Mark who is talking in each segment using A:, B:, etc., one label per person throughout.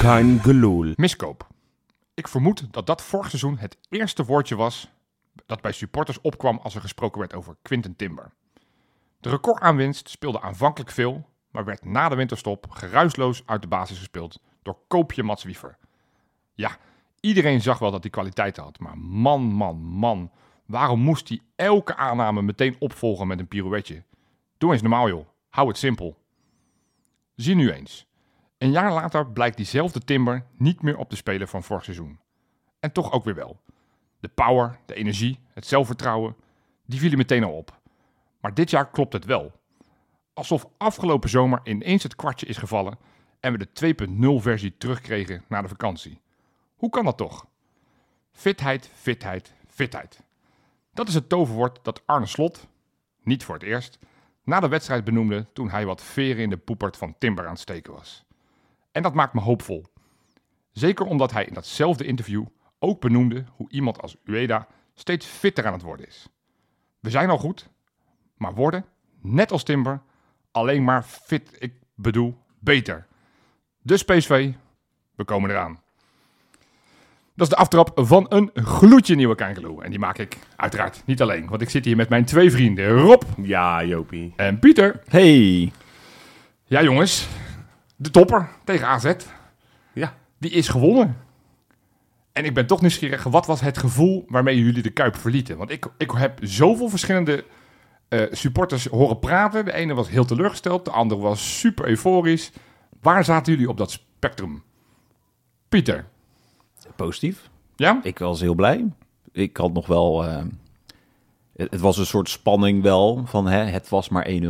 A: kein geloel.
B: Miskoop. Ik vermoed dat dat vorig seizoen het eerste woordje was dat bij supporters opkwam als er gesproken werd over Quinten Timber. De recordaanwinst speelde aanvankelijk veel, maar werd na de winterstop geruisloos uit de basis gespeeld door koopje Mats Wiever. Ja, iedereen zag wel dat hij kwaliteiten had, maar man, man, man, waarom moest hij elke aanname meteen opvolgen met een pirouetje? Doe eens normaal joh, hou het simpel. Zie nu eens. Een jaar later blijkt diezelfde Timber niet meer op te spelen van vorig seizoen. En toch ook weer wel. De power, de energie, het zelfvertrouwen, die vielen meteen al op. Maar dit jaar klopt het wel. Alsof afgelopen zomer ineens het kwartje is gevallen en we de 2.0 versie terugkregen na de vakantie. Hoe kan dat toch? Fitheid, fitheid, fitheid. Dat is het toverwoord dat Arne Slot, niet voor het eerst, na de wedstrijd benoemde toen hij wat veren in de poepert van Timber aan het steken was. En dat maakt me hoopvol. Zeker omdat hij in datzelfde interview ook benoemde hoe iemand als Ueda steeds fitter aan het worden is. We zijn al goed, maar worden, net als Timber, alleen maar fit, ik bedoel, beter. Dus PSV, we komen eraan. Dat is de aftrap van een gloedje nieuwe Kankerloe. En die maak ik uiteraard niet alleen, want ik zit hier met mijn twee vrienden Rob
A: Ja, Jopie.
B: en Pieter.
C: Hey.
B: Ja jongens, de topper tegen AZ,
A: Ja.
B: die is gewonnen. En ik ben toch nieuwsgierig, wat was het gevoel waarmee jullie de Kuip verlieten? Want ik, ik heb zoveel verschillende eh, supporters horen praten. De ene was heel teleurgesteld, de andere was super euforisch. Waar zaten jullie op dat spectrum? Pieter,
C: Positief.
B: ja?
C: Ik was heel blij. Ik had nog wel... eh, het, het was een soort spanning wel van hè, het was maar 1-0.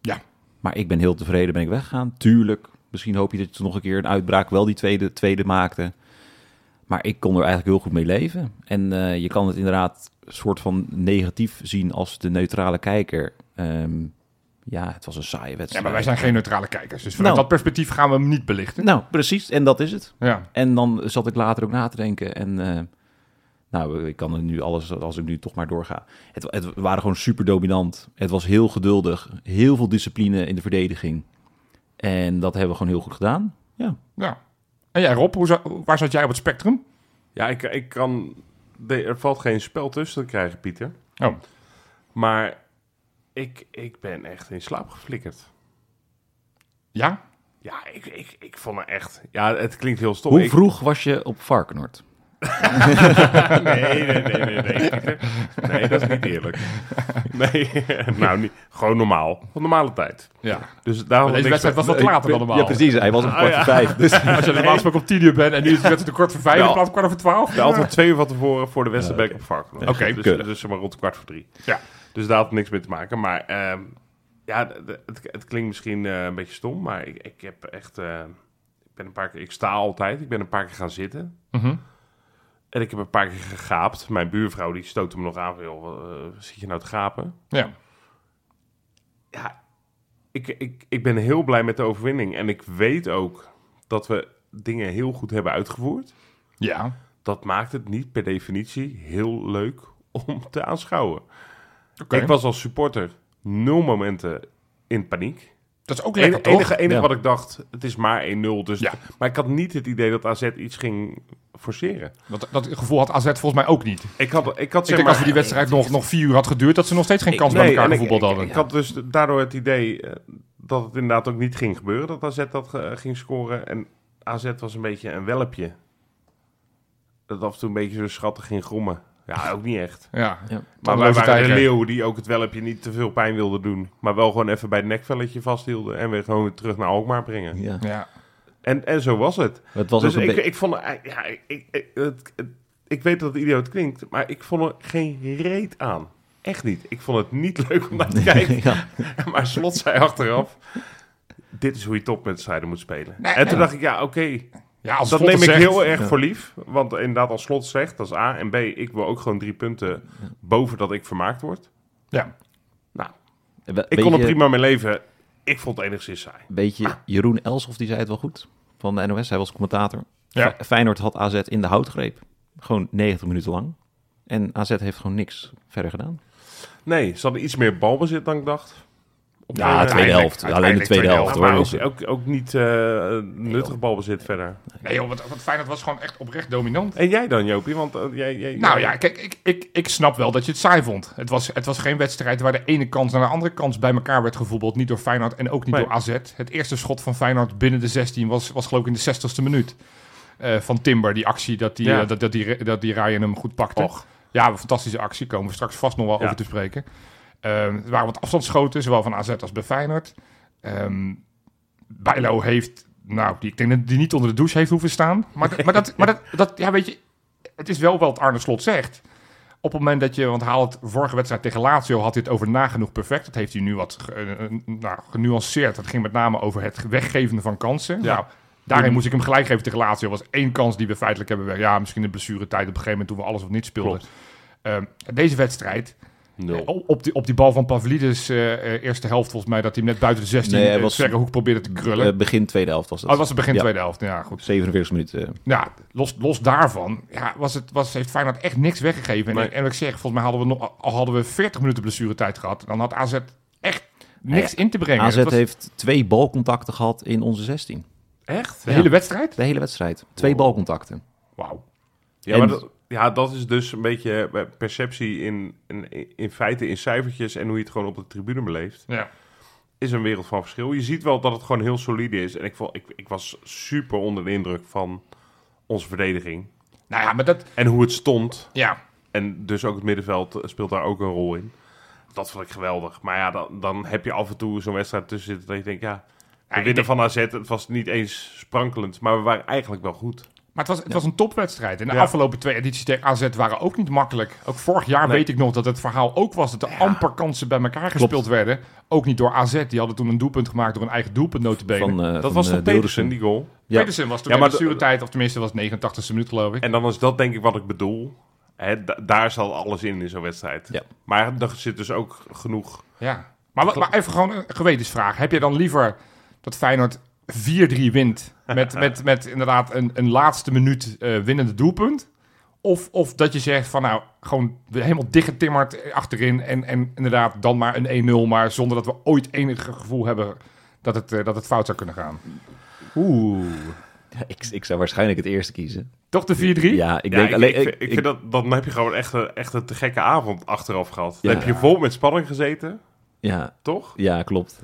B: Ja.
C: Maar ik ben heel tevreden, ben ik weggegaan. Tuurlijk, misschien hoop je dat je nog een keer een uitbraak wel die tweede, tweede maakte. Maar ik kon er eigenlijk heel goed mee leven. En eh, je kan het inderdaad soort van negatief zien als de neutrale kijker. Ehm, ja, het was een saaie wedstrijd.
B: Ja, maar wij zijn geen neutrale kijkers, dus vanuit dat
C: Nou.
B: perspectief gaan we hem niet belichten.
C: Nou, precies. En dat is het.
B: Ja,
C: En dan zat ik later ook na te denken. En eh, nou, ik kan er nu alles, als ik nu toch maar doorga. Het, het we waren gewoon super dominant. Het was heel geduldig. Heel veel discipline in de verdediging. En dat hebben we gewoon heel goed gedaan. Ja.
B: ja. En jij Rob, hoe za- waar zat jij op het spectrum?
A: Ja, ik, ik kan... de- Er valt geen spel tussen te krijgen, Pieter.
B: Oh,
A: Maar ik, ik ben echt in slaap geflikkerd.
B: ja?
A: Ja, ik, ik, ik vond het echt... Ja, het klinkt heel stom.
C: Hoe
A: Ik-
C: vroeg was je op Varkenoord?
A: Nee, nee, nee, nee, nee. Pieter. Nee, dat is niet eerlijk. Nee, nou, niet, gewoon normaal. Van normale tijd.
B: Ja.
A: Dus daarom
B: Maar deze
A: had ik spe-
B: wedstrijd was wat later dan normaal.
C: Ja, precies. Hij was op kwart voor vijf. Dus
B: Als je normaal gesproken op 10 uur bent en nu is het wedstrijd te kort voor 5
A: Ja.
B: in plaats van kwart over 12.
A: Ja, altijd twee uur van tevoren voor de wedstrijd ben ik op varken.
B: Oké,
A: dus,
C: keurig.
A: dus zeg maar rond kwart voor drie.
B: Ja.
A: Dus daar had het niks mee te maken. Maar ehm, ja, d- d- het, het klinkt misschien eh, een beetje stom, maar ik, ik heb echt... eh, ik, ben een paar keer, ik sta altijd. Ik ben een paar keer gaan zitten.
B: Mhm.
A: En ik heb een paar keer gegaapt. Mijn buurvrouw die stootte me nog aan van, joh, eh, zit je nou te gapen?
B: Ja.
A: ja, ik, ik, ik ben heel blij met de overwinning. En ik weet ook dat we dingen heel goed hebben uitgevoerd.
B: Ja.
A: Dat maakt het niet per definitie heel leuk om te aanschouwen.
B: Oké.
A: Ik was als supporter nul momenten in paniek.
B: Dat is ook
A: Het
B: lekker,
A: enige,
B: toch?
A: enige, enige
C: Ja.
A: wat ik dacht, het is maar 1-0. Dus
B: Ja.
A: Maar ik had niet het idee dat AZ iets ging forceren.
B: Dat, dat gevoel had AZ volgens mij ook niet.
A: Ik had, ik had
B: ik
A: zeg
B: denk
A: maar,
B: als we die wedstrijd nog, nog vier uur had geduurd, dat ze nog steeds geen kans bij elkaar
A: en ik-
B: gevoetbald
A: ik-
B: hadden.
A: Ik, had dus daardoor het idee eh, dat het inderdaad ook niet ging gebeuren. Dat AZ dat eh, ging scoren. En AZ was een beetje een welpje. Dat af en toe een beetje zo schattig ging grommen. Ja, ook niet echt.
B: ja.
C: Ja.
A: Maar
B: Maar
A: wij waren de
B: tijger.
A: leeuw die ook het welpje niet te veel pijn wilde doen. Maar wel gewoon even bij het nekvelletje vasthielden. En weer gewoon weer terug naar Alkmaar brengen.
C: ja.
B: Ja.
A: En, en zo was het.
C: Het was
A: dus
C: ook een
A: ik,
C: beetje-
A: ik vond... eh, Ja, ik, ik, ik- het, het- ik weet dat het idioot klinkt. Maar ik vond er geen reet aan. Echt niet. Ik vond het niet leuk om naar te kijken.
C: ja.
A: Maar Slot zei achteraf... Dit is hoe je topwedstrijden moet spelen.
B: Nee,
A: en toen
B: ja.
A: dacht ik, ja, oké.
B: ja, als
A: Dat
B: Slot
A: neem
B: het
A: ik
B: zegt-
A: heel erg voor lief. Want inderdaad, als Slot zegt, dat is A. En B, ik wil ook gewoon drie punten boven dat ik vermaakt word.
B: Ja.
A: Nou,
C: Een be-
A: ik kon er
C: beetje-
A: prima mee leven. Ik vond het enigszins saai.
C: beetje Jeroen Elshoff, die zei het wel goed. Van de NOS, hij was commentator.
B: Ja.
C: Fe- Feyenoord had AZ in de houtgreep. Gewoon 90 minuten lang. En AZ heeft gewoon niks verder gedaan.
A: Nee, ze hadden iets meer balbezit dan ik dacht.
B: Op
C: Ja, de tweede
B: uiteindelijk-
C: helft. Alleen de
B: uiteindelijk
C: tweede helft,
A: maar
C: hoor.
A: ook,
C: Dus, eh,
A: ook, ook niet eh, nuttig balbezit verder.
B: Nee joh, wat, wat Feyenoord was gewoon echt oprecht dominant.
A: En jij dan, Jopie? Want eh, jij, jij,
B: Nou ja, kijk, ik, ik, ik snap wel dat je het saai vond. Het was, het was geen wedstrijd waar de ene kans naar de andere kans bij elkaar werd gevoetbald. Niet door Feyenoord en ook niet
A: Nee.
B: door AZ. Het eerste schot van Feyenoord binnen de 16 was, was geloof ik in de 60ste minuut. Eh, van Timber, die actie, dat die,
A: Ja.
B: eh, dat, dat, die, dat die Ryan hem goed pakte.
A: Och.
B: Ja, een fantastische actie. Komen we straks vast nog wel
A: Ja.
B: over te spreken. Ehm er waren wat afstandsschoten, zowel van AZ als bij Feyenoord. Ehm Bijlo heeft, nou, die, ik denk dat die niet onder de douche heeft hoeven staan. Maar, dat- maar, dat, maar dat, dat, ja, weet je, het is wel wat Arne Slot zegt. Op het moment dat je, want haal het vorige wedstrijd tegen Lazio had dit over nagenoeg perfect. Dat heeft hij nu wat ge- eh, eh, nou, genuanceerd. Dat ging met name over het weggeven van kansen.
A: Ja.
B: Nou,
C: Mm.
B: daarin moest ik hem gelijk geven tegen Lazio. was één kans die we feitelijk hebben. weg- Ja, misschien de blessuretijd op een gegeven moment toen we alles of niet speelden.
A: Klopt.
B: Ehm, deze wedstrijd,
A: Nul.
B: O- Op die, op die bal van Pavlidis, eh, eh, eerste helft volgens mij, dat hij hem net buiten de 16
C: Nee, hij
B: eh,
C: was-
B: verre hoek probeerde te krullen.
C: Eh, begin tweede helft was
B: oh,
C: dat.
B: dat was het begin
C: ja.
B: tweede helft. Ja, goed.
C: 47 minuten. eh.
B: Nou, los, los daarvan ja, was het, was, heeft Feyenoord echt niks weggegeven.
A: Nee.
B: En, en wat ik zeg, volgens mij hadden we, nog, al hadden we 40 minuten blessuretijd gehad. Dan had AZ echt niks
C: Ja,
B: in te brengen.
C: AZ
B: Het was
C: Eh, heeft twee balcontacten gehad in onze 16.
A: Echt?
B: de
A: Ja.
B: hele wedstrijd?
C: De hele wedstrijd. Twee balcontacten.
B: Wauw.
A: Ja, maar
C: En-
A: dat, ja, dat is dus een beetje eh, perceptie in, in, in feite, in cijfertjes en hoe je het gewoon op de tribune beleeft.
B: Ja.
A: Is een wereld van verschil. Je ziet wel dat het gewoon heel solide is. En ik, vond, ik, ik was super onder de indruk van onze verdediging.
B: Nou ja, maar dat...
A: En hoe het stond.
B: Ja,
A: En dus ook het middenveld eh, speelt daar ook een rol in. Dat vond ik geweldig. Maar ja, dan, dan heb je af en toe zo'n wedstrijd tussen zitten dat je denkt, ja, we
B: ik
A: winnen
B: denk-
A: van AZ. Het was niet eens sprankelend, maar we waren eigenlijk wel goed.
B: Maar het was, het was een topwedstrijd. En de
A: Ja.
B: afgelopen twee edities tegen AZ waren ook niet makkelijk. Ook vorig jaar
A: Nee.
B: weet ik nog dat het verhaal ook was dat er amper kansen bij elkaar gespeeld werden. Ook niet door AZ. Die hadden toen een doelpunt gemaakt door een eigen doelpunt notabene.
C: Van, eh,
A: Dat
C: van,
A: was
C: eh,
A: toch
C: Dildersen.
A: Pedersen, die goal?
C: Ja.
B: Pedersen was toen
A: Ja,
B: in de
A: maar de-
B: blessuretijd, of tenminste was 89 e minuut geloof ik.
A: En dan is dat denk ik wat ik bedoel. Hè, da- daar zal alles in in zo'n wedstrijd.
C: Ja.
A: Maar er zit dus ook genoeg.
B: Ja. Maar, wa- maar even gewoon een gewetensvraag. Heb je dan liever dat Feyenoord 4-3 wint met, met, met inderdaad een, een laatste minuut eh, winnende doelpunt? Of, of dat je zegt van nou, gewoon helemaal dichtgetimmerd achterin en, en inderdaad dan maar een 1-0, maar zonder dat we ooit enig gevoel hebben dat het, eh, dat het fout zou kunnen gaan.
A: Oeh.
C: Ja, ik, ik zou waarschijnlijk het eerste kiezen.
B: Toch de 4-3?
C: Ja, ik
A: Ik,
C: denk
A: ik,
C: alleen...
A: ik, vind-
C: ik-
A: ik vind dat dan heb je gewoon echt een, echt een te gekke avond achteraf gehad. Dan
C: Ja.
A: heb je vol met spanning gezeten,
C: ja,
A: toch?
C: ja, klopt.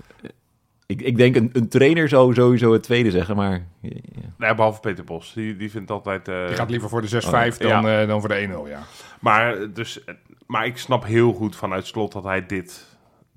C: Ik, ik denk een, een trainer zou sowieso het tweede zeggen, maar... ja, ja.
A: Nee, behalve Peter Bos. Die, die vindt altijd. eh,
B: Je gaat liever voor de 6-5
C: Oh,
B: dan,
A: Ja.
B: eh, dan voor de 1-0, ja.
A: maar, dus, maar ik snap heel goed vanuit slot dat hij dit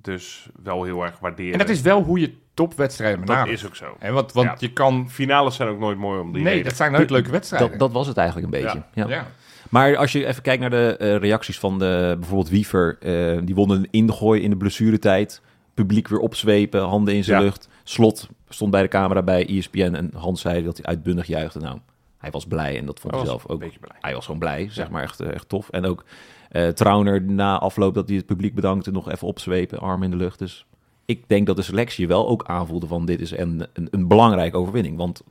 A: dus wel heel erg waardeert.
B: En dat is wel hoe je topwedstrijden
A: Dat
B: benadert.
A: is ook zo.
B: Hè, want want
A: Ja.
B: je kan...
A: Finales zijn ook nooit mooi om die
B: Nee,
A: reden.
B: dat zijn nooit leuke wedstrijden.
C: Dat, dat was het eigenlijk een beetje.
A: Ja.
C: Ja.
B: ja.
C: Maar als je even kijkt naar de eh, reacties van de, bijvoorbeeld Wiever. eh, die won een ingooi in de blessuretijd. Publiek weer opzwepen, handen in zijn
A: Ja.
C: lucht. Slot stond bij de camera bij E ESPN. En Hans zei dat hij uitbundig juichte. Nou, hij was blij en dat vond
A: Hij was
C: hij zelf
A: een
C: ook.
A: beetje blij.
C: Hij was gewoon blij, zeg maar. Echt, eh, echt tof. En ook eh Trauner na afloop dat hij het publiek bedankte. Nog even opzwepen, arm in de lucht. Dus ik denk dat de selectie wel ook aanvoelde van dit is een, een, een belangrijke overwinning. Want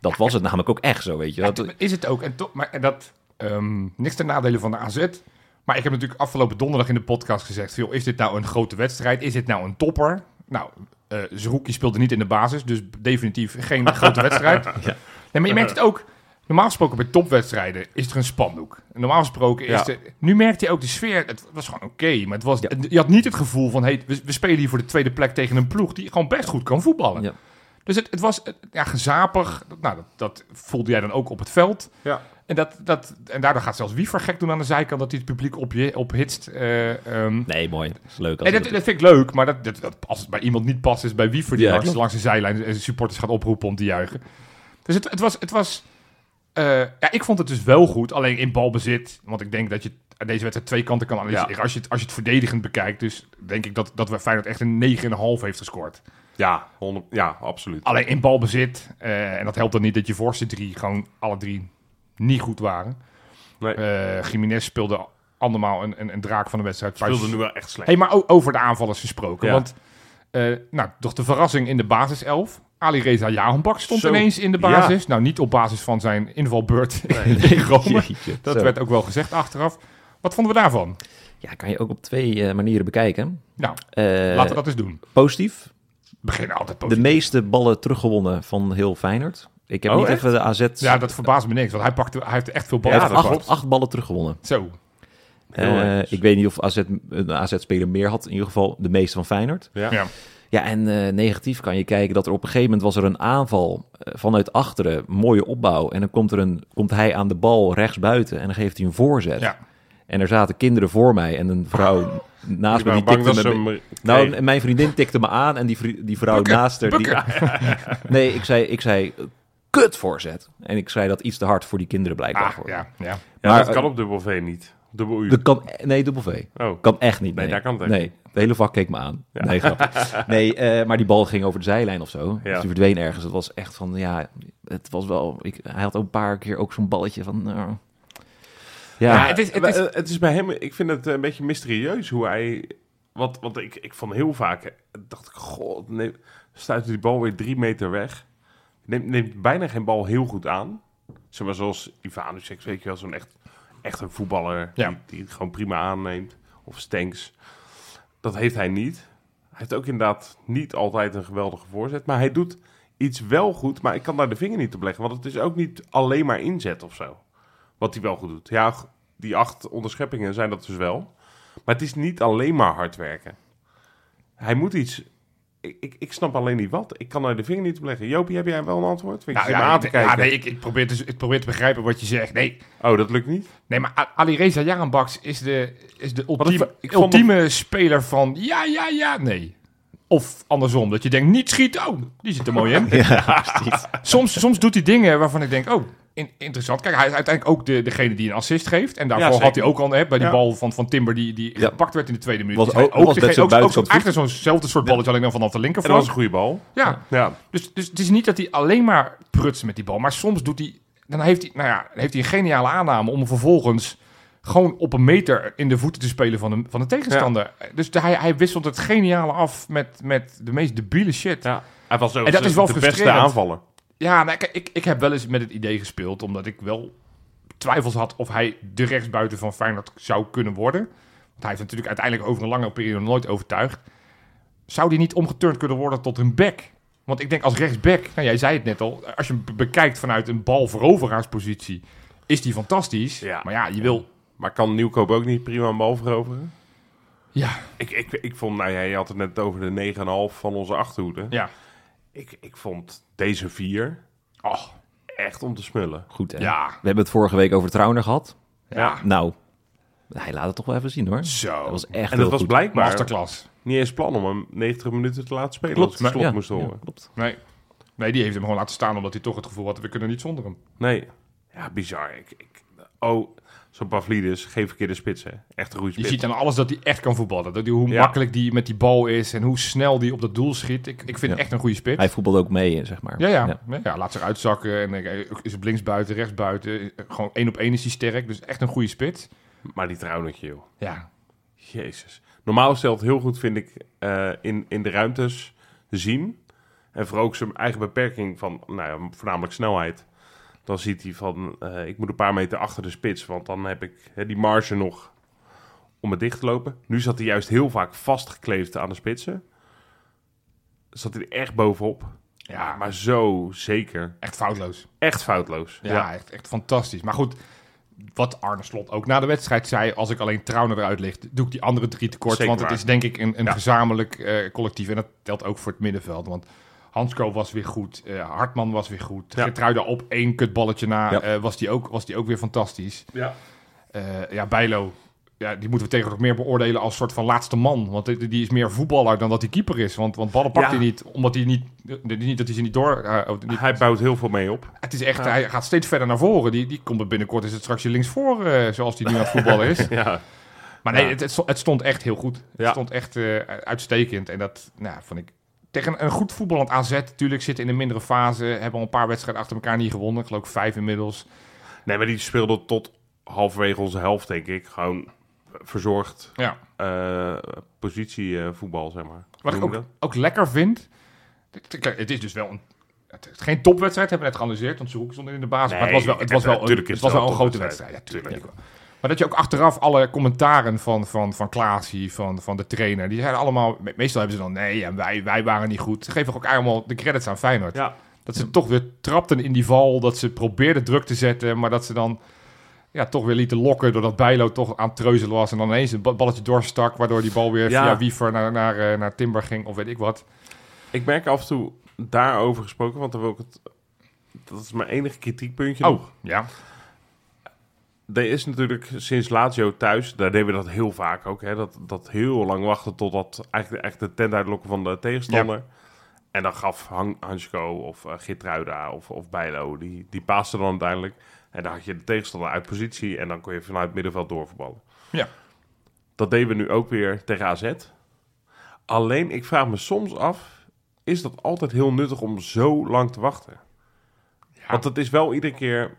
C: dat was het namelijk ook echt zo, weet je.
B: Ja,
C: Dat,
B: dat is het ook. En toch, maar en dat, ehm, niks ten nadele van de AZ. Maar ik heb natuurlijk afgelopen donderdag in de podcast gezegd: joh, is dit nou een grote wedstrijd? Is dit nou een topper? Nou, eh Zerouki speelde niet in de basis, dus definitief geen grote wedstrijd. Nee, maar je merkt het
A: Uh-huh.
B: ook. Normaal gesproken bij topwedstrijden is er een spandoek. En Normaal gesproken is
A: Ja.
B: er... Nu merkte je ook de sfeer. Het was gewoon oké, maar het was... Je had niet het gevoel van... Hey, we, we spelen hier voor de tweede plek tegen een ploeg... die gewoon best goed kan voetballen.
C: Ja.
B: Dus het, het was eh, ja, gezapig. Nou, dat, dat voelde jij dan ook op het veld.
A: Ja.
B: En, dat, dat, en daardoor gaat zelfs Wiever gek doen aan de zijkant... dat hij het publiek op, je- ophitst. eh, ehm.
C: nee, mooi. Dat is leuk. als
B: En
C: het-
B: dat, dat vind ik leuk, maar dat, dat, dat- als het bij iemand niet past... is bij Wiever die
C: Ja,
B: langs,
C: klopt.
B: langs de zijlijn... en supporters gaat oproepen om te juichen. Dus het, het was... Het was eh, ja, ik vond het dus wel goed, alleen in balbezit. Want ik denk dat je t- deze wedstrijd twee kanten kan analyseren. Als, je het, als je het verdedigend bekijkt, dus denk ik dat, dat we Feyenoord echt een 9,5 heeft gescoord.
A: Ja, 100, ja, absoluut.
B: Alleen in balbezit. eh, en dat helpt dan niet dat je voorste drie gewoon alle drie niet goed waren.
A: Nee.
B: Eh Jiménez speelde andermaal een, een, een draak van de wedstrijd.
A: Speelde nu wel echt slecht.
B: Hey, maar o- over de aanvallers gesproken.
A: Ja.
B: Want eh, nou, toch de verrassing in de basiself. Ali Reza Jahanbak stond
A: Zo.
B: ineens in de basis. Nou, niet op basis van zijn invalbeurt in Rome.
C: Jeetje.
B: Dat
C: Zo.
B: werd ook wel gezegd achteraf. Wat vonden we daarvan?
C: Ja, kan je ook op twee eh, manieren bekijken.
B: Nou,
C: Eh,
B: laten we dat eens doen.
C: Positief.
B: We beginnen altijd
C: De
B: positief.
C: meeste ballen teruggewonnen van heel Feyenoord. Ik heb
A: Oh,
C: niet
A: echt?
C: even de AZ...
B: Ja, dat verbaast me niks, want hij, pakte, hij heeft echt veel ballen.
A: Ja, dat
C: acht,
B: gehad.
A: klopt.
C: acht ballen teruggewonnen.
B: Zo,
A: Heel
C: Eh,
A: netjes.
C: ik weet niet of AZ, een AZ-speler meer had. In ieder geval de meeste van Feyenoord.
A: Ja.
B: ja.
C: Ja, en eh, negatief kan je kijken dat er op een gegeven moment was er een aanval eh, vanuit achteren, mooie opbouw. En dan komt, er een, komt hij aan de bal rechts buiten en dan geeft hij een voorzet.
B: Ja.
C: En er zaten kinderen voor mij en een vrouw naast
A: Ik
C: me.
A: ben bang
C: Die tikte
A: dat
C: me
A: ze
C: be-
A: hem
C: nou,
A: kregen.
C: en mijn vriendin tikte me aan en die, vri- die vrouw
B: Bukken,
C: naast haar... Die,
B: bukken.
C: nee, ik zei, ik zei kut voorzet. En ik zei dat iets te hard voor die kinderen blijkbaar.
B: Ah,
C: voor.
B: ja, ja.
A: Ja,
C: maar,
A: dat kan op dubbel V niet. Dubbel U.
C: Dat kan, e-, nee, dubbel V.
A: Oh,
C: Kan echt niet.
A: Nee, daar kan het echt
C: nee. Het hele vak keek me aan. Nee, grapje. nee eh, maar die bal ging over de zijlijn of zo.
A: Ja.
C: Dus die verdween ergens. Het was echt van, ja, het was wel... Ik, hij had ook een paar keer ook zo'n balletje van... eh, ja,
B: Ja, het is- het is-
A: Maar, eh, het is bij hem, ik vind het een beetje mysterieus hoe hij. Want, want ik, ik van heel vaak eh, dacht ik, god, nee, stuitte die bal weer drie meter weg. Neemt, neemt bijna geen bal heel goed aan. Zeg maar zoals Ivanusek, weet je wel, zo'n echt, echt een voetballer
B: Ja.
A: die, die het gewoon prima aanneemt. Of Stenks. Dat heeft hij niet. Hij heeft ook inderdaad niet altijd een geweldige voorzet. Maar hij doet iets wel goed, maar ik kan daar de vinger niet op leggen. Want het is ook niet alleen maar inzet of zo. Wat hij wel goed doet. Ja, g- die acht onderscheppingen zijn dat dus wel. Maar het is niet alleen maar hard werken. Hij moet iets... Ik, ik, ik snap alleen niet wat. Ik kan daar de vinger niet op leggen. Jopie, heb jij wel een antwoord? Vind je
B: Nou,
A: zit me aan
B: ja,
A: te
B: ik, ja,
A: kijken.
B: nee, ik, ik, probeer te, ik probeer te begrijpen wat je zegt. Nee,
A: Oh, dat lukt niet?
B: Nee, maar A- Alireza Jaranbaks is de, is de
A: ik
B: ultieme,
A: v- ik vond
B: ultieme speler van ja, ja, ja, nee. Of andersom, dat je denkt, niet schieten, oh, die zit er mooi in. soms, soms doet hij dingen waarvan ik denk, oh, in- interessant. Kijk, hij is uiteindelijk ook de, degene die een assist geeft. En daarvoor
A: Ja, zeker.
B: had hij ook al, hè, bij die
A: Ja.
B: bal van, van Timber die, die
C: Ja.
B: gepakt werd in de tweede minuut.
C: Was
B: Is hij
C: ook- was net
B: degene-
C: zo'n buitenkant voet.
B: eigenlijk zo'nzelfde soort balletje, alleen dan vanaf de
A: En dat was
B: linkerflank.
A: een goede bal.
B: Ja,
A: Ja.
B: dus, dus het is niet dat hij alleen maar prutst met die bal. Maar soms doet hij. Dan heeft hij, nou ja, dan heeft hij een geniale aanname om hem vervolgens gewoon op een meter in de voeten te spelen van de, van de tegenstander. Dus de- hij, hij wisselt het geniale af met, met de meest debiele shit. Ja,
A: ja. Hij was ook
B: En dat is wel
A: de beste
B: frustrerend.
A: aanvaller.
B: nou, kijk, ik, ik heb wel eens met het idee gespeeld, omdat ik wel twijfels had of hij de rechtsbuiten van Feyenoord zou kunnen worden. Want hij heeft natuurlijk uiteindelijk over een lange periode nooit overtuigd. Zou die niet omgeturnd kunnen worden tot een back? Want ik denk als rechtsback, nou jij zei het net al, als je hem be- bekijkt vanuit een balveroveraarspositie, is die fantastisch.
A: Ja.
B: Maar ja, je wil...
A: Maar kan Nieuwkoop ook niet prima een bal veroveren?
B: Ja,
A: Ik, ik, ik vond, nou ja, je had het net over de 9,5 van onze achterhoede.
B: ja.
A: Ik, ik vond deze vier
B: Oh,
A: echt om te smullen.
C: goed hè.
B: Ja.
C: We hebben het vorige week over Trauner gehad.
B: ja.
C: Nou, hij laat het toch wel even zien hoor.
B: Zo.
C: Dat was echt
A: En
C: heel
A: dat was
C: goed.
A: blijkbaar
B: Masterclass.
A: niet eens plan om hem 90 minuten te laten spelen. als
C: Klopt.
A: het slot
C: ja,
A: moest
C: ja,
A: horen.
C: klopt.
B: Nee. nee, die heeft hem gewoon laten staan omdat hij toch het gevoel had, we kunnen niet zonder hem.
A: Nee. Ja, bizar. Ik, ik, oh, zo'n Pavlidis, geen verkeerde spits, hè. Echt een goede
B: Je
A: spits.
B: ziet aan alles dat hij echt kan voetballen. Dat hij, hoe
A: Ja.
B: makkelijk die met die bal is en hoe snel die op dat doel schiet. Ik, ik vind
C: Ja.
B: echt een goede spits.
C: Hij voetbalde ook mee, eh, zeg maar.
B: Ja, ja. ja. ja, laat zich uitzakken. En eh, is op links buiten, rechts buiten. Gewoon één op één is hij sterk. Dus echt een goede spits.
A: Maar die trouwnertje, joh.
B: Ja.
A: Jezus. Normaal stelt heel goed, vind ik, eh, in, in de ruimtes zien. En vooral ook zijn eigen beperking van, nou ja, voornamelijk snelheid. Dan ziet hij van, eh, ik moet een paar meter achter de spits, want dan heb ik hè, die marge nog om het dicht te lopen. Nu zat hij juist heel vaak vastgekleefd aan de spitsen. Zat hij er echt bovenop.
B: Ja, maar
A: Maar zo zeker.
B: echt foutloos.
A: Echt foutloos.
B: Ja, Echt, echt fantastisch. Maar goed, wat Arne Slot ook na de wedstrijd zei... als ik alleen Trauner eruit ligt, doe ik die andere drie tekort.
A: Zeker
B: want het
A: waar.
B: is denk ik een, een
A: Ja.
B: gezamenlijk eh, collectief. En dat telt ook voor het middenveld. Want Hansko was weer goed. eh, Hartman was weer goed.
A: Ja.
B: Gertruida op één kutballetje na
C: Ja.
B: eh, was, die ook, was die ook weer fantastisch.
A: ja.
B: Eh, ja, Bijlo, ja, die moeten we tegenwoordig meer beoordelen als soort van laatste man. Want die, die is meer voetballer dan dat hij keeper is. Want, want ballen pakt
A: Ja.
B: hij niet, omdat hij niet, niet dat hij ze niet door... eh, of niet-
A: Hij bouwt heel veel mee op.
B: het is echt, hij gaat steeds verder naar voren. Die, die komt er binnenkort, is het straks je linksvoor, eh zoals die nu aan het voetballen is.
A: Ja.
B: Maar nee,
A: Ja.
B: het, het sto- het stond echt heel goed. Het
A: Ja.
B: stond echt eh, uitstekend. En dat nou, ja, vond ik... Tegen een goed voetballend AZ, natuurlijk zitten in een mindere fase. Hebben al een paar wedstrijden achter elkaar niet gewonnen. Ik geloof vijf inmiddels.
A: Nee, maar die speelde tot halverwege onze helft, denk ik. Gewoon verzorgd. eh,
B: Ja.
A: positievoetbal, zeg maar.
B: Wat ik
A: Noem je
B: ook,
A: dat?
B: ook lekker vind. Dit- kijk, Het is dus wel een. Het is geen topwedstrijd, hebben we net geanalyseerd. Want Zoek stond in de basis.
A: Nee,
B: maar het was wel, het was wel, een,
A: tuurlijk is
B: het was
A: het
B: wel een
A: wel
B: grote
A: een
B: wedstrijd. Ja, tuurlijk. Maar dat je ook achteraf alle commentaren van, van, van Klaasie, van, van de trainer, die zijn allemaal... me- Meestal hebben ze dan, nee, en wij, wij waren niet goed. Ze geven ook allemaal de credits aan Feyenoord.
A: Ja.
B: Dat ze toch weer trapten in die val, dat ze probeerden druk te zetten, maar dat ze dan ja, toch weer lieten lokken doordat Bijlo toch aan het treuzelen was en dan ineens een ba- balletje doorstak, waardoor die bal weer
A: Ja.
B: via Wiever naar, naar, eh, naar Timber ging of weet ik wat.
A: Ik merk af en toe daarover gesproken, want dan wil ik het... Dat is mijn enige kritiekpuntje nog.
B: Oh, ja.
A: Er is natuurlijk sinds Lazio thuis, daar deden we dat heel vaak ook. Hè? Dat, dat heel lang wachten totdat eigenlijk echt de tent uitlokken van de tegenstander. En dan gaf Han- Hansko of eh Gitruida of, of Bijlo, die, die paaste dan uiteindelijk. En dan had je de tegenstander uit positie en dan kon je vanuit het middenveld doorverballen.
B: Ja.
A: Dat deden we nu ook weer tegen AZ. Alleen, ik vraag me soms af, is dat altijd heel nuttig om zo lang te wachten? Want het is wel iedere keer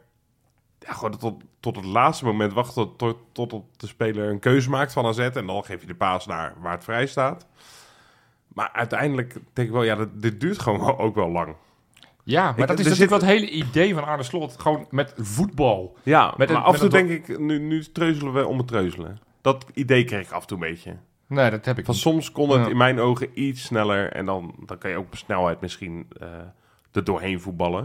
A: ja, gewoon tot, tot het laatste moment wachten tot, tot de speler een keuze maakt van AZ. En dan geef je de paas naar waar het vrij staat. Maar uiteindelijk denk ik wel, ja, dat- dit duurt gewoon wel- ook wel lang.
B: Ja, maar
A: Ik-
B: dat is
A: er
B: natuurlijk
A: zit-
B: wel het hele idee van Arne Slot. Gewoon met voetbal.
A: Ja,
B: Met een-
A: maar af en toe
B: met een-
A: denk ik, nu, nu treuzelen we om het treuzelen. Dat idee kreeg ik af en toe een beetje.
B: Nee, dat heb ik
A: Van
B: niet.
A: soms kon het
B: Ja.
A: in mijn ogen iets sneller. En dan, dan kan je ook op snelheid misschien eh er doorheen voetballen.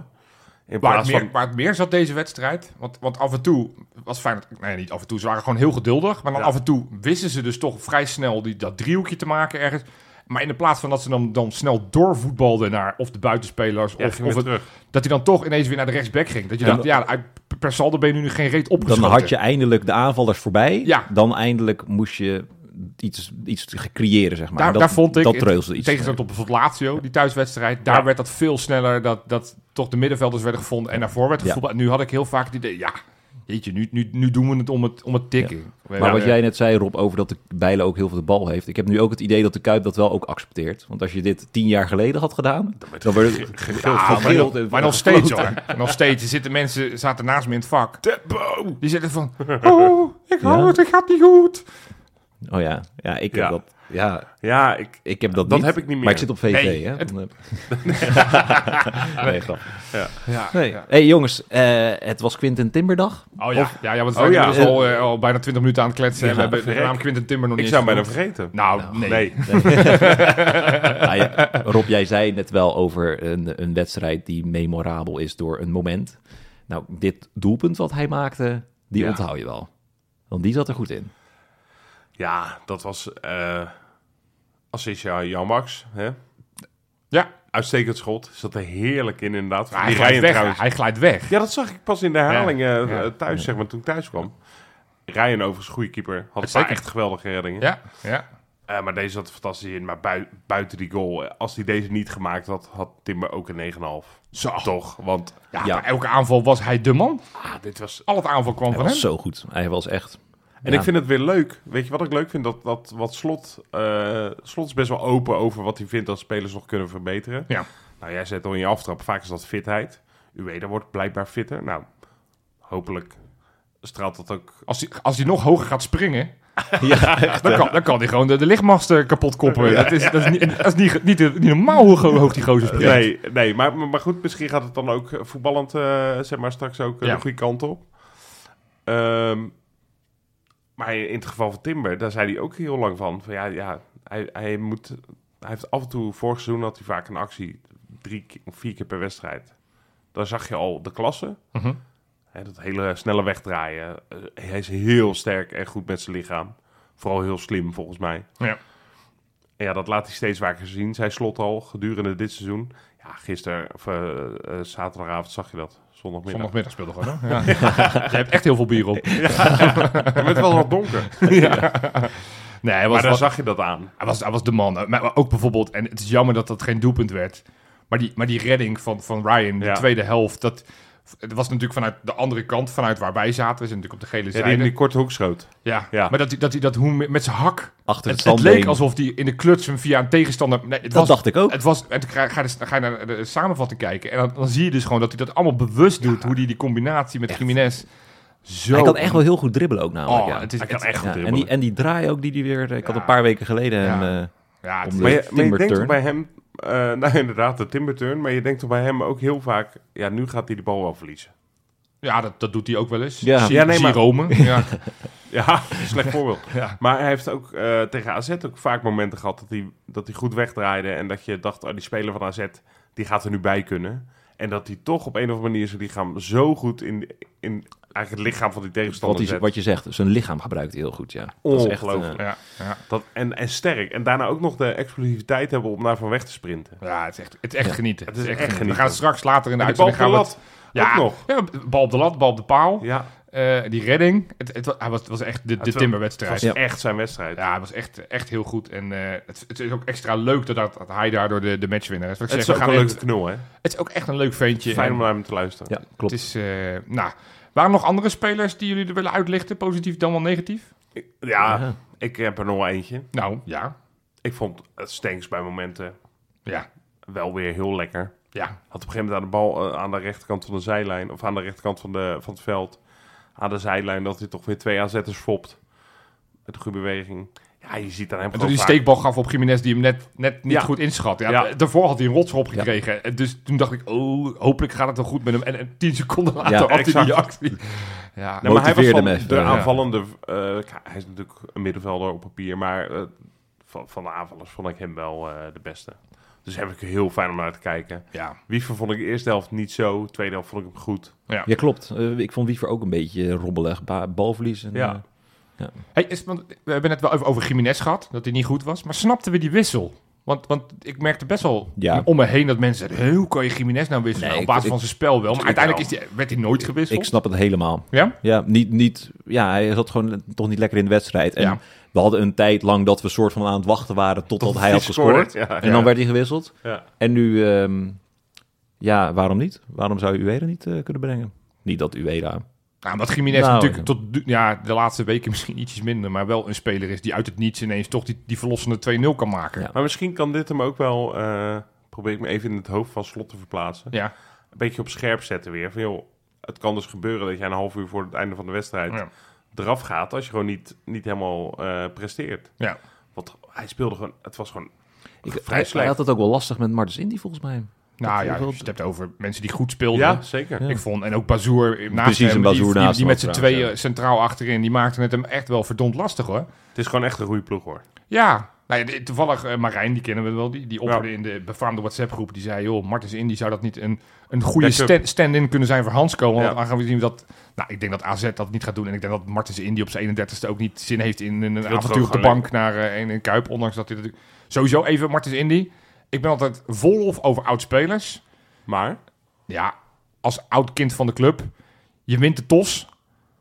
A: In
B: Waar het,
A: plaats
B: meer,
A: van...
B: waar het meer zat deze wedstrijd. Want, want af en toe was Feyenoord... Nee, niet af en toe. Ze waren gewoon heel geduldig. Maar dan
A: Ja.
B: af en toe wisten ze dus toch vrij snel die, dat driehoekje te maken ergens. Maar in de plaats van dat ze dan, dan snel doorvoetbalden naar of de buitenspelers...
A: Ja,
B: of,
A: ging
B: of
A: weer
B: het-
A: terug.
B: dat hij dan toch ineens weer naar de rechtsback ging. Dat je
C: En-
B: dacht, ja, uit, per saldo ben je nu geen reet
C: Dan
B: opgeschoten.
C: had je eindelijk de aanvallers voorbij.
B: Ja.
C: Dan eindelijk moest je iets, iets te creëren, zeg maar.
B: Daar,
C: dat,
B: daar vond ik,
C: dat
B: in
C: treuzelde iets.
B: tegenstelling tot bijvoorbeeld Lazio, die thuiswedstrijd, daar
A: Ja.
B: werd dat veel sneller, dat, dat toch de middenvelders werden gevonden en naar voren werd
C: Ja.
B: gevoetbald. En Nu had ik heel vaak het idee, ja, jeetje, nu, nu, nu doen we het om het, om het tikken.
C: Maar wat jij net zei, Rob, over dat de Bijlen ook heel veel de bal heeft. Ik heb nu ook het idee dat de Kuip dat wel ook accepteert. Want als je dit tien jaar geleden had gedaan, dan werd het
A: Gegild van
B: maar,
C: gegild en-
B: maar nog steeds hoor. Nog steeds. Er zitten mensen zaten naast me in het vak.
A: Tempo!
B: Die zitten van, oh, ik hou
C: Ja.
B: het, ik gaat niet goed.
C: Oh ja, ja ik heb
A: Ja.
C: dat. Ja,
A: Ja, ik,
C: ik heb dat,
A: Dat
C: niet.
A: heb ik niet meer.
C: Maar ik zit op VV,
B: Nee,
C: hè?
B: het-
C: Dan, eh, nee, grap.
B: Ja,
C: Nee.
B: ja.
C: hey, jongens, eh, het was Quinten Timberdag.
B: Oh ja, ja, ja want we
A: Oh ja.
B: zijn inmiddels al, eh, al bijna 20 minuten aan het kletsen.
C: Ja.
B: en we hebben de naam Quinten Timber nog
A: ik
B: niet
A: zou hem bijna
B: eens
A: vergeten.
B: genoemd. Nou, nee.
A: nee.
C: Nou ja, Rob, jij zei net wel over een, een wedstrijd die memorabel is door een moment. Nou, dit doelpunt wat hij maakte, die
A: Ja.
C: onthoud je wel. Want die zat er goed in.
A: Ja, dat was eh Assisja Jan Max. Hè?
B: Ja,
A: Uitstekend schot. Zat er heerlijk in inderdaad.
B: Maar hij
A: Die
B: glijdt
A: Ryan
B: weg.
A: trouwens.
B: Hij glijdt weg.
A: Ja, dat zag ik pas in de herhaling eh,
B: Ja, ja.
A: thuis, zeg maar, toen ik thuis kwam. Ryan overigens, goede keeper. Had een paar
B: Uitstekend.
A: echt geweldige reddingen.
B: Ja, ja.
A: Eh, maar deze zat er fantastisch in. Maar bui- buiten die goal, eh, als hij deze niet gemaakt had, had Timber ook een 9,5.
B: Zo.
A: Toch? Want
B: Ja,
C: Ja.
B: maar elke aanval was hij de man.
A: ah, dit was...
B: Al het aanval kwam
C: Hij
B: van hem.
C: was zo goed. Hij was echt...
A: En
C: Ja.
A: ik vind het weer leuk. Weet je wat ik leuk vind? Dat, dat wat Slot... eh, Slot is best wel open over wat hij vindt dat spelers nog kunnen verbeteren.
B: Ja.
A: Nou, jij zet al in je aftrap. Vaak is dat fitheid. Ueda wordt blijkbaar fitter. Nou, hopelijk straalt dat ook...
B: Als hij, als hij nog hoger gaat springen,
C: Ja,
B: dan kan, dan kan hij gewoon de, de lichtmasten kapot koppen. Dat is, dat is, niet, dat is niet, niet, niet normaal hoe go- hoog die gozer springt.
A: Nee, nee maar, maar maar goed, misschien gaat het dan ook eh, voetballend, eh, zeg maar, straks ook eh,
B: Ja.
A: de goede kant op. Ehm, maar in het geval van Timber, daar zei hij ook heel lang van. van ja, ja, hij, hij, moet, hij heeft af en toe, vorig seizoen had hij vaak een actie, drie ke- of vier keer per wedstrijd. Daar zag je al de klasse.
B: Mhm.
A: Hè, dat hele snelle wegdraaien. Eh, hij is heel sterk en goed met zijn lichaam. Vooral heel slim, volgens mij.
B: Ja.
A: En ja, dat laat hij steeds vaker zien. Zij slot al gedurende dit seizoen. Ja, gisteren of eh, eh, zaterdagavond zag je dat. Zondagmiddag.
B: Zondagmiddag speelde gewoon. hè? Ja. Je hebt echt heel veel bier op.
A: Ja, maar het was wat donker.
B: Nee, hij was,
A: maar daar
B: was,
A: zag je dat aan.
B: hij was, hij was de man. Maar ook bijvoorbeeld, en het is jammer dat dat geen doelpunt werd. Maar die, maar die redding van, van Ryan, de
A: Ja.
B: tweede helft, dat het was natuurlijk vanuit de andere kant, vanuit waar wij zaten. We zijn natuurlijk op de gele
A: Ja,
B: zijde.
A: die, die korte hoekschoot.
B: Ja,
A: Ja.
B: maar dat hij dat, hij dat hoe met met zijn hak.
C: Achter
B: Het,
C: het
B: het leek
C: standbeen.
B: alsof hij in de kluts hem via een tegenstander. Nee, het
C: Dat
B: was,
C: dacht ik ook.
B: Het was, en toen ga, ga, je dus- ga je naar de samenvatting kijken. En dan, dan zie je dus gewoon dat hij dat allemaal bewust doet. Hoe hij die combinatie met Jiménez zo.
C: Hij kan echt wel heel goed dribbelen ook namelijk.
B: Oh,
C: ja.
B: het is,
A: Hij kan
B: het-
A: echt goed
C: Ja, en,
A: dribbelen.
C: die, en die draai ook die die weer... eh, Ik had
B: Ja.
C: een paar weken geleden
B: Ja.
C: een, eh,
B: ja, het-
C: om de
A: Maar je, maar je denkt
C: timberturn.
A: toch bij hem... eh, nou, inderdaad, de timberturn. Maar je denkt toch bij hem ook heel vaak... Ja, nu gaat hij de bal wel verliezen.
B: ja dat, dat doet hij ook wel eens.
C: Ja.
B: Zie,
A: Ja, nee,
B: zie
A: maar-
B: Rome. Ja.
A: Ja, slecht voorbeeld.
B: Ja.
A: Maar hij heeft ook eh, tegen AZ ook vaak momenten gehad dat hij, dat hij goed wegdraaide. En dat je dacht, oh, die speler van AZ, die gaat er nu bij kunnen. En dat hij toch op een of andere manier zijn lichaam zo goed in, in eigenlijk het lichaam van die
C: Wat,
A: tegenstander
C: hij-
A: zet.
C: wat je zegt, zijn lichaam gebruikt hij heel goed, ja.
A: Ongelooflijk.
C: eh,
B: Ja, ja.
A: Dat, en, en sterk. En daarna ook nog de explosiviteit hebben om daar van weg te sprinten.
B: ja het, is echt, het is echt
C: Ja.
B: genieten.
A: Het is echt
B: We
A: genieten.
B: gaan straks later in de
A: En die bal
B: uitzending
A: op de
B: gaan we
A: lat.
B: het- ja,
A: ook nog.
B: Ja, bal op de lat, bal op de paal.
A: Ja,
B: Eh, die redding. Het, het, wa- hij was, het was echt de, de
A: Het wa- het
B: timberwedstrijd.
A: was
B: Ja,
C: Ja.
A: echt zijn wedstrijd.
B: het was echt, echt heel goed. En eh, het, het is ook extra leuk dat, dat hij daardoor de, de matchwinnaar is. Wat ik
A: Het is
B: zeg,
A: ook
B: we
A: een
B: gaan
A: leuke
B: echt-
A: knul, hè?
B: het is ook echt een leuk ventje.
A: Fijn
B: En
A: om naar hem te luisteren.
C: Ja,
B: het
C: klopt.
B: is, eh, nou, waren er nog andere spelers die jullie er willen uitlichten? Positief dan wel negatief?
A: Ik- Ja,
C: Ja.
A: ik heb er nog wel eentje.
B: Nou, ja.
A: Ik vond het Stenks bij momenten
B: Ja.
A: wel weer heel lekker.
B: Ja.
A: Had op een gegeven moment aan de bal eh, aan de rechterkant van de zijlijn, of aan de rechterkant van, de, van het veld, aan de zijlijn, dat hij toch weer twee AZ'ers fopt. Met de goede beweging. Ja, je ziet aan hem
B: En toen
A: gewoon
B: die
A: vaak-
B: steekbal gaf op Jiménez, die hem net, net niet
A: Ja.
B: goed inschat. Ja,
A: Ja.
B: Daarvoor had hij een rotsrop gekregen. En Dus toen dacht ik, oh, hopelijk gaat het wel goed met hem. En, en tien seconden later had hij
A: exact. Nou,
B: die actie. Ja,
A: Nee, maar hij was
C: motiveerde
A: van
C: hem even,
A: de
C: ja.
A: aanvallende... eh, k- hij is natuurlijk een middenvelder op papier, maar eh, van, van de aanvallers vond ik hem wel eh, de beste. Dus heb ik er heel fijn om naar te kijken.
B: ja.
A: Wiever vond ik de eerste helft niet zo, de tweede helft vond ik hem goed.
C: Ja, klopt. Eh, ik vond Wiever ook een beetje robbelig. Ba- balverlies. En,
A: Ja.
C: eh,
B: Hey, is, want we hebben het wel even over Jiménez gehad, dat hij niet goed was. Maar snapten we die wissel? Want, want ik merkte best wel
C: Ja.
B: om me heen dat mensen zeiden... "Hé, hoe kan je Jiménez nou wisselen? Nou,
C: Nee,
B: op
C: ik-
B: basis
C: ik-
B: van zijn spel wel. Maar
A: Tuurlijk
B: uiteindelijk is die, werd hij nooit gewisseld.
C: ik snap het helemaal.
B: Ja?
C: Ja, niet, niet, ja, hij zat gewoon toch niet lekker in de wedstrijd. En
B: Ja.
C: we hadden een tijd lang dat we soort van aan het wachten waren totdat hij had gescoord.
A: Ja,
C: En dan werd hij gewisseld.
A: ja.
C: En nu, ehm, ja, waarom niet? Waarom zou je Ueda niet eh, kunnen brengen? Niet dat Ueda...
B: Nou, dat Jiménez
C: Nou,
B: natuurlijk
C: ja.
B: tot du- ja, de laatste weken misschien ietsjes minder... maar wel een speler is die uit het niets ineens toch die, die verlossende 2-0 kan maken. Ja.
C: Ja.
A: Maar misschien kan dit hem ook wel... eh, probeer ik me even in het hoofd van Slot te verplaatsen.
B: Ja.
A: Een beetje op scherp zetten weer. Van joh, het kan dus gebeuren dat jij een half uur voor het einde van de wedstrijd...
B: Ja.
A: eraf gaat als je gewoon niet, niet helemaal eh, presteert. Want hij speelde gewoon... Het was gewoon...
C: Ik,
A: Vrij
C: hij-
A: slecht.
C: Hij had het ook wel lastig met Martens Indy volgens mij.
B: Nou
C: Dat-
B: ja,
C: dat-
B: je hebt over mensen die goed speelden.
A: Ja, zeker.
C: Ja.
B: Ik vond, en ook Bazoer naast
C: Precies,
B: hem,
C: een
B: die,
C: Bazoer
B: die,
C: naast
B: die
C: hem
B: met z'n
C: ook trouwens,
B: tweeën centraal achterin, die maakte het hem echt wel verdomd lastig hoor.
A: Het is gewoon echt een goede ploeg hoor.
B: Ja, nou ja, de- toevallig eh, Marijn, die kennen we wel, die, die opperde
A: Ja.
B: in de befaamde WhatsApp-groep. Die zei, joh, Martens Indy, zou dat niet een, een goede
A: Backup.
B: stand- stand-in kunnen zijn voor Hansco? Want
A: Ja.
B: aangezien dat, nou, ik denk dat AZ dat niet gaat doen. En ik denk dat Martens Indy op zijn 31ste ook niet zin heeft in, een
A: gewoon
B: avontuur op de
A: gaan
B: bank naar eh, een, een Kuip. Ondanks dat hij natuurlijk... Sowieso even Martens Indy. Ik ben altijd vol of over oud-spelers.
A: Maar...
B: Ja, als oud kind van de club, je wint de tos.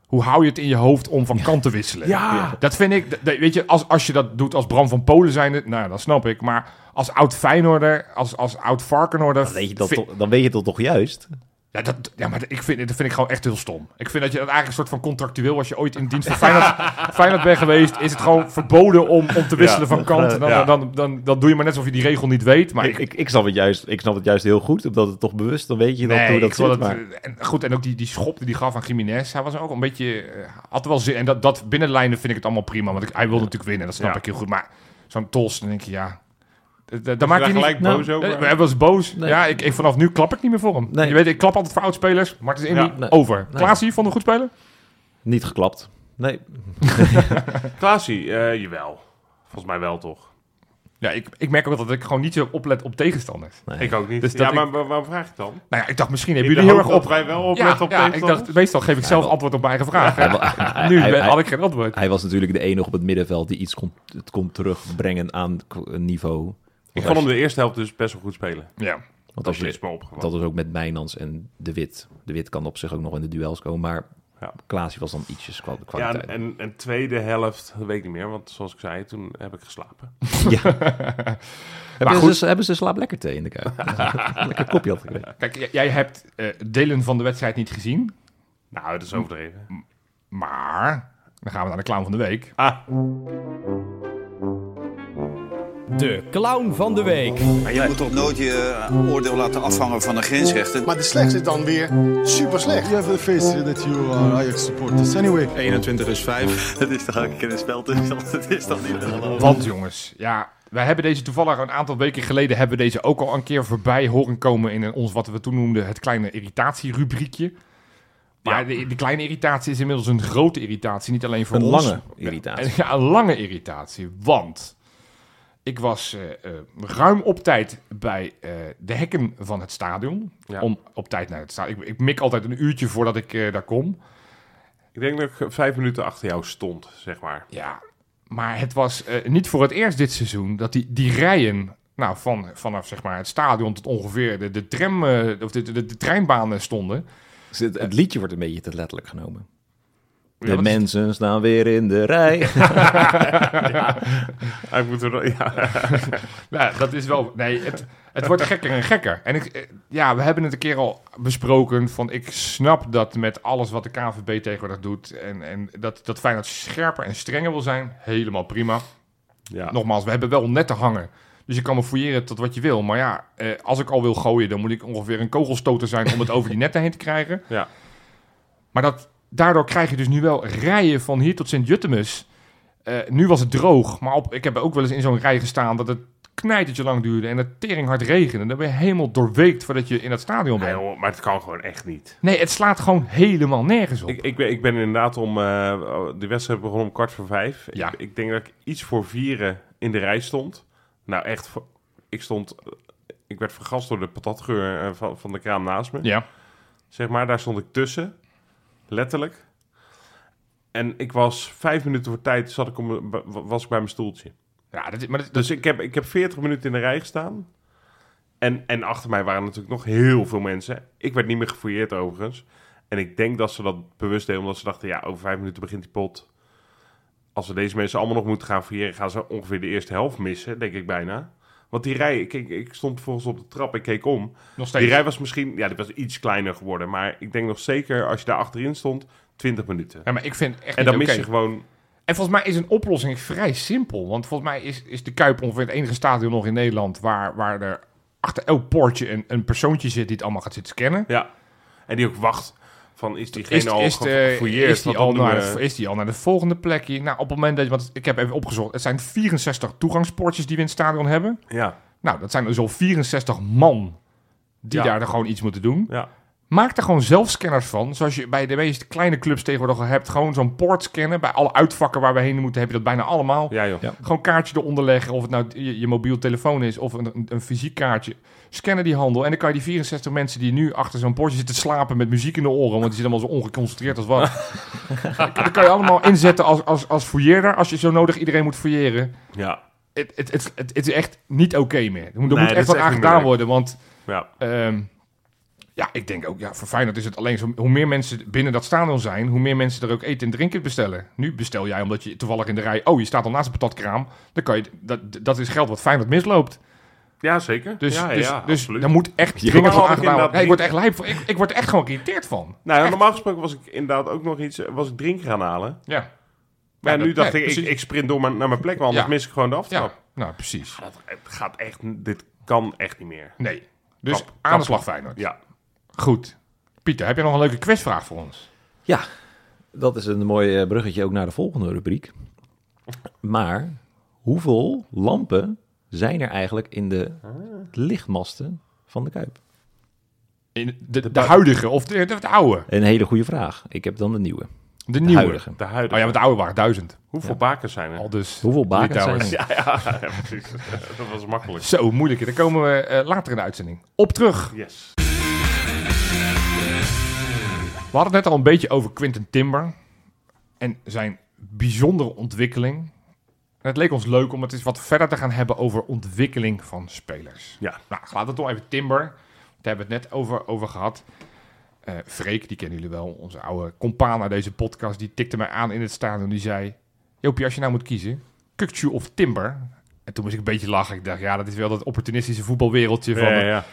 B: Hoe hou je het in je hoofd om van kant te wisselen?
A: Ja!
B: Dat vind ik, dat- dat- weet je, als, als je dat doet als Bram van Polen zijnde, nou ja, dat snap ik. Maar als oud Feyenoorder, als, als oud Varkenoorder...
C: Dan weet je dat,
B: vind-
C: toch, dan weet je dat toch juist?
B: ja, dat, ja, maar ik vind, dat vind ik gewoon echt heel stom. Ik vind dat je dat eigenlijk een soort van contractueel, als je ooit in dienst van Feyenoord, Feyenoord bent geweest, is het gewoon verboden om, om te wisselen van kant. Dan,
A: ja.
B: dan, dan, dan, dan doe je maar net alsof je die regel niet weet. Maar
C: ik, ik, ik, snap het juist, ik snap het juist heel goed, omdat het toch bewust, dan weet je dat,
B: Nee,
C: hoe dat
B: ik vond
C: zit.
B: dat-
C: Maar,
B: en, goed, en ook die, die schop die die gaf aan Jiménez. Hij was ook een beetje... eh, had wel zin. En dat, dat binnen de lijnen vind ik het allemaal prima. Want ik, hij wil natuurlijk winnen, dat snap
A: Ja.
B: ik heel goed. Maar zo'n tos, dan denk je, ja... d- d- Daar maak je
A: daar
B: niet...
A: gelijk
B: Nou,
A: boos over?
B: nee, Hij was boos.
C: Nee.
B: Ja, ik, ik, vanaf nu klap ik niet meer voor hem.
C: Nee.
B: Je weet, ik klap altijd voor oudspelers. Martens Indy,
A: Ja,
C: nee.
B: over.
C: Nee.
B: Klaasie, vond een goed speler?
C: niet geklapt. Nee,
A: Klaasie, eh, jawel. Volgens mij wel toch.
B: Ja, ik, ik merk ook dat ik gewoon niet zo oplet op tegenstanders.
A: Ik ook niet.
B: Dus dat
A: ja,
B: ik-
A: maar waar- waarom vraag je het dan?
B: Nou ja, ik dacht, misschien
A: Ik
B: hebben jullie heel erg op...
A: wij wel op
B: Ja,
A: op
B: ja, ik dacht, meestal geef ik zelf antwoord op mijn eigen vraag.
C: Hij wa- hij-
B: Nu
C: hij-
B: ben-
C: hij-
B: had ik geen antwoord.
C: Hij was natuurlijk de enige op het middenveld die iets kon, het kon terugbrengen aan k- niveau.
A: Ik vond hem de eerste helft dus best wel goed spelen.
B: Ja.
C: Want
A: Dat
C: als
A: is
C: je,
A: me opgevallen.
C: dat is ook met Mijnans en De Wit. De Wit kan op zich ook nog in de duels komen, maar
A: Ja.
C: Klaasie was dan ietsjes kwa-
A: Ja,
C: kwaliteit.
A: en, en, en tweede helft, dat weet ik niet meer. Want zoals ik zei, toen heb ik geslapen.
C: hebben,
B: goed.
C: ze, hebben ze slaap lekker thee in de kuip? lekker kopje had gekregen.
B: Kijk, j- jij hebt eh, delen van de wedstrijd niet gezien,
A: Nou, dat is overdreven.
B: maar dan gaan we naar de clown van de week.
A: Ah,
D: De clown van de week.
E: Maar je moet toch nooit je eh, oordeel laten afhangen van een grensrechter.
F: Maar de slechtste is dan weer super slecht. You have the face that you are Ajax supporters. Anyway,
G: 21 is 5.
E: Dat is toch elke keer een spel tussen ons? Dat is toch niet te geloven?
B: Want jongens, ja, wij hebben deze toevallig een aantal weken geleden hebben we deze ook al een keer voorbij horen komen in een- ons wat we toen noemden het kleine irritatierubriekje. Maar die, die kleine irritatie is inmiddels een grote irritatie. Niet alleen voor
C: Een
B: ons.
C: lange irritatie.
B: Ja, een lange irritatie. Want ik was eh, eh, ruim op tijd bij eh, de hekken van het stadion.
A: Ja.
B: Om op tijd naar het stadion. Ik, ik mik altijd een uurtje voordat ik eh, daar kom.
A: Ik denk dat ik eh, vijf minuten achter jou stond, zeg maar.
B: Ja, maar het was eh, niet voor het eerst dit seizoen dat die, die rijen nou, van, vanaf zeg maar, het stadion tot ongeveer de, de, tram, eh, of de, de, de treinbanen stonden.
C: Dus het, het liedje wordt een beetje te letterlijk genomen. De
B: wat is-
C: mensen staan weer in de rij.
A: Hij moet er, dan- ja.
B: Nou, dat is wel. Nee, het, het wordt gekker en gekker. En ik, eh, ja, we hebben het een keer al besproken. Van ik snap dat met alles wat de KVB tegenwoordig doet. En, en dat, dat Feyenoord scherper en strenger wil zijn. Helemaal prima.
A: Ja.
B: Nogmaals, we hebben wel netten hangen. Dus je kan me fouilleren tot wat je wil. Maar ja, eh, als ik al wil gooien, dan moet ik ongeveer een kogelstoter zijn om het over die netten heen te krijgen.
A: Ja.
B: Maar dat, daardoor krijg je dus nu wel rijen van hier tot Sint-Juttemus. Eh, nu was het droog, maar op, ik heb ook wel eens in zo'n rij gestaan dat het knijtertje lang duurde en het tering hard regende. En dan ben je helemaal doorweekt voordat je in dat stadion
A: Nee,
B: bent.
A: joh, maar het kan gewoon echt niet.
B: Nee, het slaat gewoon helemaal nergens op.
A: Ik, ik, ben, ik ben inderdaad om... eh, de wedstrijd begon om kwart voor vijf.
B: Ja.
A: Ik, ik denk dat ik iets voor vieren in de rij stond. Nou, echt... voor- Ik stond... eh, Ik werd vergast door de patatgeur eh, van, van de kraam naast me.
B: ja.
A: Zeg maar, daar stond ik tussen. Letterlijk. En ik was vijf minuten voor tijd zat ik om, mijn- wa- was ik bij mijn stoeltje.
B: ja dat, is- maar dat,
A: Dus ik heb, ik heb 40 minuten in de rij gestaan. En, en achter mij waren natuurlijk nog heel veel mensen. Ik werd niet meer gefouilleerd overigens. En ik denk dat ze dat bewust deden, omdat ze dachten... ja, over vijf minuten begint die pot. Als we deze mensen allemaal nog moeten gaan fouilleren... gaan ze ongeveer de eerste helft missen, denk ik bijna. Want die rij, ik, ik, ik stond volgens op de trap, ik keek om.
B: nog steeds.
A: Die rij was misschien, ja, die was iets kleiner geworden. Maar ik denk nog zeker, als je daar achterin stond, 20 minuten.
B: Ja, maar ik vind het echt
A: En
B: niet
A: dan mis
B: oké.
A: je gewoon...
B: En volgens mij is een oplossing vrij simpel. Want volgens mij is, is de Kuip ongeveer het enige stadion nog in Nederland... waar, waar er achter elk poortje een, een persoontje zit die het allemaal gaat zitten scannen.
A: Ja. En die ook wacht van, is diegene
B: Is,
A: al
B: is, de-
A: gefouilleerd?
B: is, die
A: Want
B: al
A: dan
B: naar
A: doen we-
B: de, is die al naar de volgende plekje? Nou, op het moment dat je... Want ik heb even opgezocht. Het zijn 64 toegangspoortjes die we in het stadion hebben.
A: Ja,
B: Nou, dat zijn dus al 64 man die
A: Ja.
B: daar dan gewoon iets moeten doen.
A: ja.
B: Maak er gewoon zelf scanners van. Zoals je bij de meeste kleine clubs tegenwoordig al hebt. Gewoon zo'n poort scannen. Bij alle uitvakken waar we heen moeten heb je dat bijna allemaal.
A: Ja, joh.
C: Ja.
B: Gewoon kaartje eronder leggen, of het nou je, je mobiel telefoon is of een, een, een fysiek kaartje. Scannen die handel en dan kan je die 64 mensen die nu achter zo'n poortje zitten slapen met muziek in de oren, want die zitten allemaal zo ongeconcentreerd als wat. dan kan je allemaal inzetten als, als, als fouilleerder, als je zo nodig iedereen moet fouilleren.
A: Ja,
B: Het, het, het, het, het is echt niet oké meer. Er moet,
A: Nee,
B: er moet
A: dat
B: echt
A: is
B: wat
A: echt
B: aan
A: niet
B: gedaan
A: meer.
B: worden, want
A: ja.
B: ehm, ja, ik denk ook, ja, voor Feyenoord is het alleen zo, hoe meer mensen binnen dat stadion zijn, hoe meer mensen er ook eten en drinken bestellen. Nu bestel jij omdat je toevallig in de rij, oh, je staat al naast een patatkraam, dan kan je, dat, dat is geld wat Feyenoord misloopt.
A: Ja, zeker.
B: Dus,
A: ja,
B: dus,
A: ja,
B: dus
A: absoluut.
B: daar moet echt
C: Ja.
B: dringend
A: Ja,
B: van
A: had ik
B: aangedaan worden.
A: inderdaad
B: Nee, ik word er echt lijp van, ik, ik word er echt gewoon geïrriteerd van.
A: nou, ja, normaal gesproken was ik inderdaad ook nog iets... eh, was ik drink gaan halen.
B: Ja,
A: Maar
B: Ja,
A: nu
B: dat-
A: dacht
B: nee,
A: ik, ik,
B: precies.
A: ik sprint door maar naar mijn plek, want anders
B: Ja.
A: mis ik gewoon de
B: ja,
A: aftrap.
B: nou precies.
A: Dat- Het gaat echt... Dit kan echt niet meer.
B: Nee, dus
A: Kap-
B: aan de slag Feyenoord.
A: Ja.
B: Goed. Pieter, heb je nog een leuke quizvraag voor ons?
C: Ja, dat is een mooi eh, bruggetje ook naar de volgende rubriek. Maar hoeveel lampen zijn er eigenlijk in de
B: Ah.
C: lichtmasten van de Kuip?
B: In de, de, huidige of de, de, de oude?
C: Een hele goede vraag. Ik heb dan de nieuwe.
B: De,
C: De
B: nieuwe.
C: huidige.
A: De huidige.
B: Oh ja, want de oude waren duizend.
A: Hoeveel bakers zijn er?
B: Al dus
C: Hoeveel bakens zijn er?
B: Litouwers.
A: Ja, ja, precies. dat was makkelijk.
B: Zo, moeilijk. Daar komen we eh, later in de uitzending op terug.
A: Yes.
B: We hadden het net al een beetje over Quinten Timber en zijn bijzondere ontwikkeling. En het leek ons leuk om het eens wat verder te gaan hebben over ontwikkeling van spelers.
A: Ja.
B: Nou, laten we toch even Timber. Daar hebben we het net over, over gehad. Eh Freek, die kennen jullie wel, onze oude compaan naar deze podcast. Die tikte mij aan in het stadion. Die zei, Jopie, als je nou moet kiezen, Kukcu of Timber? En toen moest ik een beetje lachen. Ik dacht, ja, dat is wel dat opportunistische voetbalwereldje van...
A: Ja, ja,
B: de-
A: ja.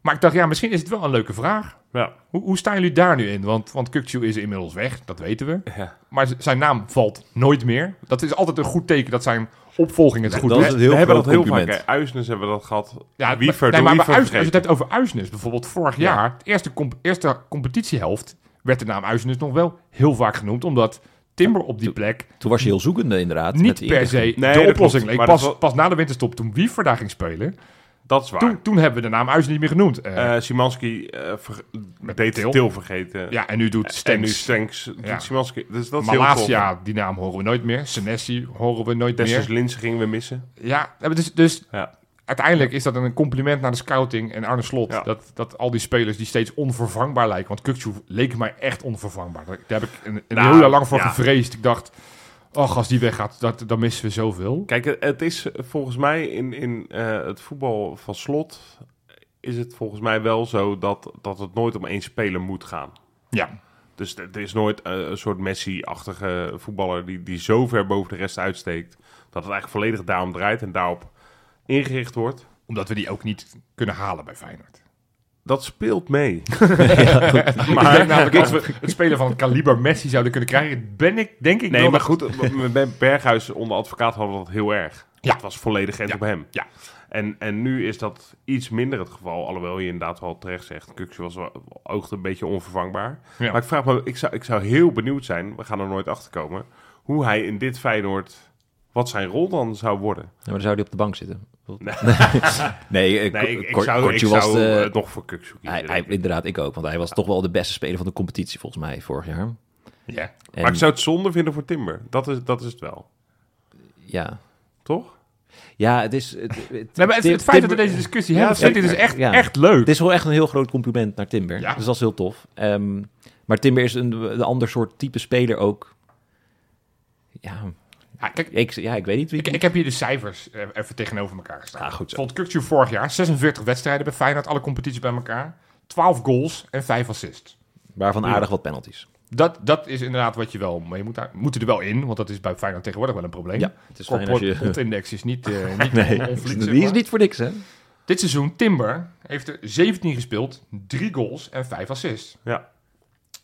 B: Maar ik dacht, ja, misschien is het wel een leuke vraag.
A: Ja.
B: Hoe, hoe staan jullie daar nu in? Want, want Kukçu is inmiddels weg, dat weten we.
A: Ja.
B: Maar z- zijn naam valt nooit meer. Dat is altijd een goed teken dat zijn opvolging het goed
C: dat is
B: doet.
C: een heel
A: we hebben
C: groot
A: dat heel
C: compliment.
A: vaak. hè. Uisnes hebben we dat gehad.
B: Ja,
A: Wiever, door
B: maar- nee, maar bij
A: Wiever
B: Uisnes- als je het
A: vergeten.
B: hebt over Uisnes, bijvoorbeeld vorig jaar, het eerste, comp- eerste competitiehelft, werd de naam Uisnes nog wel heel vaak genoemd, omdat Timber op die plek
C: Toen was je heel zoekende inderdaad. met
B: niet
C: de
B: per
C: eerste-
B: se
A: Nee,
B: de
A: dat
B: oplossing
A: klopt.
B: leek.
A: Maar dat
B: Pas,
A: was-
B: pas na de winterstop, toen Wiever daar ging spelen,
A: Dat is waar.
B: Toen, toen hebben we de naam Uis niet meer genoemd. Eh,
A: Eh, Szymanski eh, ver- deed
B: Til.
A: Til, vergeten.
B: ja, en nu doet
A: eh, En nu
B: Stengs.
A: Stenks doet
B: Ja.
A: Szymanski. Dus dat is heel tof.
B: Malasia, die naam horen we nooit meer. Senesi horen we nooit
A: Dessus
B: meer.
A: Linsen gingen we missen.
B: Ja, dus, dus
A: Ja.
B: uiteindelijk is dat een compliment naar de scouting en Arne Slot.
A: Ja.
B: Dat, dat al die spelers die steeds onvervangbaar lijken. Want Kukcu leek mij echt onvervangbaar. Daar, daar heb ik een, een
A: Nou,
B: heel lang voor
A: ja.
B: gevreesd. Ik dacht, oh, als die weggaat, dat, dan missen we zoveel.
A: Kijk, het- het is volgens mij in, in eh, het voetbal van slot... is het volgens mij wel zo dat, dat het nooit om één speler moet gaan.
B: Ja,
A: Dus er er is nooit eh, een soort Messi-achtige voetballer die, die zo ver boven de rest uitsteekt. Dat het eigenlijk volledig daarom draait en daarop ingericht wordt.
B: omdat we die ook niet kunnen halen bij Feyenoord.
A: Dat speelt mee.
B: Maar ik denk namelijk, als we het spelen van het kaliber Messi zouden kunnen krijgen, ben ik denk ik
A: Nee,
B: wel
A: maar
B: dat-
A: goed, met- met Berghuis onder advocaat hadden we dat heel erg.
B: Ja.
A: Het was volledig end
B: Ja.
A: op hem.
B: Ja.
A: En, en nu is dat iets minder het geval. Alhoewel je inderdaad wel terecht zegt, Kuksje was wel, oogt een beetje onvervangbaar.
B: Ja.
A: Maar ik vraag me, ik zou, ik zou heel benieuwd zijn, we gaan er nooit achter komen, hoe hij in dit Feyenoord, wat zijn rol dan zou worden.
C: maar dan zou die op de bank zitten.
A: Nee.
C: nee, ik,
A: Nee, ik, ik
C: Cor-
A: zou, ik
C: Kortje was
A: zou
B: eh,
C: de-
A: het nog voor Kuksje kiezen.
C: hij, hij,
A: denk ik.
C: inderdaad, ik ook. Want hij was toch wel de beste speler van de competitie volgens mij vorig jaar.
B: Ja.
C: En,
A: Maar ik zou het zonde vinden voor Timber. Dat is, dat is het wel.
C: ja.
A: Toch?
C: ja, het is... Het, het,
B: Nee, maar het,
C: Tim-
B: het feit dat we
C: Timber-
B: deze discussie
A: Ja,
B: hebben, vindt dit dus
A: zeker.
B: echt,
C: Ja.
B: echt leuk.
C: Het is wel echt een heel groot compliment naar Timber.
B: Ja.
C: Dus dat is heel tof. Ehm, maar Timber is een, een ander soort type speler ook. Ja,
B: Ja, kijk,
C: ik, ja, ik weet niet wie...
B: Ik, ik heb hier de cijfers eh, even tegenover elkaar gestaan.
C: Ah, goed zo.
B: Vond Kukcu vorig jaar 46 wedstrijden bij Feyenoord, alle competities bij elkaar. 12 goals en 5 assists.
C: waarvan aardig wat penalties.
B: Dat, dat is inderdaad wat je wel mee moet houden. Moeten er wel in, want dat is bij Feyenoord tegenwoordig wel een probleem.
C: Ja, het is fijn als je-
B: index is niet, eh niet
C: Nee,
B: on- onverliet, zeg
C: die is
B: maar.
C: niet voor niks, hè?
B: Dit seizoen, Timber heeft er 17 gespeeld, 3 goals en 5 assists.
A: Ja.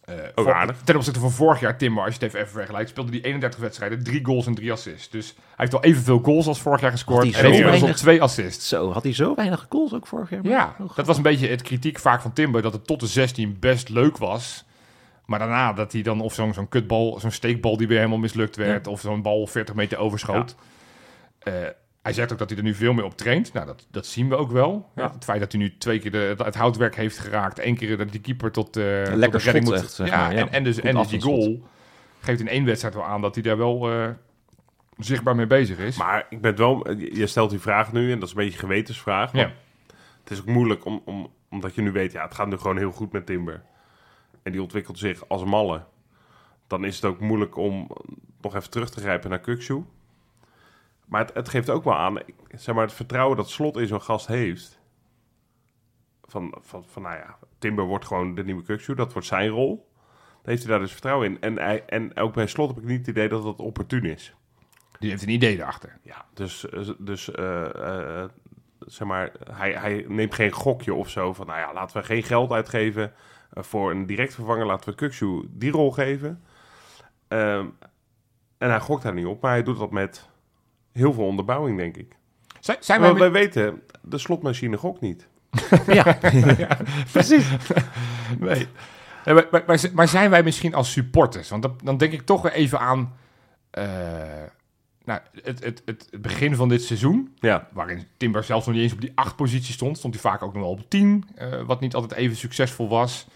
B: Eh,
C: Oh,
A: Ook
B: voor-
A: aardig.
B: Ten opzichte van vorig jaar, Timber, als je het even vergelijkt, speelde die 31 wedstrijden, 3 goals en 3 assists. Dus hij heeft wel evenveel goals als vorig jaar gescoord.
C: Had
B: En
C: hij
B: heeft
C: zo
B: inmiddels op
C: weinig-
B: 2 assists.
C: Zo, had hij zo weinig goals ook vorig jaar?
B: Ja, dat was een beetje het kritiek vaak van Timber, dat het tot de 16 best leuk was. Maar daarna dat hij dan of zo'n zo'n kutbal, zo'n steekbal die weer helemaal mislukt werd, of zo'n bal 40 meter overschoot. Eh, hij zegt ook dat hij er nu veel meer op traint. Nou, dat, dat zien we ook wel.
A: Ja.
B: Het feit dat hij nu twee keer de, het, het houtwerk heeft geraakt, één keer dat die keeper tot, eh tot
C: lekker
B: de redding
C: schot
B: moet.
C: echt, zeg
B: ja,
C: maar, ja.
B: En, en dus,
C: Goed
B: en dus die
C: afstandsschot.
B: goal geeft in één wedstrijd wel aan dat hij daar wel eh, zichtbaar mee bezig is.
A: Maar ik ben het wel, je stelt die vraag nu en dat is een beetje een gewetensvraag.
B: ja.
A: Het is ook moeilijk om, om, omdat je nu weet, ja, het gaat nu gewoon heel goed met Timber. En die ontwikkelt zich als een malle. Dan is het ook moeilijk om nog even terug te grijpen naar Kukshoe. Maar het, het geeft ook wel aan, ik- zeg maar, het vertrouwen dat Slot in zo'n gast heeft. Van, van, van, nou ja, Timber wordt gewoon de nieuwe Kukshoe, dat wordt zijn rol. Dan heeft hij daar dus vertrouwen in. En, hij, en ook bij Slot heb ik niet het idee dat dat opportun is.
B: Die heeft een idee erachter.
A: Ja, dus, dus eh, eh, zeg maar, hij, hij neemt geen gokje of zo van, nou ja, laten we geen geld uitgeven eh, voor een direct vervanger, laten we Kukshu die rol geven. Ehm, en hij gokt daar niet op, maar hij doet dat met heel veel onderbouwing, denk ik.
B: Zijn, zijn wij
A: Want
B: met-
A: wij weten, de slotmachine gokt niet.
B: Precies. nee. Nee, maar, maar, maar z- maar zijn wij misschien als supporters? Want dat- dan denk ik toch weer even aan eh, nou, het, het, het het begin van dit seizoen.
A: Ja,
B: Waarin Timber zelfs nog niet eens op die acht positie stond. Stond hij vaak ook nog wel op tien. eh, wat niet altijd even succesvol was.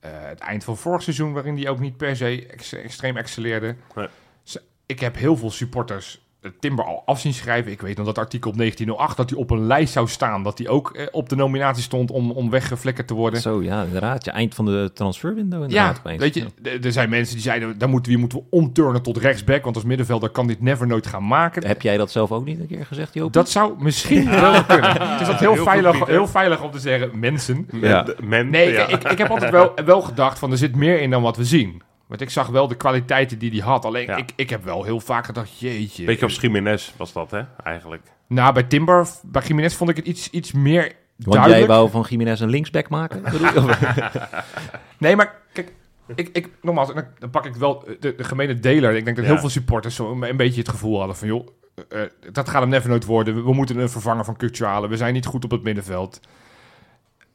B: Eh, het eind van vorig seizoen, waarin hij ook niet per se ex- extreem excelleerde.
A: Nee.
B: Z- Ik heb heel veel supporters eh, Timber al af zien schrijven. Ik weet nog dat artikel op 1908 dat hij op een lijst zou staan. Dat hij ook eh, op de nominatie stond om, om weggeflikkerd te worden.
C: Zo, ja, inderdaad. Je eind van de transferwindow inderdaad.
B: Ja,
C: opeens.
B: weet
C: Ja.
B: je, d- er zijn mensen die zeiden, daar moeten we, hier moeten we omturnen tot rechtsback, want als middenvelder kan dit never nooit gaan maken.
C: Heb jij dat zelf ook niet een keer gezegd, Joop?
B: Dat zou misschien wel kunnen. Het is dat heel,
A: Heel goed,
B: veilig,
A: Pieter.
B: heel veilig om te zeggen, mensen.
C: Ja.
A: De- men,
B: Nee,
A: ja.
B: ik, ik, ik heb altijd wel, wel gedacht van, er zit meer in dan wat we zien. Want ik zag wel de kwaliteiten die hij had. Alleen
A: Ja.
B: ik, ik heb wel heel vaak gedacht, jeetje.
A: beetje op Jiménez was dat, hè, eigenlijk.
B: Nou, bij Timber, bij Jiménez vond ik het iets, iets meer
C: Want
B: duidelijk.
C: jij wou van Jiménez een linksback maken? bedoel je? Of-
B: Nee, maar kijk, ik, ik, nogmaals, en dan, dan pak ik wel eh, de, de gemene deler. Ik denk dat
A: Ja.
B: heel veel supporters zo een, een beetje het gevoel hadden van... joh, eh, eh, dat gaat hem never nooit worden. We, we moeten een vervanger van Kukcu halen. We zijn niet goed op het middenveld.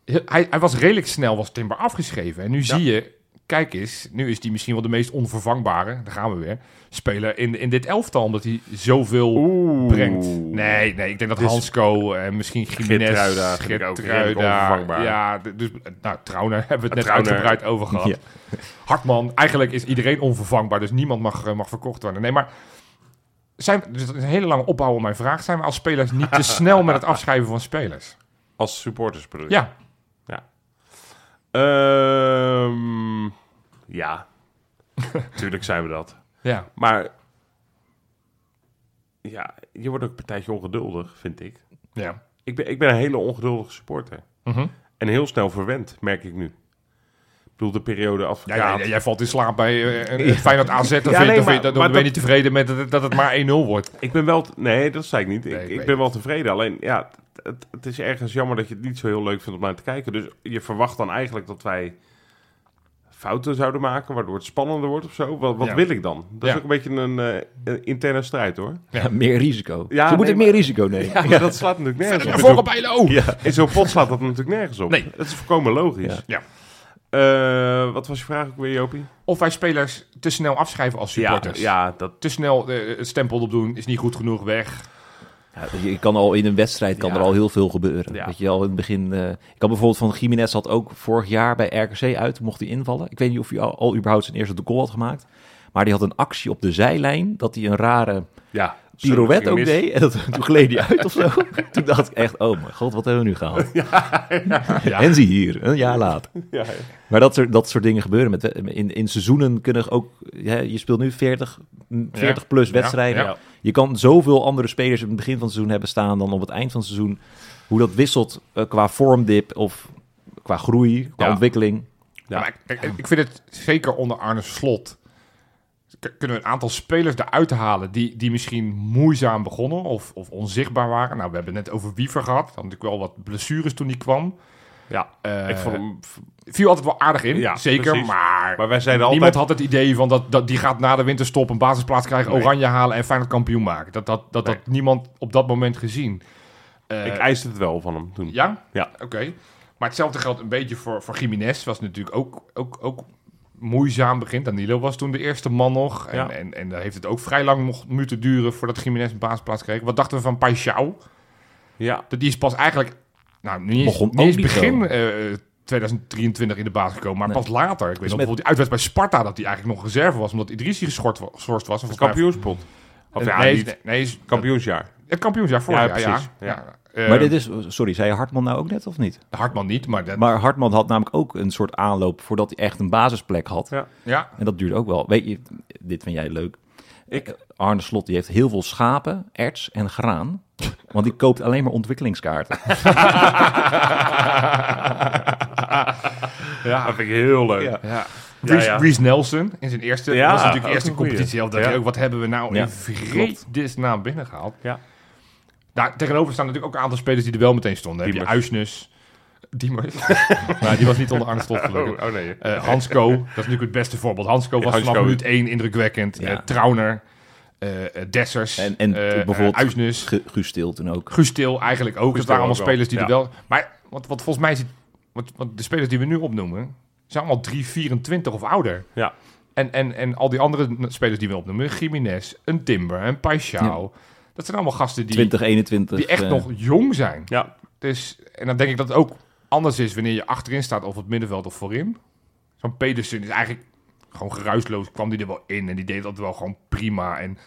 B: Heel- Hij, hij was redelijk snel, was Timber afgeschreven. En nu zie je, Kijk eens, nu is die misschien wel de meest onvervangbare. Daar gaan we weer. Speler in, in dit elftal, omdat hij zoveel
A: Oeh.
B: brengt. Nee, nee, ik denk dat
A: Dus-
B: Hansco en misschien Gimenez,
A: Geertruida vind ik ook redelijk onvervangbaar.
B: Ja, d- dus, nou, Trauner hebben we het net
A: Ah, Trauner.
B: uitgebreid over gehad.
C: Ja.
B: Hartman, eigenlijk is iedereen onvervangbaar, dus niemand mag, eh, mag verkocht worden. Nee, maar zijn, we- dus dat is een hele lange opbouw op mijn vraag. Zijn we als spelers niet te snel met het afschrijven van spelers?
A: Als supporters bedoel je?
B: Ja,
A: Ehm, ja. Tuurlijk zijn we dat.
B: ja.
A: Maar ja, je wordt ook een partijtje ongeduldig, vind ik.
B: ja.
A: Ik ben, ik ben een hele ongeduldige supporter.
B: Mhm.
A: En heel snel verwend, merk ik nu. Ik bedoel, de periode
B: Ja,
A: advocaat...
B: ja, ja, jij valt in slaap bij eh, een- een Feyenoord AZ. Dan,
A: Ja,
B: vind,
A: nee,
B: dan,
A: maar-
B: vind- dan
A: maar
B: ben je
A: dat-
B: niet tevreden met dat, het- dat het maar 1-0 wordt.
A: Ik ben wel... t- Nee, dat zei ik niet.
B: Nee, ik
A: ik
B: weet
A: ik ben wel tevreden. Alleen, ja, het- het, het is ergens jammer dat je het niet zo heel leuk vindt om naar te kijken. Dus je verwacht dan eigenlijk dat wij fouten zouden maken, waardoor het spannender wordt of zo. Wat, wat
B: Ja.
A: wil ik dan? Dat
B: Ja.
A: is ook een beetje een eh, een interne strijd, hoor.
B: Ja.
C: meer risico.
A: Ja,
C: Ze moeten
A: nee,
C: meer risico nemen.
A: Ja, maar dat slaat natuurlijk nergens op.
B: Voor op Bijlo!
A: In zo'n pot slaat dat natuurlijk nergens op.
B: Nee.
A: Dat is volkomen logisch.
B: Ja.
A: Eh, wat was je vraag ook weer, Jopie?
B: Of wij spelers te snel afschrijven als supporters.
A: Ja, ja, dat...
B: Te snel eh, het stempel opdoen is niet goed genoeg weg.
C: Ja, je je kan al in een wedstrijd kan
A: Ja.
C: er al heel veel gebeuren.
A: Ja.
C: Dat je al in het begin. eh, ik had bijvoorbeeld van Jiménez had ook vorig jaar bij RKC uit, mocht hij invallen. Ik weet niet of hij al, al überhaupt zijn eerste goal had gemaakt. Maar die had een actie op de zijlijn dat hij een rare
A: Ja.
C: pirouette ook
A: mis.
C: deed. En dat, toen gleed hij uit of zo. toen dacht ik echt, oh mijn god, wat hebben we nu gehaald? En zie hier, een jaar later.
A: Ja, ja.
C: Maar dat soort, dat soort dingen gebeuren. Met, in, in seizoenen kunnen ook... hè, je speelt nu 40, mm, 40 plus
B: Ja,
C: wedstrijden.
B: ja.
C: Je kan zoveel andere spelers in het begin van het seizoen hebben staan... dan op het eind van het seizoen. Hoe dat wisselt eh, qua vormdip of qua groei, qua
B: Ja.
C: ontwikkeling.
A: Ja.
B: Maar ik, ik, ik vind het zeker onder Arne Slot... k- kunnen we een aantal spelers eruit halen... die, die misschien moeizaam begonnen of, of onzichtbaar waren. Nou, we hebben het net over Wiever gehad. Dan natuurlijk wel wat blessures toen die kwam.
A: Ja,
B: Eh,
A: ik vond hem...
B: Viel altijd wel aardig in,
A: Ja,
B: zeker.
A: precies.
B: Maar
A: Maar wij zeiden altijd...
B: Niemand had het idee van dat, dat die gaat na de winterstop een basisplaats krijgen,
A: Nee.
B: oranje halen en Feyenoord kampioen maken. Dat dat, dat,
A: Nee.
B: dat niemand op dat moment gezien. Eh,
A: Ik eiste het wel van hem toen.
B: ja?
A: Ja.
B: Oké. Maar hetzelfde geldt een beetje voor, voor Jiménez. Was natuurlijk ook, ook, ook moeizaam begint. Danilo was toen de eerste man nog. En,
A: Ja.
B: en, en daar heeft het ook vrij lang nog moeten duren voordat Jiménez een basisplaats kreeg. Wat dachten we van Paixão?
A: Ja.
B: Dat die is pas eigenlijk, nou, niet eens,
C: Begon
B: niet
C: ook
B: eens
C: niet
B: begin
C: zo.
B: eh, 2023 in de baas gekomen, maar
C: Nee.
B: pas later. Ik weet nog
C: met-
B: bijvoorbeeld die uitwedstrijd bij Sparta, dat hij eigenlijk nog reserve was, omdat Idrissi geschort wa- geschorst was. En
A: Het
B: volgens mij-
A: kampioenspot. Of ja,
B: nee,
A: niet-
B: nee, nee, is-
A: kampioensjaar.
B: het kampioensjaar vorig
A: Ja,
B: jaar,
A: precies.
B: ja.
A: Ja.
B: Ja. Eh,
C: maar dit is... Sorry, zei je Hartman nou ook net of niet?
B: Hartman niet, maar, dat,
C: Maar Hartman had namelijk ook een soort aanloop... voordat hij echt een basisplek had.
A: Ja.
B: ja,
C: En dat duurt ook wel. Weet je, dit vind jij leuk. Eh,
A: Ik-
C: Arne Slot die heeft heel veel schapen, erts en graan. Want die koopt alleen maar ontwikkelingskaarten.
A: Dat vind ik heel leuk.
C: Ja.
B: ja.
A: Ja,
B: Reece,
A: ja.
B: Reece Nelson in zijn eerste,
A: Ja,
B: was natuurlijk
A: ook
B: eerste
A: een goeie.
B: competitie. Dat hij
A: Ja.
B: ook, wat hebben we nou
C: Ja,
B: in vredesnaam binnengehaald.
A: Ja.
B: Daar tegenover staan natuurlijk ook een aantal spelers die er wel meteen stonden. Heb je
A: Diemers.
B: Uisnes, Diemers. nou, die was niet onder Arne Slot gelukkig.
A: Oh, oh nee.
B: Eh, Hansco, dat is natuurlijk het beste voorbeeld. Hansco was
A: Hansco.
B: vanaf minuut 1 indrukwekkend.
C: Ja.
B: Eh, Trauner, eh, eh, Dessers,
C: En, en
B: eh,
C: bijvoorbeeld
B: eh, Uisnes,
C: Gu- Guus Til toen ook.
B: Guus Til eigenlijk ook.
A: Til
B: dat waren allemaal
A: ook wel,
B: spelers die
A: ja.
B: er wel... Maar wat, wat volgens mij is het, wat, wat de spelers die we nu opnoemen... zijn allemaal 3, 24 of ouder.
A: Ja.
B: En, en, en al die andere n- spelers die we opnoemen... Jiménez, een Timber, een Paixão. Dat zijn allemaal gasten die,
C: 2021.
B: die echt
C: eh,
B: nog jong zijn.
A: Ja.
B: Dus, en dan denk ik dat het ook anders is wanneer je achterin staat of op het middenveld of voorin. Zo'n Pedersen is eigenlijk gewoon geruisloos, kwam die er wel in en die deed dat wel gewoon prima. En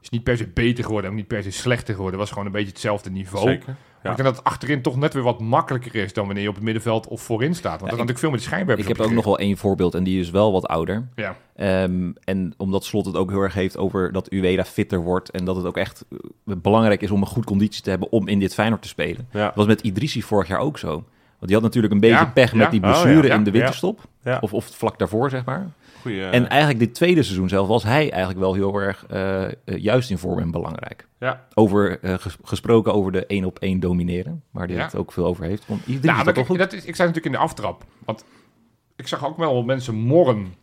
B: is niet per se beter geworden, ook niet per se slechter geworden. Was gewoon een beetje hetzelfde niveau.
A: Zeker.
B: Maar ik denk dat het achterin toch net weer wat makkelijker is dan wanneer je op het middenveld of voorin staat. Want dat had natuurlijk veel met de
C: Ik
B: schijnwerpers
C: heb ook nog wel één voorbeeld en die is wel wat ouder.
B: nog... Ja,
C: Ehm, en omdat Slot het ook heel erg heeft over dat Ueda fitter wordt... en dat het ook echt eh, belangrijk is om een goed conditie te hebben... om in dit Feyenoord te spelen.
A: Ja.
C: Dat was met Idrissi vorig jaar ook zo. Want die had natuurlijk een beetje
B: Ja,
C: pech met
B: ja.
C: die
A: Oh, ja.
C: blessure
A: Ja,
C: in de
A: ja.
C: winterstop.
A: Ja.
C: Of, of vlak daarvoor, zeg maar.
A: Goeie, eh,
C: En eigenlijk dit tweede seizoen zelf was hij eigenlijk wel heel erg eh, eh, juist in vorm en belangrijk.
A: ja.
C: Over, eh, ges- gesproken over de één op één domineren, waar hij
B: Ja.
C: het ook veel over heeft. Want iedereen
B: nou,
C: is dat
B: maar
C: toch
B: ik,
C: goed?
B: dat is, ik zei natuurlijk in de aftrap. Want ik zag ook wel mensen morren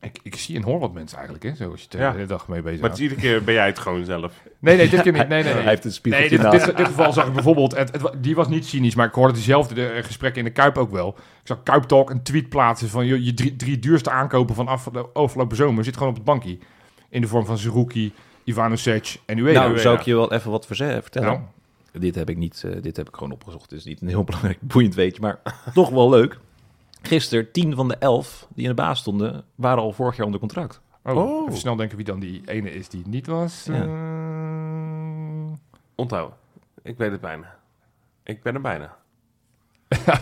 B: Ik, ik zie en hoor wat mensen eigenlijk, hè, zo als je eh, de
A: Ja.
B: hele dag mee bezig
A: Maar het
B: bent.
A: is iedere keer ben jij het gewoon zelf.
B: Nee, nee, dit keer niet. Nee, nee,
C: Hij
B: nee.
C: heeft een
B: Nee,
C: spiegeltje
B: dit,
C: naast.
B: dit, dit geval zag ik bijvoorbeeld, het, het wa- die was niet cynisch, maar ik hoorde diezelfde eh, gesprekken in de Kuip ook wel. Ik zag Kuip Talk een tweet plaatsen van je, je drie, drie duurste aankopen van af, de afgelopen zomer zit gewoon op het bankje. In de vorm van Zerouki, Ivanovic en Ueda.
C: Nou, zou ik je wel even wat verze- vertellen?
B: Nou,
C: Dit heb ik niet, eh, dit heb ik gewoon opgezocht. Het is niet een heel belangrijk boeiend weetje, maar toch wel leuk. Gisteren, 10 van de 11 die in de baas stonden, waren al vorig jaar onder contract.
B: oh,
A: Oh.
B: Even snel denken wie dan die ene is die het niet was.
C: Ja.
B: Eh,
A: Onthouden. Ik weet het bijna. Ik ben er bijna.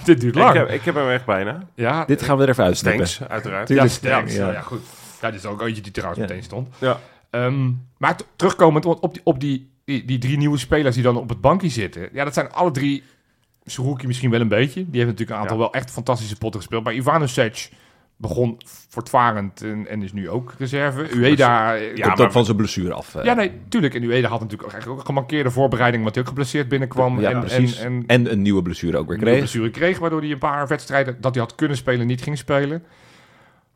B: dit duurt lang.
A: Ik heb, ik heb hem echt bijna.
B: ja,
C: Dit gaan we er even uitsnippen.
A: Thanks, uiteraard.
B: ja,
C: Tuurlijk,
B: sterk.
C: ja.
B: Ja. ja, goed. Ja, dit is ook eentje die trouwens
C: Ja.
B: meteen stond.
A: Ja.
B: Ehm, maar t- terugkomend op, op, die, op die, die, die drie nieuwe spelers die dan op het bankje zitten. Ja, dat zijn alle drie. Zerouki misschien wel een beetje. Die heeft natuurlijk een aantal
A: Ja.
B: wel echt fantastische potten gespeeld. Maar Ivanovic begon voortvarend en, en is nu ook reserve. Ueda... eh,
A: Ja,
C: Komt
A: maar-
C: ook van zijn blessure af. eh.
B: ja, nee, tuurlijk. En Ueda had natuurlijk ook eigenlijk ook een gemankeerde voorbereiding... omdat hij ook geblesseerd binnenkwam.
C: Ja,
B: en,
C: precies.
B: En, en,
C: En een nieuwe blessure ook weer
B: een
C: kreeg.
B: blessure kreeg, waardoor hij een paar wedstrijden dat hij had kunnen spelen niet ging spelen.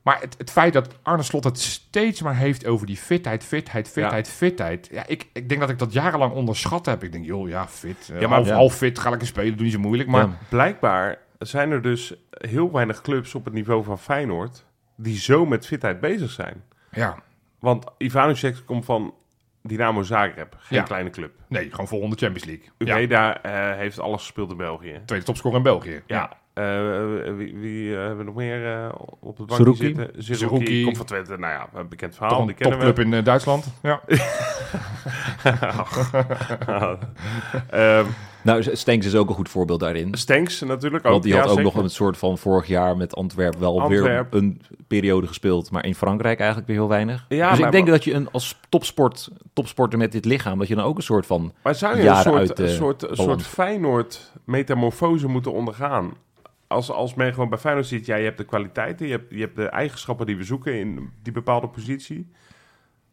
B: Maar het, het feit dat Arne Slot het steeds maar heeft over die fitheid, fitheid, fitheid, fitheid. Ja, ik, ik denk dat ik dat jarenlang onderschat heb. Ik denk, joh, ja, fit. ja,
A: maar-
B: maar half,
C: ja.
B: half fit, ga lekker spelen, doe niet zo moeilijk. Maar
C: Ja.
A: Blijkbaar zijn er dus heel weinig clubs op het niveau van Feyenoord... die zo met fitheid bezig zijn.
B: ja,
A: Want Ivanovic komt van Dynamo Zagreb. Geen
B: Ja.
A: kleine club.
B: nee, gewoon volgende Champions League. Ja,
A: Ueda eh, heeft alles gespeeld in België.
B: tweede topscorer in België.
A: Ja. Eh, wie wie eh, hebben we nog meer eh, op het bankje
C: Zerouki.
A: zitten?
B: Zerouki.
A: Komt van Twente. Nou ja, een bekend verhaal.
B: Toch een
A: die kennen we.
B: topclub in eh, Duitsland. Ja.
A: Ehm,
C: Nou, Stenks is ook een goed voorbeeld daarin.
A: Stenks natuurlijk ook.
C: Want die
A: Ja,
C: had ook
A: zeker.
C: nog een soort van vorig jaar met Antwerpen wel
A: Antwerp.
C: weer een periode gespeeld. Maar in Frankrijk eigenlijk weer heel weinig.
A: Ja,
C: dus
A: maar-
C: ik denk dat je een, als topsport, topsporter met dit lichaam... dat je dan ook een soort van...
A: Maar zou je een
C: jaren
A: soort,
C: uit eh, de
A: een soort, een soort
C: balans.
A: Feyenoord-metamorfose moeten ondergaan? Als, als men gewoon bij Feyenoord ziet, ja, je hebt de kwaliteiten, je hebt, je hebt de eigenschappen die we zoeken in die bepaalde positie.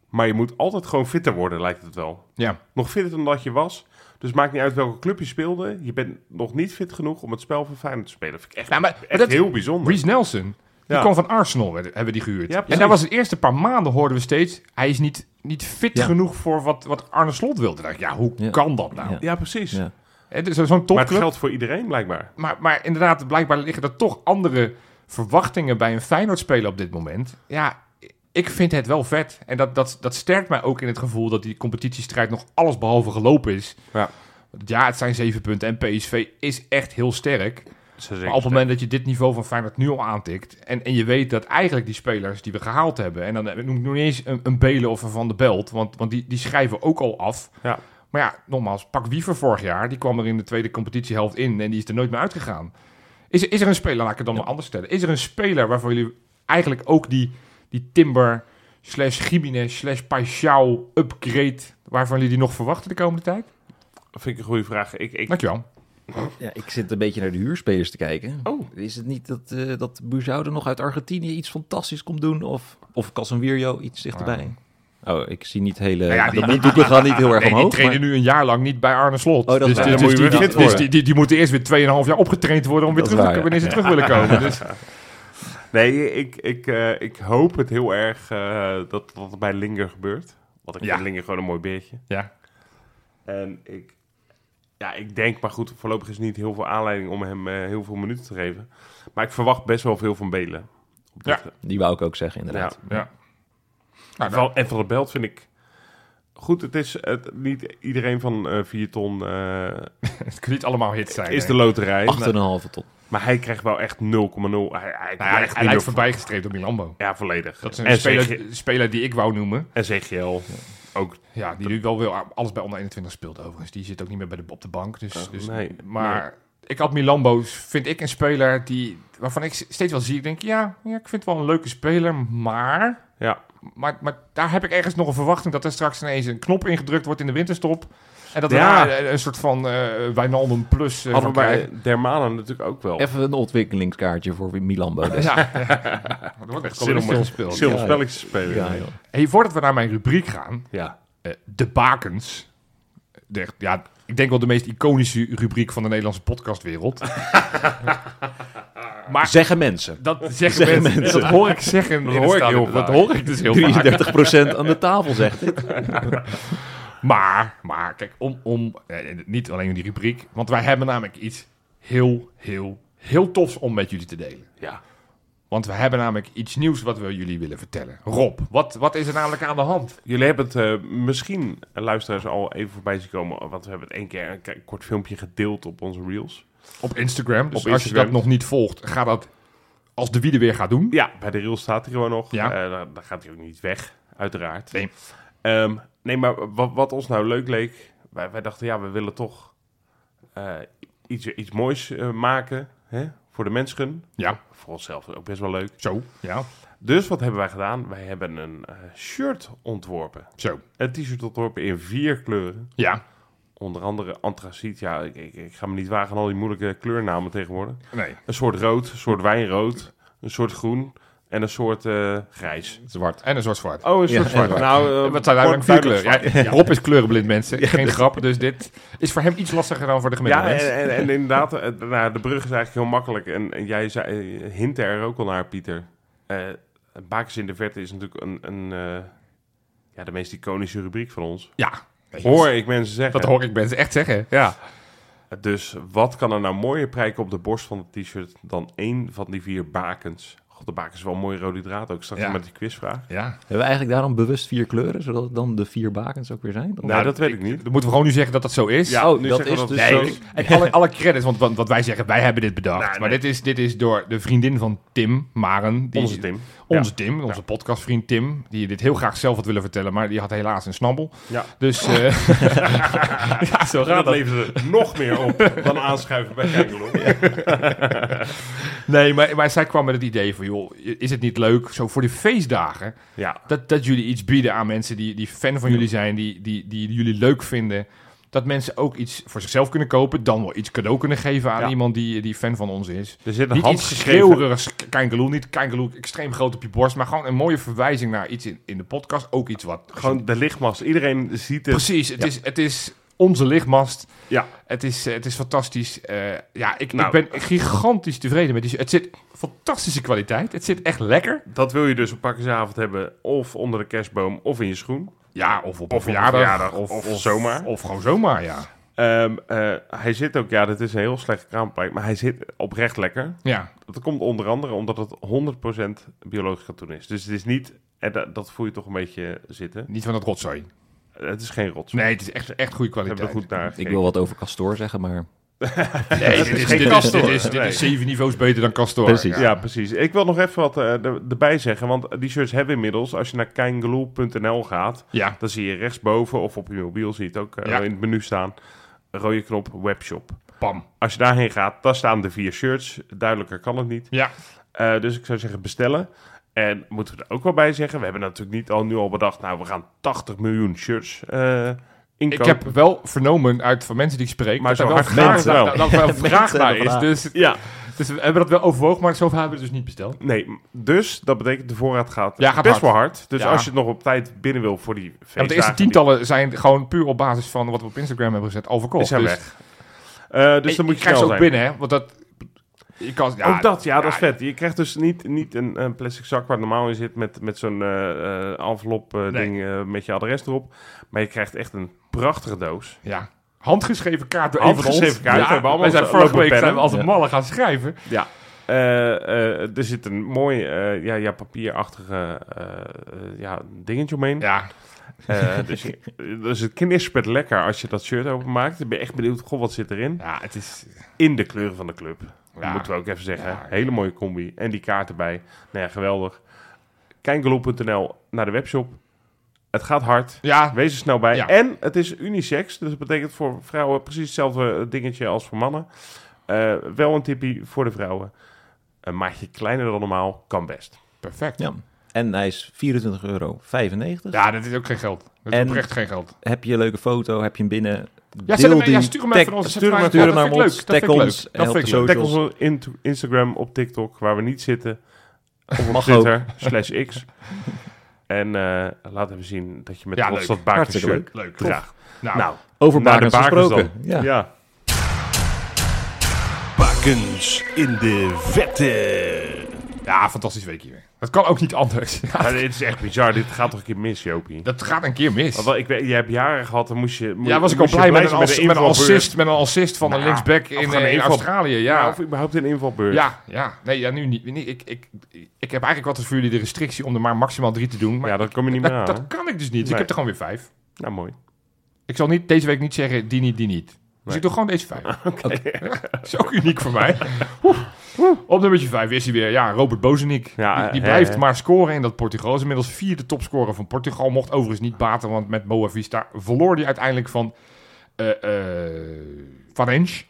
A: Maar je moet altijd gewoon fitter worden, lijkt het wel.
B: ja.
A: Nog fitter dan dat je was. Dus maakt niet uit welke club je speelde. Je bent nog niet fit genoeg om het spel van Feyenoord te spelen. Vind ik echt,
B: Nou, maar- maar
A: echt
B: dat-
A: heel bijzonder.
B: Reece Nelson, die
A: Ja.
B: kwam van Arsenal, werd- hebben die gehuurd.
A: Ja,
B: en
A: precies.
B: daar was het eerste paar maanden, hoorden we steeds, hij is niet, niet fit
C: Ja.
B: genoeg voor wat, wat Arne Slot wilde. Dan dacht ik, ja, hoe
C: Ja.
B: kan dat nou?
C: Ja.
A: Ja, precies.
C: Ja.
B: Hè, dus Zo'n
A: Maar het
B: topclub. Maar,
A: geldt voor iedereen blijkbaar.
B: maar, inderdaad, blijkbaar liggen er toch andere verwachtingen bij een Feyenoord-speler op dit moment. Ja, ik vind het wel vet. En dat, dat, dat sterkt mij ook in het gevoel dat die competitiestrijd nog allesbehalve gelopen is.
A: Ja.
B: Ja, het zijn zeven punten en PSV is echt heel sterk. Maar op het moment dat je dit niveau van Feyenoord nu al aantikt... En, en je weet dat eigenlijk die spelers die we gehaald hebben... en dan noem ik nog niet eens een, een Belen of een Van de Belt... want, want die, die schrijven ook al af.
A: Ja.
B: Maar ja, nogmaals, pak Wiever vorig jaar... die kwam er in de tweede competitiehelft in... en die is er nooit meer uitgegaan. Is, er- is er een speler, laat ik het dan maar anders stellen... is er een speler waarvan jullie eigenlijk ook die, die Timber... slash Gimenez slash Paixão upgrade... waarvan jullie die nog verwachten de komende tijd?
A: Vind ik een goede vraag. Ik, ik,
B: Dankjewel.
C: Ja, ik zit een beetje naar de huurspelers te kijken.
A: Oh.
C: Is het niet dat, eh dat Buzou er nog uit Argentinië iets fantastisch komt doen? Of, of Casemiro iets dichterbij?
A: Ah.
C: Oh, ik zie niet hele...
A: Nou
B: ja, die-
C: de monddoeken gaan niet heel erg
B: Nee, die
C: omhoog.
B: trainen
C: maar-
B: nu een jaar lang niet bij Arne Slot.
C: Oh, dat is
B: dus
C: waar.
B: dus-
A: Dan moet je
B: dus
A: weer
B: die,
A: fit
B: dus
A: worden.
B: die, die, die moeten eerst weer 2,5 jaar opgetraind worden om weer
C: Dat is
B: terug te
C: waar, ja.
B: wanneer ze terug willen komen. Dus,
A: Nee, ik, ik, eh, ik hoop het heel erg eh, dat dat het bij Linger gebeurt. Want ik
B: Ja.
A: vind Linger gewoon een mooi beertje.
B: ja.
A: En ik, ja, ik denk, maar goed, voorlopig is niet heel veel aanleiding om hem eh, heel veel minuten te geven. Maar ik verwacht best wel veel van Belen. Op dit-
C: Die wou ik ook zeggen,
A: ja.
C: inderdaad.
B: ja. Nou,
A: Van- en van de Belt vind ik... Goed, het is het, niet iedereen van eh 4 ton eh,
B: het kan niet allemaal hits zijn.
A: is
B: hè.
A: de loterij. Maar,
C: 8,5 ton.
A: maar hij krijgt wel echt 0,0. Hij, hij,
B: Nou ja,
A: echt
B: hij lijkt voorbijgestreept door Milambo.
A: Ja, volledig.
B: Dat is een
A: en,
B: speler,
A: CG
B: speler die ik wou noemen.
A: en CGL ook
B: Ja, die nu wel weer alles bij onder 21 speelt overigens. Die zit ook niet meer bij de, op de bank. Dus, dus,
A: nee,
B: maar ik had Milambo, vind ik een speler die, waarvan ik steeds wel zie. Ik denk, ja, ja, ik vind het wel een leuke speler, maar...
A: Ja,
B: Maar, maar daar heb ik ergens nog een verwachting dat er straks ineens een knop ingedrukt wordt in de winterstop. En dat we
A: Ja.
B: daar een soort van eh Wijnaldum plus eh,
A: hadden we
B: van
A: bij
B: krijgen.
A: Dermanen natuurlijk ook wel.
C: Even een ontwikkelingskaartje voor Milan Bodes.
B: Ja, ja. er wordt echt
A: Zin om
B: stil
A: een-
B: gespeeld.
A: Zil
C: Ja,
A: spelletjes spelen.
C: Ja, joh.
B: Hey, voordat we naar mijn rubriek gaan,
A: Ja.
B: eh, de bakens. De, echt- ja, ik denk wel de meest iconische rubriek van de Nederlandse podcastwereld. Maar
C: Zeggen mensen.
B: dat zeggen, mensen,
C: mensen.
B: Dat hoor ik zeggen.
A: Dat
B: in
A: hoor
B: het
A: ik
B: stadion.
A: heel
B: dat
A: vaak.
B: hoor ik dus heel vaak.
C: 33% aan de tafel zegt dit.
B: Maar, maar kijk, om, om eh, niet alleen die rubriek, want wij hebben namelijk iets heel, heel, heel tofs om met jullie te delen.
A: Ja.
B: Want we hebben namelijk iets nieuws wat we jullie willen vertellen. Rob, wat, wat is er namelijk aan de hand?
A: Jullie hebben het eh, misschien, eh, luisteraars, al even voorbij zien komen. Want we hebben het één keer een k- kort filmpje gedeeld op onze reels.
B: Op Instagram. Dus
A: Op
B: als
A: Instagram.
B: je dat nog niet volgt, ga dat als de wielen weer gaat doen.
A: Ja, bij de rails staat hij gewoon nog.
B: Ja.
A: Ja. daar, daar gaat hij ook niet weg, uiteraard.
B: Nee.
A: Ehm, nee, maar wat, wat ons nou leuk leek... Wij, wij dachten, ja, we willen toch eh, iets, iets moois eh, maken hè, voor de mensen.
B: Ja,
A: Voor onszelf ook best wel leuk.
B: zo. Ja,
A: Dus wat hebben wij gedaan? Wij hebben een eh, shirt ontworpen.
B: zo.
A: Een t-shirt ontworpen in vier kleuren.
B: Ja,
A: Onder andere antraciet. Ja, ik, ik, ik ga me niet wagen aan al die moeilijke kleurnamen tegenwoordig.
B: nee.
A: Een soort rood, een soort wijnrood, een soort groen en een soort eh, grijs.
B: Zwart. En een soort zwart.
A: Oh, een soort zwart. Nou, eh,
B: Wat
A: kort
B: zijn eigenlijk vier
A: duidelijk
B: kleuren? Ja, Rob is kleurenblind, mensen. Geen grap. Dus dit is voor hem iets lastiger dan voor de
A: zwart.
B: gemiddelde
A: Ja, eh,
B: mens.
A: en, en, en inderdaad, eh, nou, de brug is eigenlijk heel makkelijk. En, en jij zei, eh, hintte er ook al naar, Pieter. Eh Bakens in de Verte is natuurlijk een, een eh, ja, de meest iconische rubriek van ons.
B: Ja.
A: Hoor ik mensen zeggen.
B: Dat hoor ik mensen echt zeggen. Ja.
A: Dus wat kan er nou mooier prijken op de borst van het t-shirt dan één van die vier bakens? God, de bakens is wel een mooie rode draad ook. Straks
B: Ja.
A: met die quizvraag.
B: ja.
C: Hebben we eigenlijk daarom bewust vier kleuren, zodat het dan de vier bakens ook weer zijn? Of-
A: Nou, dat weet ik niet.
B: Dan moeten we gewoon nu zeggen dat dat zo is.
A: Ja,
C: oh,
A: nu
C: dat
A: zeggen we dat
C: is dus
A: het
C: zo.
A: zo is.
B: En alle, alle credits, want want wat wij zeggen, wij hebben dit bedacht.
A: Nou, nee.
B: Maar dit is, dit is door de vriendin van Tim, Maren. die-
A: Onze Tim.
B: Onze Tim, onze podcastvriend Tim. Die dit heel graag zelf had willen vertellen, maar die had helaas een snabbel.
A: Ja.
B: Dus eh, ja, zo
A: Dat
B: gaat dat.
A: levert er nog meer op dan aanschuiven bij Kijkelo.
B: Nee, maar, maar zij kwam met het idee van, joh, is het niet leuk, zo voor de feestdagen,
A: Ja.
B: dat, dat jullie iets bieden aan mensen die, die fan van jullie zijn, die, die, die jullie leuk vinden. Dat mensen ook iets voor zichzelf kunnen kopen, dan wel iets cadeau kunnen geven aan
A: Ja.
B: iemand die, die fan van ons is.
A: Er zit een
B: Niet iets
A: handgeschreven...
B: schreeuwerigs kankeloe, niet kankeloe extreem groot op je borst, maar gewoon een mooie verwijzing naar iets in, in de podcast. Ook iets wat...
A: Gewoon de lichtmast. Iedereen ziet het.
B: Precies, het, is, het is onze lichtmast.
A: Ja.
B: Het is, eh, het is fantastisch. Eh, ja, ik,
A: Nou.
B: ik ben gigantisch tevreden met die... Het zit fantastische kwaliteit. Het zit echt lekker.
A: Dat wil je dus op pakjesavond hebben. Of onder de kerstboom. Of in je schoen.
B: Ja, of op
A: een
B: een verjaardag.
A: verjaardag, of zomaar.
B: Of gewoon zomaar, ja.
A: Ehm, eh, hij zit ook... Ja, dat is een heel slechte kraampijk. Maar hij zit oprecht lekker.
B: Ja,
A: Dat komt onder andere omdat het 100% biologisch katoen is. Dus het is niet... En da- dat voel je toch een beetje zitten.
B: niet van dat rotzooi.
A: Het is geen rots.
B: Nee, het is echt, echt goede
A: We
B: kwaliteit.
A: hebben er goed naar
C: Ik
A: gekeken.
C: wil wat over Castor zeggen, maar...
B: Nee, dit is,
A: geen
B: dit, is,
A: Castor.
B: dit is- dit is
A: Nee.
B: zeven niveaus beter dan Castor.
C: Precies.
A: Ja, precies. Ik wil nog even wat eh, er- erbij zeggen. Want die shirts hebben inmiddels, als je naar kangaloo.nl gaat,
B: Ja,
A: dan zie je rechtsboven of op je mobiel zie je het ook eh,
B: Ja.
A: in het menu staan. een Rode knop webshop.
B: pam.
A: Als je daarheen gaat, dan staan de vier shirts. Duidelijker kan het niet.
B: Ja,
A: Eh, dus ik zou zeggen bestellen. En moeten we er ook wel bij zeggen, we hebben natuurlijk niet al nu al bedacht, nou we gaan 80 miljoen shirts eh
B: ik
A: inkopen.
B: heb wel vernomen uit van mensen die ik spreek...
A: Maar
B: dat
A: zo
B: er wel
A: hard
B: vraag,
A: mensen wel.
B: dat- dat er wel vraag
C: Mensen
B: naar
C: hebben
B: is. Dus,
C: vraag.
A: Ja,
B: dus we hebben dat wel overwogen, maar zover hebben we het dus niet besteld.
A: nee, dus dat betekent de voorraad gaat,
B: Ja, gaat
A: best
B: hard.
A: wel hard. Dus
B: Ja.
A: als je het nog op tijd binnen wil voor die feestdagen.
B: Ja, want de eerste
A: die-
B: tientallen zijn gewoon puur op basis van wat we op Instagram hebben gezet al verkocht.
A: Is hij
B: dus
A: weg. Eh,
B: En
A: dus dan moet je
B: krijgt
A: snel
B: ze ook
A: zijn.
B: binnen, hè? Want dat... Je kan, ja,
A: ook dat, ja, dat is
B: ja.
A: vet. Je krijgt dus niet, niet een, een plastic zak waar normaal in zit met, met zo'n eh, eh, envelop eh,
B: Nee.
A: ding eh, met je adres erop. Maar je krijgt echt een prachtige doos.
B: Ja. Handgeschreven kaart door een
A: Handgeschreven
B: van ons.
A: kaart. We hebben
B: Ja,
A: allemaal
B: wij zijn
A: onze
B: vorige
A: lopen
B: week zijn we
A: pennen.
B: als een malle gaan schrijven.
A: Ja. Eh, eh, er zit een mooi eh, ja, ja, papierachtige eh, eh, ja, dingetje omheen.
B: Ja,
A: Eh, dus, je- dus het knispert lekker als je dat shirt openmaakt. Dan ben je echt benieuwd, god, wat zit erin?
B: ja het is...
A: In de kleuren van de club.
B: Ja.
A: Dat moeten we ook even zeggen.
B: Ja, ja.
A: Hele mooie combi. En die kaart erbij. Nou ja, geweldig. Kijkgeloop.nl naar de webshop. Het gaat hard.
B: Ja,
A: Wees er snel bij.
B: Ja.
A: En het is unisex. Dus dat betekent voor vrouwen precies hetzelfde dingetje als voor mannen. Eh, wel een tipje voor de vrouwen. Een maatje kleiner dan normaal kan best.
B: perfect. Ja,
C: Ja. En hij is 24,95 euro.
B: dat is ook geen geld. Dat is
C: En-
B: oprecht geen geld.
C: Heb je een leuke foto, heb je hem binnen...
B: Ja, zet
C: deel
B: hem-
C: die,
B: ja, stuur hem even
C: tag-
B: naar ons.
C: Stuur hem
B: Zet
C: stuur
B: hem
C: hem
B: aan-
C: naar
B: dat
C: ons,
B: vind ik
C: tag
B: leuk.
C: ons
B: Dat
C: en
B: vind
C: op de
B: ik leuk.
A: Tag ons
C: socials.
A: op in- Instagram, op TikTok, waar we niet zitten. Of op
C: Mag
A: Twitter, slash X. En eh, laat even zien dat je met
B: Ja,
A: ons
B: leuk.
A: dat bakertje
C: Hartstikke leuk.
B: Leuk.
A: draagt.
B: Nou,
A: Nou,
C: Over
A: naar de
C: bakens
A: bakens
C: gesproken.
A: dan.
C: Ja.
A: ja.
G: Varkens in de vette.
B: Ja, fantastisch weekje weer. Dat kan ook niet anders. Ja,
A: Ja, Ah, dit is echt bizar. Dit gaat toch een keer mis, Jopie?
B: dat gaat een keer mis.
A: Want ik weet, je hebt jaren gehad, dan moest je... moest-
B: ja, was ik al
A: moest je
B: blij met een,
A: zijn
B: ass-
A: de
B: met een
A: invalbeurt.
B: assist, met een assist van een
A: Nou,
B: linksback
A: of
B: in,
A: gewoon
B: eh, in
A: inval-
B: Australië.
A: Ja.
B: Ja,
A: of überhaupt een invalbeurt.
B: ja, ja. Nee, ja, nu niet. Nee, ik, ik, ik heb eigenlijk wat voor jullie de restrictie om er maar maximaal drie te doen. Maar
A: ja, dat kom je niet meer aan.
B: dat,
A: hè?
B: dat kan ik dus niet. Dus ik
A: Nee.
B: heb er gewoon weer vijf.
A: Nou, mooi.
B: Ik zal niet, deze week niet zeggen die niet, die niet. Dus
A: Nee.
B: ik doe gewoon deze vijf. Dat is ook uniek voor mij. Oeh, oeh. Op nummertje vijf is hij weer. Ja, Robert Bozenik.
A: Ja,
B: die die
A: hè,
B: blijft
A: hè.
B: maar scoren in dat Portugal. Is inmiddels vierde topscorer van Portugal. Mocht overigens niet baten, want met Boa Vista verloor hij uiteindelijk van eh, eh, Van Ensch.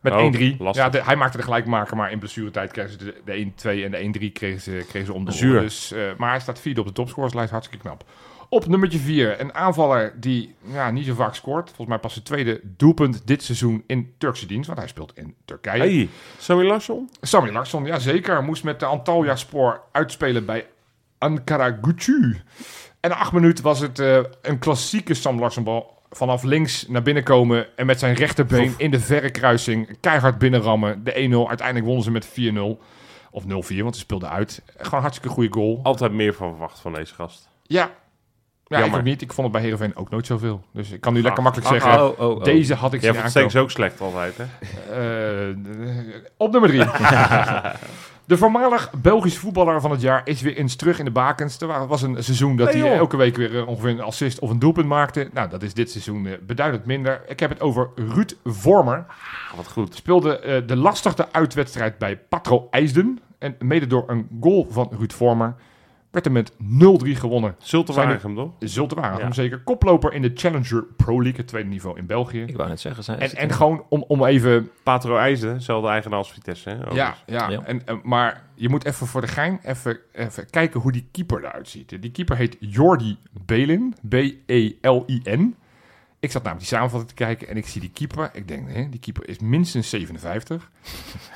B: Met
A: Oh,
B: 1-3.
A: lastig.
B: Ja, de- hij maakte de gelijkmaker, maar in blessuretijd kregen ze de, de 1-2 en de 1-3 kregen ze, kregen ze om de
A: Zuur.
B: oren. Dus, eh, maar hij staat vierde op de topscorerslijst. Hartstikke knap. Op nummertje 4, een aanvaller die ja, niet zo vaak scoort. Volgens mij pas zijn tweede doelpunt dit seizoen in Turkse dienst, want hij speelt in Turkije.
A: Hey, Sammy Larsson?
B: Sami Larsson, ja zeker, moest met de Antalya-spoor uitspelen bij Ankara Gucu. En na acht minuten was het eh, een klassieke Sam Larsson-bal. Vanaf links naar binnen komen en met zijn rechterbeen in de verre kruising keihard binnenrammen. De 1-0, uiteindelijk wonnen ze met 4-0. Of 0-4, want ze speelden uit. Gewoon een hartstikke goede goal.
A: Altijd meer van verwacht van deze gast.
B: Ja. Ja,
A: Jammer.
B: ik ook niet. Ik vond het bij Heerenveen ook nooit zoveel. Dus ik kan nu
A: Ah,
B: lekker makkelijk
A: ah,
B: zeggen...
C: oh, oh.
B: Deze had ik
A: Jij
B: zien
A: vindt
B: aankomen.
A: steeds ook slecht altijd, hè?
B: Eh, op nummer drie. de voormalig Belgisch voetballer van het jaar is weer eens terug in de bakens. Er wa- was een seizoen dat
A: Nee,
B: hij
A: joh.
B: elke week weer eh, ongeveer een assist of een doelpunt maakte. Nou, dat is dit seizoen eh, beduidend minder. Ik heb het over Ruud Vormer.
A: Ah, wat goed.
B: Speelde eh, de lastigste uitwedstrijd bij Patro IJsden. En mede door een goal van Ruud Vormer werd er met 0-3 gewonnen. Zijn er-
A: Zultenwagen, toch?
B: Zultenwagen,
A: Ja.
B: zeker. Koploper in de Challenger Pro League, het tweede niveau in België.
C: Ik wou net zeggen, zijn
B: En, en gewoon om, om even...
A: Patro IJzen, zelfde eigenaar als Vitesse, hè? Overigens.
B: Ja, ja.
C: Ja.
B: En, en- maar je moet even voor de gein even, even kijken hoe die keeper eruit ziet. Die keeper heet Jordi Belin. E B-E-L-I-N. Ik zat namelijk die samenvatting te kijken en ik zie die keeper. Ik denk, hè, die keeper is minstens 57.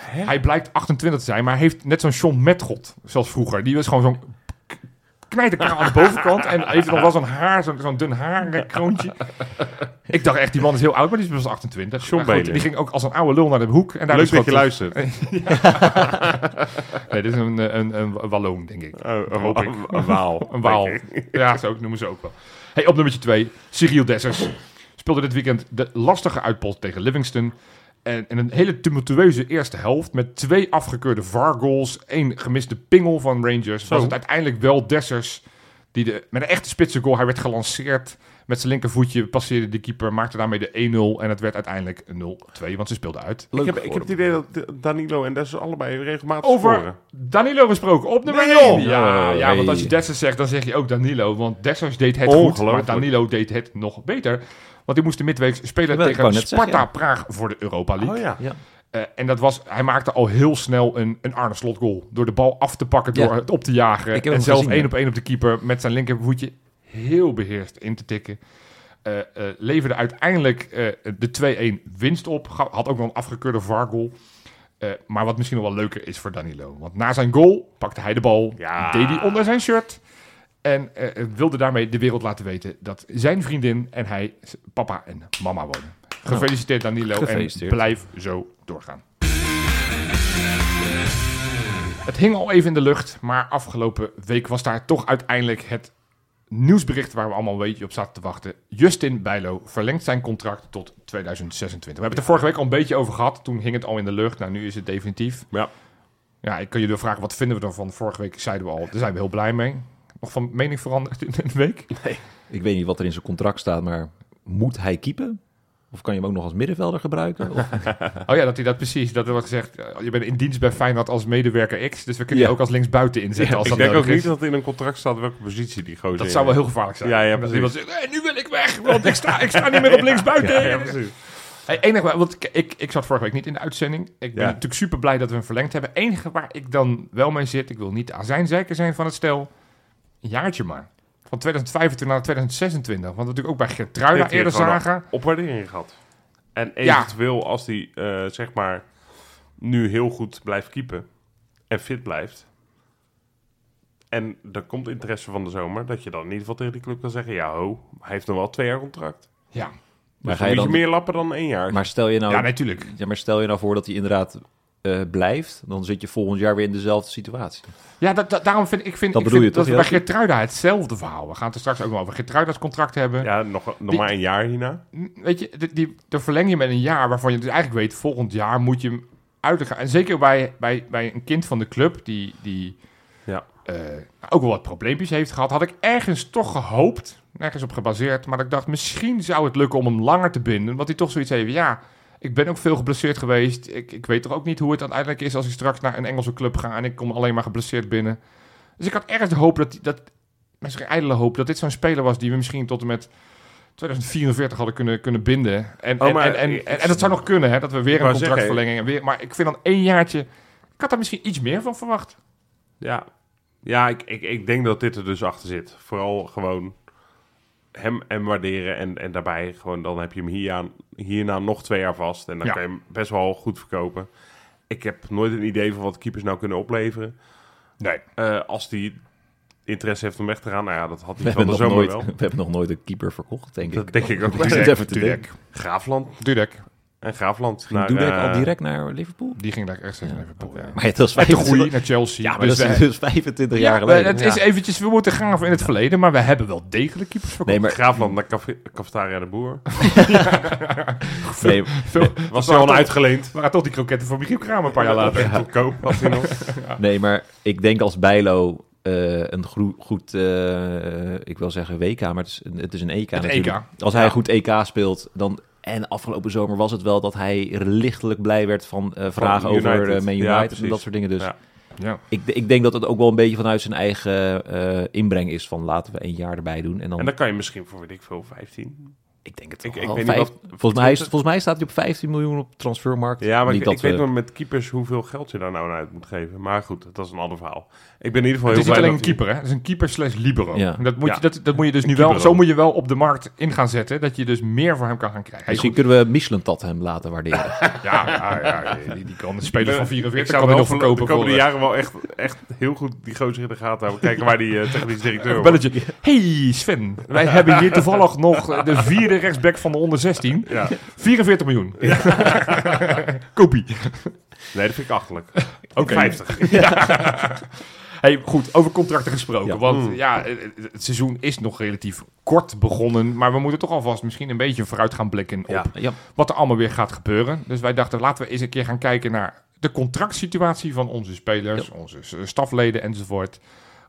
B: Hij blijkt 28 te zijn, maar hij heeft net zo'n John Metgod, zoals vroeger. Die was gewoon zo'n k- knijterkaal aan de bovenkant en heeft nog wel zo'n haar, zo'n zo'n dun haar kroontje. Ik dacht echt, die man is heel oud, maar die is pas 28.
A: John
B: Maar goed,
A: Belin.
B: Die ging ook als een oude lul naar de hoek. En daar
A: Leuk
B: Nou, is gewoon-
A: dat je luistert.
B: Nee, dit is een, eh, een, een Walloon, denk ik.
A: Oh, een,
B: Hoop ik.
A: een- een waal.
B: Een Waal.
A: Denk ik.
B: Ja, zo noemen ze ook wel. Hey, op nummertje 2, Cyril Dessers. Speelde dit weekend de lastige uitpot tegen Livingston. En, en een hele tumultueuze eerste helft met twee afgekeurde VAR-goals. één gemiste pingel van Rangers.
A: Zo.
B: Was het uiteindelijk wel Dessers die de, met een echte spitse goal, hij werd gelanceerd met zijn linkervoetje, passeerde de keeper, maakte daarmee de 1-0 en het werd uiteindelijk 0-2, want ze speelden uit.
A: Ik heb, ik heb het idee dat Danilo en Dessers allebei regelmatig
B: Over
A: scoren.
B: Danilo gesproken, op nummer
A: Nee!
B: 0. Ja,
C: Nee.
B: ja, want als je Dessers zegt, dan zeg je ook Danilo. Want Dessers deed het goed, maar
A: Ongelooflijk.
B: Danilo deed het nog beter. Want hij moest de midweeks spelen
C: Jawel, ik
B: tegen
C: wou net
B: Sparta
C: zeggen, ja.
B: Praag voor de Europa League.
A: Oh ja.
B: Eh, en dat was, hij maakte al heel snel een, een Arne Slot goal. Door de bal af te pakken,
C: Ja.
B: door het op te jagen.
C: Ik heb
B: en
C: hem
B: zelf
C: gezien,
B: één
C: ja.
B: op één op de keeper met zijn linkervoetje heel beheerst in te tikken. Eh, eh, leverde uiteindelijk eh, de 2-1 winst op. Ga- Had ook nog een afgekeurde VAR-goal. Eh, maar wat misschien nog wel leuker is voor Danilo. Want na zijn goal pakte hij de bal,
A: Ja.
B: deed hij onder zijn shirt. En eh, wilde daarmee de wereld laten weten dat zijn vriendin en hij z- papa en mama worden. Gefeliciteerd Danilo
C: Gefeliciteerd.
B: en blijf zo doorgaan. Het hing al even in de lucht, maar afgelopen week was daar toch uiteindelijk het nieuwsbericht waar we allemaal een beetje op zaten te wachten. Justin Bijlo verlengt zijn contract tot 2026. We hebben het er vorige week al een beetje over gehad. Toen hing het al in de lucht. Nou, nu is het definitief.
A: Ja.
B: Ja, ik kan jullie wel vragen, wat vinden we ervan? Vorige week zeiden we al, daar zijn we heel blij mee. Nog van mening veranderd in een week?
C: Ik weet niet wat er in zijn contract staat, maar moet hij keepen? Of kan je hem ook nog als middenvelder gebruiken? Of-
B: Oh ja, dat hij dat precies, dat er wordt gezegd, eh, je bent in dienst bij Feyenoord als medewerker X, dus we kunnen je
C: Ja.
B: ook als linksbuiten inzetten als
A: ik
B: dat
A: denk ook
B: nodig
A: niet
B: is.
A: dat in een contract staat welke positie die gozer
B: Dat
A: in
B: zou wel
A: heeft.
B: heel gevaarlijk zijn.
A: Ja, ja,
B: Dat iemand
A: precies.
B: zegt, "Hey, nu wil ik weg, want ik sta, ik sta niet meer op linksbuiten.
A: Ja, ja, precies.
B: Hey, enige, waar- want ik, ik, ik zat vorige week niet in de uitzending. Ik ben
A: Ja.
B: natuurlijk super blij dat we hem verlengd hebben. Enige waar ik dan wel mee zit, ik wil niet de azijnzeiker zijn van het stel. Een jaartje maar. Van 2025 naar 2026. Want we natuurlijk ook bij Gertruida
A: Heeft hij
B: eerder
A: gewoon al
B: zagen.
A: Opwaardering gehad. En
B: Ja.
A: eventueel als die, eh, zeg maar, nu heel goed blijft keepen en fit blijft. En er komt interesse van de zomer, dat je dan in ieder geval tegen die club kan zeggen... Ja, ho, hij heeft nog wel twee jaar contract.
B: Ja,
C: maar,
A: Dus
C: ga
A: dan
C: je
A: moet je
C: dan,
A: meer lappen dan één jaar.
C: maar, stel je nou,
B: ja
C: ja,
B: natuurlijk.
C: maar stel je nou voor dat hij inderdaad eh, blijft, dan zit je volgend jaar weer in dezelfde situatie.
B: Ja, dat, dat- daarom vind ik, vind,
C: Dat
B: ik
C: bedoel
B: vind
C: je toch,
B: dat we bij
C: Jeltje?
B: Gertruida hetzelfde verhaal. We gaan het er straks ook nog over Gertruida's contract hebben.
A: Ja, nog, nog
B: Die-
A: maar een jaar hierna.
B: N- Weet je, die, die, dan verleng je met een jaar waarvan je dus eigenlijk weet, volgend jaar moet je hem uitgaan. En zeker bij, bij, bij een kind van de club die, die
A: Ja.
B: eh, ook wel wat probleempjes heeft gehad, had ik ergens toch gehoopt, nergens op gebaseerd, maar dat ik dacht, misschien zou het lukken om hem langer te binden. Want hij toch zoiets heeft, ja, ik ben ook veel geblesseerd geweest. Ik, ik weet toch ook niet hoe het uiteindelijk is als ik straks naar een Engelse club ga en ik kom alleen maar geblesseerd binnen. Dus ik had ergens de hoop dat, dat misschien ijdele hoop, dat dit zo'n speler was die we misschien tot en met 2044 hadden kunnen, kunnen binden. En,
A: Oh,
B: en,
A: maar
B: en, en,
A: ik-
B: en- en dat zou nog kunnen, hè, dat we weer
A: wou
B: een
A: zeggen,
B: contractverlenging en weer. Maar ik vind dan één jaartje, ik had daar misschien iets meer van verwacht.
A: Ja, ja ik, ik, ik denk dat dit er dus achter zit. Vooral gewoon hem, hem waarderen en, en daarbij gewoon dan heb je hem hierna, hierna nog twee jaar vast. En dan
B: Ja.
A: kan je hem best wel goed verkopen. Ik heb nooit een idee van wat keepers nou kunnen opleveren.
B: Nee.
A: Eh, als die interesse heeft om weg te gaan, nou ja, dat had
C: We
A: hij van
C: hebben,
A: de
C: nog
A: zomer
C: nooit,
A: wel.
C: we hebben nog nooit een keeper verkocht, denk ik.
A: Dat denk ik ook.
C: Dat is
B: Dudek,
C: even te
B: Dudek.
C: denken.
A: Graafland
B: Dudek,
A: en Graafland.
C: Ging
A: naar,
C: Dudek
A: eh,
C: al direct naar Liverpool?
B: die ging daar echt even proberen.
C: Maar ja, dat is
B: Maar de
C: 25
B: groei naar Chelsea.
C: Ja, maar dat
B: we-
C: is dus 25
B: ja,
C: jaar geleden.
B: Het is
C: Ja.
B: eventjes, we moeten graven in het verleden, maar we hebben wel degelijk keepers verkocht.
C: Nee, maar,
A: Graafland naar Caf- Cafetaria de Boer.
C: nee,
B: Veel-
A: Was hij al uitgeleend?
B: waren toch die kroketten van Michiel Kramer een paar jaar later.
A: Ja. Goedkoop was hij nog.
C: nee, maar ik denk als Bijlo eh, een groe- goed, eh, ik wil zeggen WK, maar het is, een- het is een EK
B: Het
A: E
C: natuurlijk.
B: EK.
C: Als hij goed EK speelt, dan... En afgelopen zomer was het wel dat hij lichtelijk blij werd van eh, vragen
A: United.
C: over eh, Man
A: Ja,
C: United en
A: precies.
C: dat soort dingen. Dus
A: Ja.
B: Ja.
C: ik, ik denk dat het ook wel een beetje vanuit zijn eigen eh, inbreng is van laten we één jaar erbij doen. En dan,
A: En dan kan je misschien voor, weet ik veel, 15.
C: ik denk het
A: ik-
C: wel.
A: ik weet niet
C: Vijf-
A: wat-
C: volgens, mij, is- volgens mij staat hij op 15 miljoen op transfermarkt.
A: Ja, maar
C: niet
A: ik,
C: dat
A: ik weet
C: we-
A: nog met keepers hoeveel geld je daar nou aan uit moet geven. Maar goed, dat is een ander verhaal. Ik ben in ieder geval
B: Het
A: heel
B: is niet
A: blij
B: alleen een
A: dat hij-
B: keeper, hè? Het is een keeper slash libero.
C: Ja.
B: En Dat, moet
A: Ja.
B: je, dat, dat moet je dus nu wel,
A: keeper
B: zo
A: ook.
B: moet je wel op de markt in gaan zetten, dat je dus meer voor hem kan gaan krijgen. Hij is
C: Misschien kunnen we Michelintat hem laten waarderen.
B: goed. Ja, ja, ja, ja, die, die kan een speler van
A: Ik
B: 44
A: zou
B: kan
A: wel
B: hij nog
A: voor de
B: verkopen voor
A: komende
B: eh,
A: jaren wel echt, echt heel goed die gozer in de gaten houden. Kijken waar die eh, technisch directeur
B: een
A: wordt.
B: belletje. Hey Sven, wij hebben hier toevallig nog eh, de vierde rechtsback van de onder 16.
A: Ja.
B: 44 miljoen. Kopie.
A: Nee, dat vind ik achterlijk.
B: Oké. Dus
A: 50.
B: Hey, goed, over contracten gesproken.
C: Ja.
B: Want ja, het, het- het seizoen is nog relatief kort begonnen. Maar we moeten toch alvast misschien een beetje vooruit gaan blikken op
A: Ja.
C: ja,
B: wat er allemaal weer gaat gebeuren. Dus wij dachten, laten we eens een keer gaan kijken naar de contractsituatie van onze spelers, onze s- stafleden enzovoort.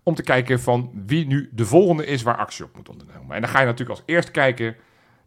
B: Om te kijken van wie nu de volgende is waar actie op moet ondernemen. En dan ga je natuurlijk als eerst kijken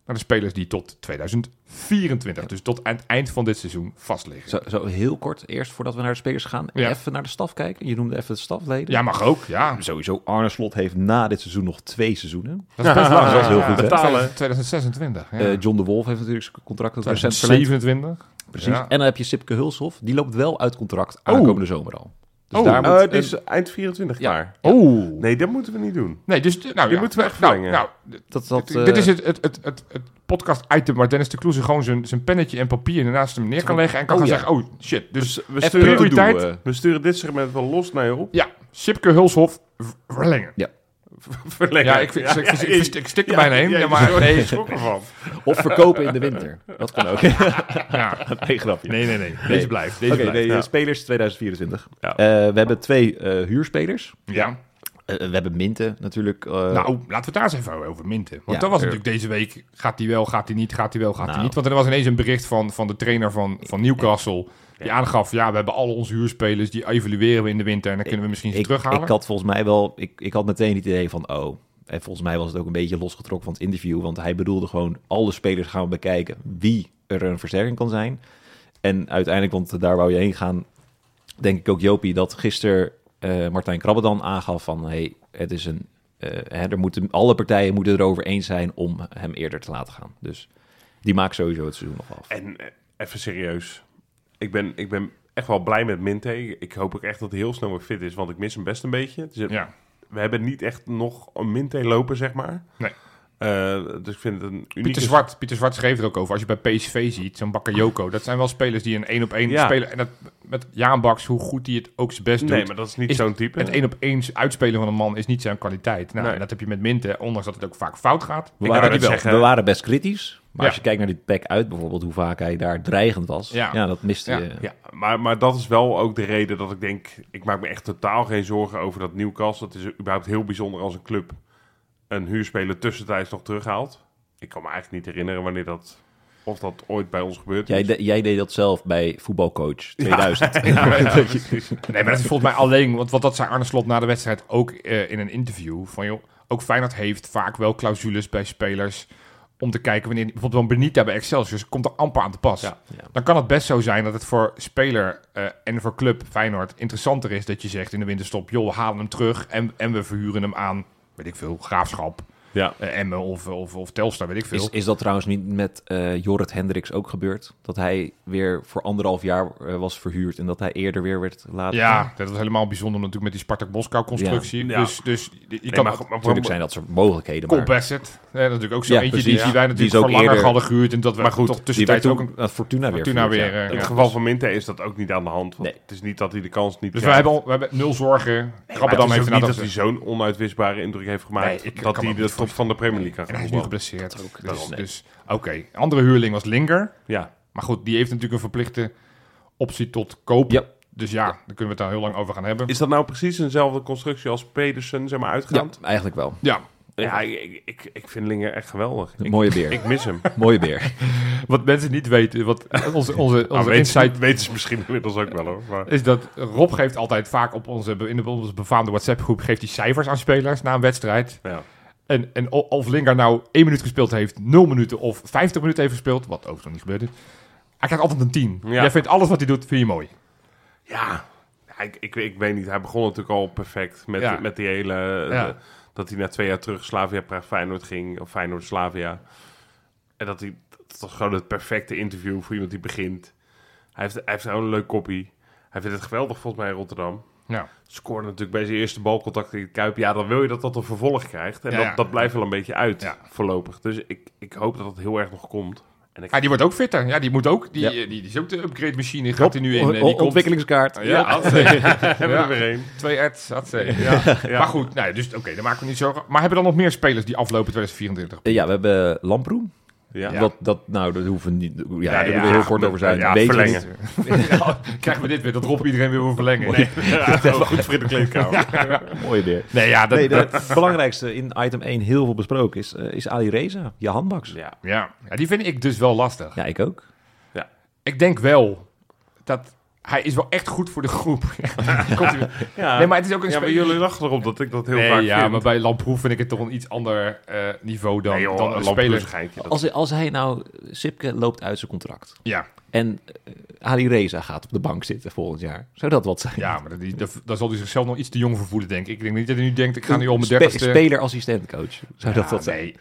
B: naar de spelers die tot 2024, dus tot aan het eind van dit seizoen, vast liggen.
C: zo, zo heel kort, eerst voordat we naar de spelers gaan,
B: Ja.
C: even naar de staf kijken. Je noemde even de stafleden.
B: Ja, mag ook. Ja,
C: Sowieso, Arne Slot heeft na dit seizoen nog twee seizoenen.
B: dat is best lang.
C: dat is heel
B: Ja,
C: goed, hè?
A: Betalen.
B: 2026. Ja.
C: Eh, John de Wolf heeft natuurlijk zijn contract tot recent verlengd.
B: 2027.
C: Precies.
B: Ja.
C: En dan heb je Sipke Hulshof. Die loopt wel uit contract aankomende zomer al. Dus
B: Oh.
C: daar moet
A: Eh het
C: een-
A: is eind 24
C: Ja.
A: klaar.
B: Oh.
A: Nee, dat moeten we niet doen.
B: Nee, dus nou,
A: Die
B: ja.
A: moeten we echt
B: nou,
A: verlengen.
B: nou,
C: dat, dat, eh,
B: Dit- Dit is het, het, het, het, het podcast-item waar Dennis de Kloeze gewoon zijn, zijn pennetje en papier naast hem neer kan leggen en kan
C: Oh,
B: gaan
C: ja.
B: zeggen, oh shit. Dus
A: We
C: even
A: sturen,
B: prioriteit.
A: we sturen dit segment wel los naar je op.
B: ja, Sipke Hulshof v- verlengen.
A: Verlengen.
B: Ja, ik, vind- ik, ik, ik, ik, ik stik er
A: Ja,
B: bijna heen.
A: ja,
B: Ja, maar,
A: sorry, ik
B: nee,
A: schrok ervan.
C: eh, Of verkopen in de winter. Dat kan ook.
B: ja.
C: nee, grapje.
B: nee, nee, nee. Deze
C: Nee.
B: blijft. Deze
C: Oké,
B: blijft.
C: nee,
A: ja.
C: spelers 2024.
A: Ja.
C: Eh, we hebben twee eh, huurspelers.
B: Ja.
C: Eh, we hebben Minte natuurlijk. eh,
B: Nou, laten we het daar eens even over minten. Want
C: Ja,
B: dat was
C: eh.
B: natuurlijk deze week, gaat hij wel, gaat hij niet, gaat hij wel, gaat hij
C: Nou.
B: niet. Want er was ineens een bericht van, van de trainer van, van Newcastle, die aangaf, ja, we hebben alle onze huurspelers, die evalueren we in de winter en dan kunnen we misschien ze
C: ik,
B: terughalen.
C: ik had volgens mij wel, ik, ik had meteen het idee van, oh. En volgens mij was het ook een beetje losgetrokken van het interview. Want hij bedoelde gewoon, alle spelers gaan we bekijken wie er een versterking kan zijn. En uiteindelijk, want daar wou je heen gaan, denk ik ook Jopie, dat gisteren eh, Martijn Krabbedan aangaf van, hey, het is een, eh, hè, er moeten, alle partijen moeten erover eens zijn om hem eerder te laten gaan. Dus die maakt sowieso het seizoen nog af.
A: En eh, even serieus. Ik ben, ik ben echt wel blij met Minte. Ik hoop ook echt dat hij heel snel weer fit is, want ik mis hem best een beetje. Het is een-
B: Ja.
A: We hebben niet echt nog een Minte lopen, zeg maar.
B: Nee.
A: Eh, dus ik vind het een unieke...
B: Pieter Zwart, Pieter Zwart schreef er ook over. Als je bij PSV ziet, zo'n Bakayoko, dat zijn wel spelers die een één op één
A: Ja.
B: spelen. En dat met Jaan Baks, hoe goed hij het ook zijn best doet.
A: Nee, maar dat is niet
B: Is
A: zo'n type.
B: Het één op één uitspelen van een man is niet zijn kwaliteit. Nou,
A: Nee.
B: en dat heb je met Minte, ondanks dat het ook vaak fout gaat.
C: We
A: wou
C: waren,
A: net zeggen-
C: we waren best kritisch. Maar
B: Ja.
C: als je kijkt naar die pack uit bijvoorbeeld, hoe vaak hij daar dreigend was.
B: Ja.
C: Ja, dat miste
B: Ja.
C: je.
A: Ja, maar, maar dat is wel ook de reden dat ik denk... Ik maak me echt totaal geen zorgen over dat Newcastle. Het is überhaupt heel bijzonder als een club een huurspeler tussentijds nog terughaalt. Ik kan me eigenlijk niet herinneren wanneer dat... Of dat ooit bij ons gebeurd
C: Jij,
A: is.
C: de- jij deed dat zelf bij voetbalcoach 2000.
A: Ja, ja, precies.
B: Nee, maar dat is volgens mij alleen, want, want dat zei Arne Slot na de wedstrijd ook eh, in een interview. Van joh, ook Feyenoord heeft vaak wel clausules bij spelers om te kijken wanneer, bijvoorbeeld wel Benita bij Excelsior, komt er amper aan te pas.
A: Ja,
C: ja.
B: Dan kan het best zo zijn dat het voor speler eh, en voor club Feyenoord interessanter is dat je zegt in de winterstop, joh, we halen hem terug en, en we verhuren hem aan, weet ik veel, Graafschap,
A: Ja.
B: eh, Emmen of, of, of Telstar, weet ik veel.
C: Is, is dat trouwens niet met eh Jorrit Hendricks ook gebeurd? Dat hij weer voor anderhalf jaar eh, was verhuurd en dat hij eerder weer werd laten
B: ja, dat was helemaal bijzonder natuurlijk met die Spartak Moskou constructie.
A: Ja. Ja.
B: Dus, dus je je
A: Nee,
B: kan
A: maar, maar,
C: Natuurlijk
A: maar,
C: zijn dat soort mogelijkheden,
B: Cole
C: maar
B: Bassett. Ja, natuurlijk ook zo
C: Ja,
B: eentje
C: precies.
B: die, die wij
C: Ja.
B: natuurlijk
C: Die
B: voor
C: is ook
B: langer
C: eerder-
B: hadden gehuurd. En dat we
A: Maar goed,
B: toch
C: die werd
B: tussentijds
C: toen
B: ook een
C: aan Fortuna weer
B: Fortuna
C: verhuurd,
B: weer,
C: ja.
B: eh,
A: in
B: ja.
A: het geval van Minter is dat ook niet aan de hand. Want
C: Nee.
A: Het is niet dat hij de kans niet
B: Dus
A: krijgt.
B: wij hebben, al, we hebben nul zorgen. Krabben dan
A: Maar het is
B: even naar
A: ook niet dat
B: dat... dus-
A: hij zo'n onuitwisbare indruk heeft gemaakt...
B: Nee, ik
A: dat
B: kan
A: hij
B: me
A: de
B: niet
A: top van de Premier League
B: En hij
A: kan
B: is nu
A: gaan voetballen.
B: geblesseerd. dus
A: daarom.
B: dus oké. Andere huurling was Linger.
A: Ja,
B: Maar goed, die heeft natuurlijk een verplichte optie tot koop.
C: Ja.
B: Dus ja, daar kunnen we het daar heel lang over gaan hebben.
A: Is dat nou precies dezelfde constructie als Pedersen, zeg maar,
B: eh,
C: Ja,
A: uitgaand?
C: eigenlijk wel.
B: Ja,
A: Ja, ik, ik, ik vind Linger echt geweldig.
C: Een
A: Ik,
C: mooie beer.
A: ik mis hem.
C: Mooie beer.
B: wat mensen niet weten, wat onze, onze,
A: Nou,
B: onze
A: weet,
B: insight
A: weten ze misschien inmiddels ook wel, hoor. Maar,
B: is dat Rob geeft altijd vaak op onze, in de- onze befaamde WhatsApp-groep geeft hij cijfers aan spelers na een wedstrijd.
A: ja.
B: En, en o- of Lingard nou 1 minuut gespeeld heeft, 0 minuten of 50 minuten heeft gespeeld, wat overigens nog niet gebeurd is. Hij krijgt altijd een 10.
A: Ja.
B: Jij vindt alles wat hij doet, vind je mooi.
A: ja. Ja, ik, ik, ik weet niet. Hij begon natuurlijk al perfect met,
B: Ja.
A: met die hele... eh,
B: Ja.
A: dat hij na twee jaar terug Slavia Praag Feyenoord ging. Of Feyenoord Slavia. En dat hij... Dat was gewoon het perfecte interview voor iemand die begint. Hij heeft, hij heeft gewoon een leuk kopie. Hij vindt het geweldig volgens mij in Rotterdam.
B: Ja.
A: Scoorde natuurlijk bij zijn eerste balcontact in het Kuip. Ja, dan wil je dat dat een vervolg krijgt. En
B: Ja,
A: dat,
B: ja.
A: dat blijft wel een beetje uit
B: Ja.
A: voorlopig. Dus ik, ik hoop dat dat heel erg nog komt. En ik,
B: die wordt ook fitter. Ja, die moet ook. Die, eh,
C: Ja.
B: die, die is ook de upgrade machine. Gaat hij nu in. eh, die
C: O-
B: komt-
C: ontwikkelingskaart.
B: Ja,
A: we hebben
B: Ja.
A: er weer een.
B: twee ads. dat zei ik. Ja. Maar goed, nou, ja, dus oké, daar maken we niet zorgen. Maar hebben we dan nog meer spelers die aflopen 2024?
C: Eh, Ja, we hebben Lamproem.
A: Ja.
B: Ja.
C: Dat, dat, nou, dat hoeven we niet... Ja, daar
B: ja,
C: moeten we heel kort over zijn.
A: ja,
C: Weet je
A: verlengen.
C: niet.
B: Krijgen we dit weer? Dat Rob iedereen weer wil verlengen. Nee,
A: Ja, oh, goed voor in de kleedkamer.
C: Mooie beer.
B: ja, dat,
C: Nee, de-
B: dat-
C: het belangrijkste in item 1 heel veel besproken is, eh, is Ali Reza, je handbaks. Ja.
A: Ja.
B: ja. ja, die vind ik dus wel lastig.
C: ik ook.
B: Ik denk wel dat hij is wel echt goed voor de groep. Komt hij weer.
A: Ja.
B: Nee, maar het is ook een
A: Ja, maar
B: spe-
A: jullie lachen erop dat ik dat heel
B: Nee,
A: vaak
B: ja,
A: vind.
B: maar bij Lamproef vind ik het toch een iets ander eh, niveau dan,
A: Nee, joh,
B: dan Oh. een
A: een lamproes
B: speler.
A: geintje, dat-
C: Als, hij- als hij nou, Sipke loopt uit zijn contract
B: Ja,
C: en eh, Ali Reza gaat op de bank zitten volgend jaar. Zou dat wat zijn?
B: ja, maar dat- die- dat- daar zal hij zichzelf nog iets te jong voor voelen, denk ik. Ik denk niet dat hij nu denkt, ik ga nu al mijn
C: Spe-
B: dertigste...
C: Speler-assistentcoach. Zou dat
B: Ja,
C: wat zijn?
B: nee.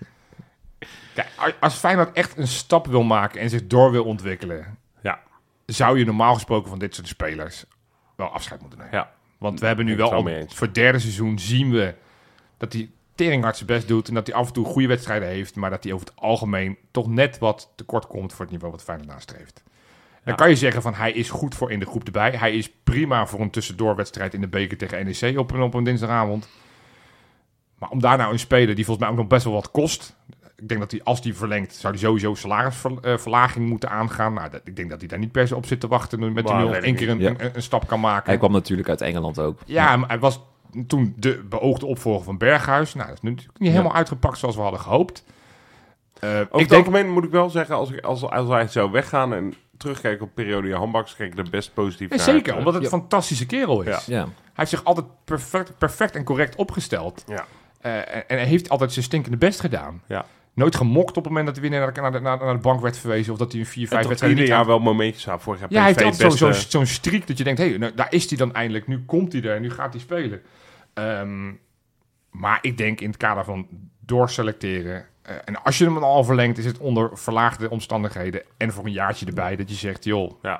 B: Kijk, als- als Feyenoord echt een stap wil maken en zich door wil ontwikkelen...
A: Ja.
B: zou je normaal gesproken van dit soort spelers wel afscheid moeten nemen.
A: Ja.
B: Want we hebben nu
A: Ik ben
B: wel
A: het
B: al
A: wel mee eens.
B: voor het derde seizoen zien we dat hij teringhard zijn best doet... en dat hij af en toe goede wedstrijden heeft... maar dat hij over het algemeen toch net wat tekort komt... voor het niveau wat Feyenoord nastreeft. Dan kan je zeggen van hij is goed voor in de groep erbij. Hij is prima voor een tussendoorwedstrijd in de beker tegen NEC op een, op een dinsdagavond. Maar om daar nou een speler die volgens mij ook nog best wel wat kost... Ik denk dat hij, als die verlengt, zou hij sowieso salarisverlaging moeten aangaan. Nou, dat, ik denk dat hij daar niet per se op zit te wachten... met die
A: Maar
B: nu nog
A: weet ik
B: één keer een,
C: niet.
B: een, een stap kan maken.
C: Hij kwam natuurlijk uit Engeland ook.
B: Ja, maar hij was toen de beoogde opvolger van Berghuis. Nou, dat is nu natuurlijk niet helemaal uitgepakt zoals we hadden gehoopt. Eh,
A: Over
B: ik
A: het
B: denk,
A: algemeen moet ik wel zeggen, als, ik, als, als wij zou weggaan en terugkijken op periode handbaks, kijk ik er best eh, positief
B: Ja,
A: naar.
B: zeker, omdat het
C: Ja.
B: een fantastische kerel is.
A: Ja.
C: Ja.
B: Hij heeft zich altijd perfect, perfect en correct opgesteld.
A: Ja.
B: Eh, en, en hij heeft altijd zijn stinkende best gedaan.
A: Ja.
B: Nooit gemokt op het moment dat hij weer naar de, naar de, naar de- naar de bank werd verwezen. Of dat hij een 4, 5
A: En toch
B: wedstrijd
A: ieder
B: niet
A: jaar
B: had.
A: wel momentjes aan. Vorig jaar
B: Ja, hij heeft
A: PSV
B: altijd zo'n
A: beste-
B: zo'n zo'n streak dat je denkt... hey, nou, daar is hij dan eindelijk. Nu komt hij er en nu gaat hij spelen. Ehm, maar ik denk in het kader van doorselecteren... eh, en als je hem dan al verlengt, is het onder verlaagde omstandigheden... en voor een jaartje erbij dat je zegt... joh,
A: Ja.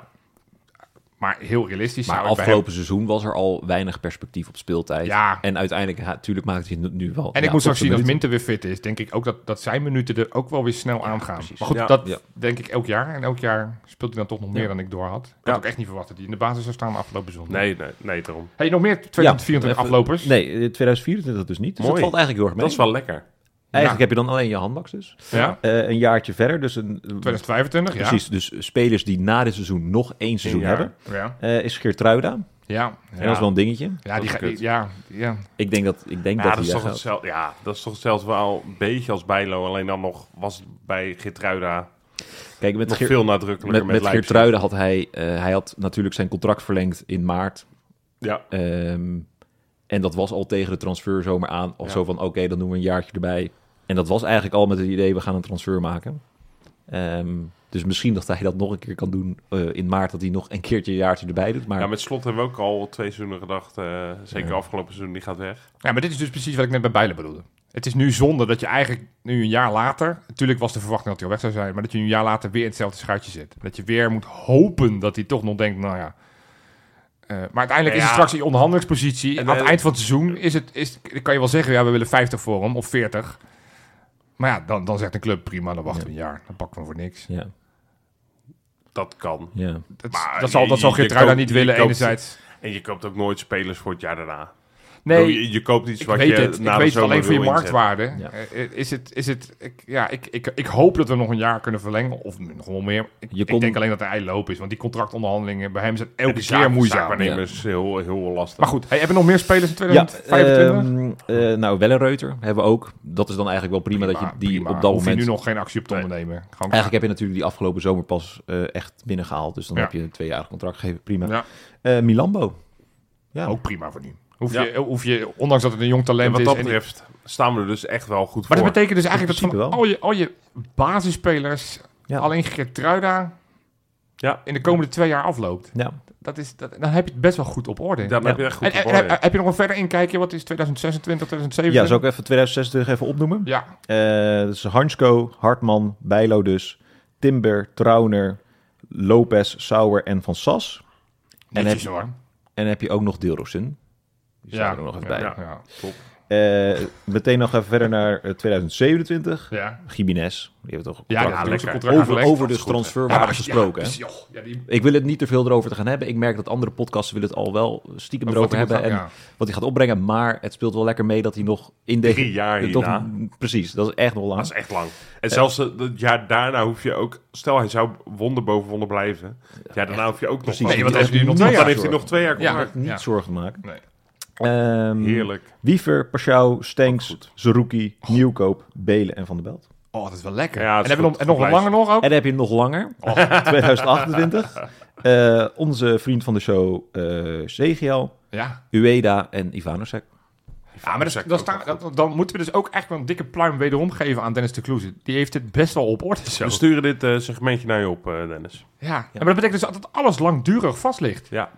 B: maar heel realistisch
C: Maar
B: zou ik bij hem-
C: afgelopen seizoen was er al weinig perspectief op speeltijd.
B: Ja.
C: En uiteindelijk, natuurlijk maakt hij het nu wel.
B: En
C: ja,
B: ik moet straks
C: op de
B: zien als
C: minuten.
B: Minter weer fit is. Denk ik ook dat, dat zijn minuten er ook wel weer snel aangaan.
C: precies.
B: Maar goed,
A: Ja.
B: dat
C: Ja.
B: denk ik elk jaar. En elk jaar speelt hij dan toch nog meer dan ik door had. Ik had
A: Ja.
B: ook echt niet verwacht dat hij in de basis zou staan afgelopen zondag.
A: Nee, nee, nee, daarom.
B: Hey, nog meer 2024
C: Ja, even-
B: aflopers?
C: Nee, eh, 2024 dus niet. Dus
A: Mooi.
C: dat valt eigenlijk heel erg mee.
A: Dat is wel lekker.
C: Eigenlijk heb je dan alleen je handbaks dus.
B: Ja,
C: Eh, een jaartje verder, dus een...
B: 2025, ja.
C: Precies, dus spelers die na dit seizoen nog één seizoen
A: jaar.
C: hebben,
B: Ja,
C: eh, is Geertruida.
B: ja.
C: En dat
B: ja.
C: is wel een dingetje.
B: Ja, die
A: is
B: ga-
A: kut.
B: ja, ja,
C: Ik denk dat, ik denk
A: Ja,
C: dat
A: dat,
C: hij
A: is toch
C: weggaat.
A: hetzelfde, ja, dat is toch hetzelfde wel een beetje als Bijlo. Alleen dan nog was het bij Gitruida
C: Kijk, met
A: nog
C: Geert-
A: veel nadrukkelijker
C: Met,
A: met,
C: met
A: Leipzig.
C: Geertruiden had hij, eh, hij had natuurlijk zijn contract verlengd in maart.
A: Ja.
C: Ehm, en dat was al tegen de transferzomer aan. Of
A: Ja.
C: zo van, oké, dan doen we een jaartje erbij. En dat was eigenlijk al met het idee, we gaan een transfer maken. Ehm, dus misschien dat hij dat nog een keer kan doen eh, in maart. Dat hij nog een keertje een jaartje erbij doet. Maar
A: ja, met Slot hebben we ook al twee seizoenen gedacht. eh, zeker afgelopen seizoen, die gaat weg.
B: Ja, maar dit is dus precies wat ik net bij Bijlen bedoelde. Het is nu zonde dat je eigenlijk nu een jaar later... Natuurlijk was de verwachting dat hij al weg zou zijn... maar dat je nu een jaar later weer in hetzelfde schuitje zit. Dat je weer moet hopen dat hij toch nog denkt, nou ja... eh, maar uiteindelijk is
A: Ja.
B: het straks in je onderhandelingspositie.
A: En,
B: Aan het
A: eh,
B: eind van het seizoen is het, is, kan je wel zeggen... ja, we willen 50 voor hem of 40. Maar ja, dan, dan zegt een club prima, dan wachten we een jaar. Dan pakken we hem voor niks.
C: ja,
A: Dat kan.
C: ja.
B: Dat,
A: Maar
B: dat zal,
A: je-
B: dat zal
A: je
B: Geertruida
A: koopt-
B: niet
A: je
B: willen
A: koopt-
B: enerzijds.
A: En je koopt ook nooit spelers voor het jaar daarna.
B: Nee,
A: je, je koopt iets
B: Ik
A: wat
B: weet
A: je
B: het.
A: na
B: Ik
A: de
B: weet het
A: zomer
B: alleen voor je
A: wil inzetten.
B: marktwaarde.
C: Ja.
B: Eh, Is het, is het, ik, ja, ik, ik, ik hoop dat we nog een jaar kunnen verlengen. Of nog wel meer. Ik,
C: Je
B: ik
C: kon-
B: denk alleen dat hij eiloop is. Want die contractonderhandelingen bij hem zijn
A: En
B: elke
A: die
B: keer
A: zaak-
B: moeizaam.
A: zaakwaarnemer is heel, heel lastig.
B: Maar goed, hey, hebben we nog meer spelers in
C: ja eh,
B: 2025?
C: ehm, eh, nou, Wellenreuter hebben we ook. Dat is dan eigenlijk wel prima, dat je die
B: prima.
C: op dat
B: Hoef je
C: moment...
B: nu nog geen actie op te
A: Nee.
B: ondernemen. Gewoon
C: Eigenlijk heb je natuurlijk die afgelopen zomer pas eh, echt binnengehaald. Dus dan
B: Ja.
C: heb je een tweejarig contract gegeven. Prima.
B: Ja.
C: Eh, Milambo. Ja.
B: ook prima voor nu. Hoef,
A: Ja.
B: je, eh, hoef je, ondanks dat het een jong
A: En
B: talent
A: wat
B: is.
A: dat
B: en-
A: betreft staan we er dus echt wel goed
B: maar dat
A: voor.
B: betekent dus eigenlijk
C: In
B: dat van
C: principe
B: al je, al je basisspelers
C: Ja.
B: alleen Gertruida
A: Ja.
B: in de komende twee jaar afloopt.
C: Ja.
B: Dat is, dat, dan heb je het best wel goed op orde.
A: Dan
C: Ja.
A: heb je echt goed
B: En,
A: op
B: en-
A: orde.
B: heb- heb je nog een verder inkijkje? Wat is 2026, 2027?
C: ja, zou ik even 2026 even opnoemen?
B: Ja,
C: Eh dus Hansko, Hartman, Bijlo dus, Timber, Trauner, Lopez, Sauer en Van Sas. En
B: netjes
C: heb-
B: hoor.
C: En dan heb je ook nog Dilrosun. Die staat
B: Ja.
C: er ook nog even
B: Ja,
C: bij.
B: ja, ja.
C: Eh, meteen nog even verder naar eh, 2027.
B: ja.
C: Jiménez, die hebben toch
B: ja,
A: Ah,
B: die had
A: lekker.
B: ook zijn contract
C: over,
B: verlengd.
C: over
A: dat
C: de
A: is goed, hè.
C: transferwaarde
B: Ja,
C: gesproken.
B: Ja, precies,
C: hè?
B: joh. ja, die
C: Ik wil het niet te veel erover te gaan hebben. Ik merk dat andere podcasts willen het al wel stiekem
B: Over
C: erover
B: wat hij
C: hebben.
B: moet
C: En
B: gaan-
C: wat hij gaat opbrengen. Maar het speelt wel lekker mee dat hij nog in deze...
A: Drie jaar
C: toch-
A: hierna.
C: Precies, dat is echt nog
A: Dat is
C: lang.
A: echt lang. En zelfs eh, het jaar daarna hoef je ook... Stel, hij zou wonder boven wonder blijven. Het jaar daarna hoef je ook nog...
C: Precies.
A: wel-
B: Nee,
C: want
B: want heeft
C: hij
B: hij nog
A: Want
B: twee
A: dan
B: jaar.
A: heeft hij nog twee jaar
B: Ja.
A: contract.
C: Niet
B: Ja.
C: zorgen maken.
B: Nee.
C: Ehm,
A: Heerlijk.
C: Wiever, Pashao, Stenks, Zerouki, Nieuwkoop, Belen en Van der Belt.
B: Oh, dat is wel lekker.
A: Ja, dat
B: en
A: is
B: hebben we
A: goed.
B: nog, en nog wat
A: Goed
B: langer nog ook?
C: En dan heb je hem nog langer.
B: Oh.
C: 2028. Eh, onze vriend van de show, eh Zegiel,
B: Ja,
C: Ueda en Ivanosek.
B: ja maar dat, dat staan- dat- dan moeten we dus ook echt wel een dikke pluim wederom geven aan Dennis de Kloeze. Die heeft het best wel op orde zo.
A: We sturen dit eh, segmentje naar je op, eh, Dennis.
B: ja. maar dat betekent dus dat dat alles langdurig vast ligt.
A: Ja.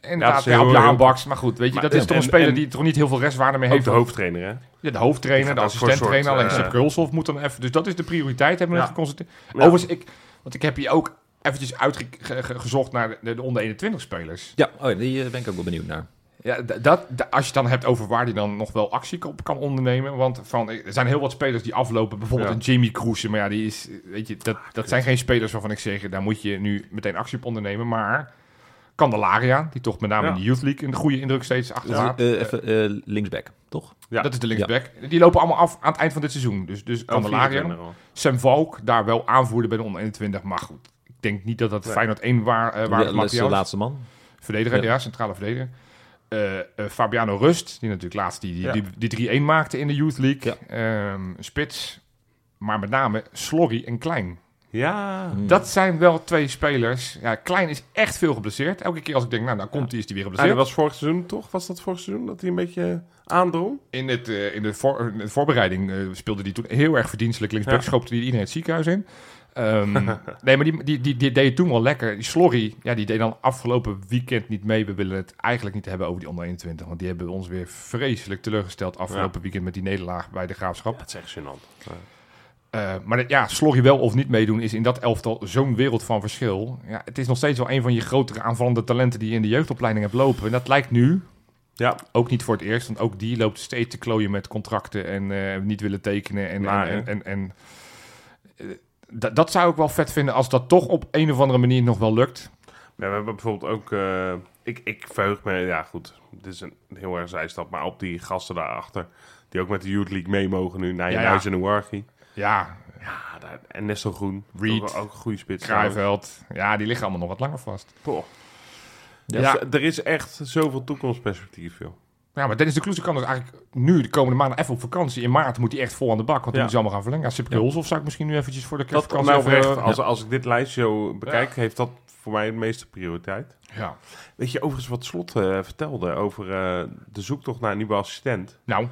B: Inderdaad,
A: is heel-
B: ja, op je
A: heel-
B: aanbaks. Maar goed, weet je,
A: Maar-
B: dat is
A: en-
B: toch een
A: en-
B: speler
A: en-
B: die toch niet heel veel restwaarde mee
A: Ook
B: heeft.
A: de hoofdtrainer, hè?
B: Ja, de hoofdtrainer,
A: Die
B: de
A: gaat ook voor
B: assistent-trainer,
A: een soort,
B: alleen
A: eh,
B: Sepp Krulshoff moet dan even... Dus dat is de prioriteit, hebben we
A: Ja.
B: net geconstateerd. Overigens, ik, want ik heb hier ook eventjes uitgezocht naar de, de onder 21-spelers.
C: Ja, oh, ja, die eh, ben ik ook wel benieuwd naar.
B: Ja, d- dat, d- als je het dan hebt over waar die dan nog wel actie op kan ondernemen. Want van, eh, er zijn heel wat spelers die aflopen. Bijvoorbeeld
A: Ja.
B: een Jimmy Kroes. Maar ja, die is, eh, weet je, dat, dat zijn geen spelers waarvan ik zeg... daar moet je nu meteen actie op ondernemen. Maar Candelaria, die toch met name
A: Ja.
B: in de Youth League... een goede indruk steeds achterlaat.
C: Eh, even eh, linksback, toch?
A: Ja.
B: Dat is de linksback. Die lopen allemaal af aan het eind van dit seizoen. Dus, dus Candelaria,
A: 24 al.
B: Sam Valk, daar wel aanvoerder bij de onder 21. Maar goed, ik denk niet dat dat
A: Nee.
B: Feyenoord 1 waar, eh waar
C: Ja, dat is de laatste man.
B: Verdediger,
C: Ja.
B: ja, centrale verdediger. Eh, eh, Fabiano Rust, die natuurlijk laatst die, die,
A: Ja.
B: die, die 3-1 maakte in de Youth League. Ehm, spits, maar met name Slorry en Klein.
C: Hmm.
A: Ja.
B: Dat zijn wel twee spelers. Ja, Klein is echt veel geblesseerd. Elke keer als ik denk, nou, nou komt hij, is hij weer
A: Hij
B: geblesseerd.
A: was vorig seizoen, toch? Was dat vorig seizoen dat hij een beetje eh, aandrong?
B: In, het, eh, in, de voor- in de voorbereiding eh, speelde hij toen heel erg verdienstelijk linksback.
A: Ja.
B: Schoopte hij iedereen het ziekenhuis in. Ehm, nee, maar die, die, die, die deed het toen wel lekker. Die Slorry, ja, die deed dan afgelopen weekend niet mee. We willen het eigenlijk niet hebben over die onder 21. Want die hebben ons weer vreselijk teleurgesteld afgelopen weekend met die nederlaag bij de Graafschap.
A: Dat is echt gênant.
B: Eh, maar dat- ja, Slorry wel of niet meedoen is in dat elftal zo'n wereld van verschil. Ja, het is nog steeds wel een van je grotere aanvallende talenten die je in de jeugdopleiding hebt lopen. En dat lijkt nu,
A: Ja.
B: ook niet voor het eerst, want ook die loopt steeds te klooien met contracten en eh, niet willen tekenen. En,
A: Maar,
B: en,
A: hè?
B: en, en, eh, dat- dat zou ik wel vet vinden als dat toch op een of andere manier nog wel lukt.
A: Ja, we hebben bijvoorbeeld ook... eh, ik, ik verheug me... Ja, goed. Dit is een heel erg zijstap. Maar op die gasten daarachter... Die ook met de Youth League mee mogen nu. Nijenhuis
B: Ja, ja.
A: en Ouarghi.
B: Ja,
A: Ja, Ah, daar- en Nestor Groen.
B: Reed.
A: Ook, ook een goede spits.
B: Kruiveld. Ja, die liggen allemaal nog wat langer vast.
A: Boah.
B: Ja,
A: Dus,
B: ja.
A: eh, er is echt zoveel toekomstperspectief, joh.
B: maar Dennis de Kloeze kan dus eigenlijk nu de komende maanden even op vakantie. In maart moet hij echt vol aan de bak, want dan
A: Ja.
B: moet ze allemaal gaan verlengen. Ja, Sipke of zou ik misschien nu eventjes voor de
A: Dat kan
B: vakantie
A: nou
B: even-
A: oprecht. Als, als ik dit lijstje zo bekijk, heeft dat voor mij de meeste prioriteit.
B: Ja.
A: Weet je overigens wat Slot eh, vertelde over eh, de zoektocht naar een nieuwe assistent?
B: Nou,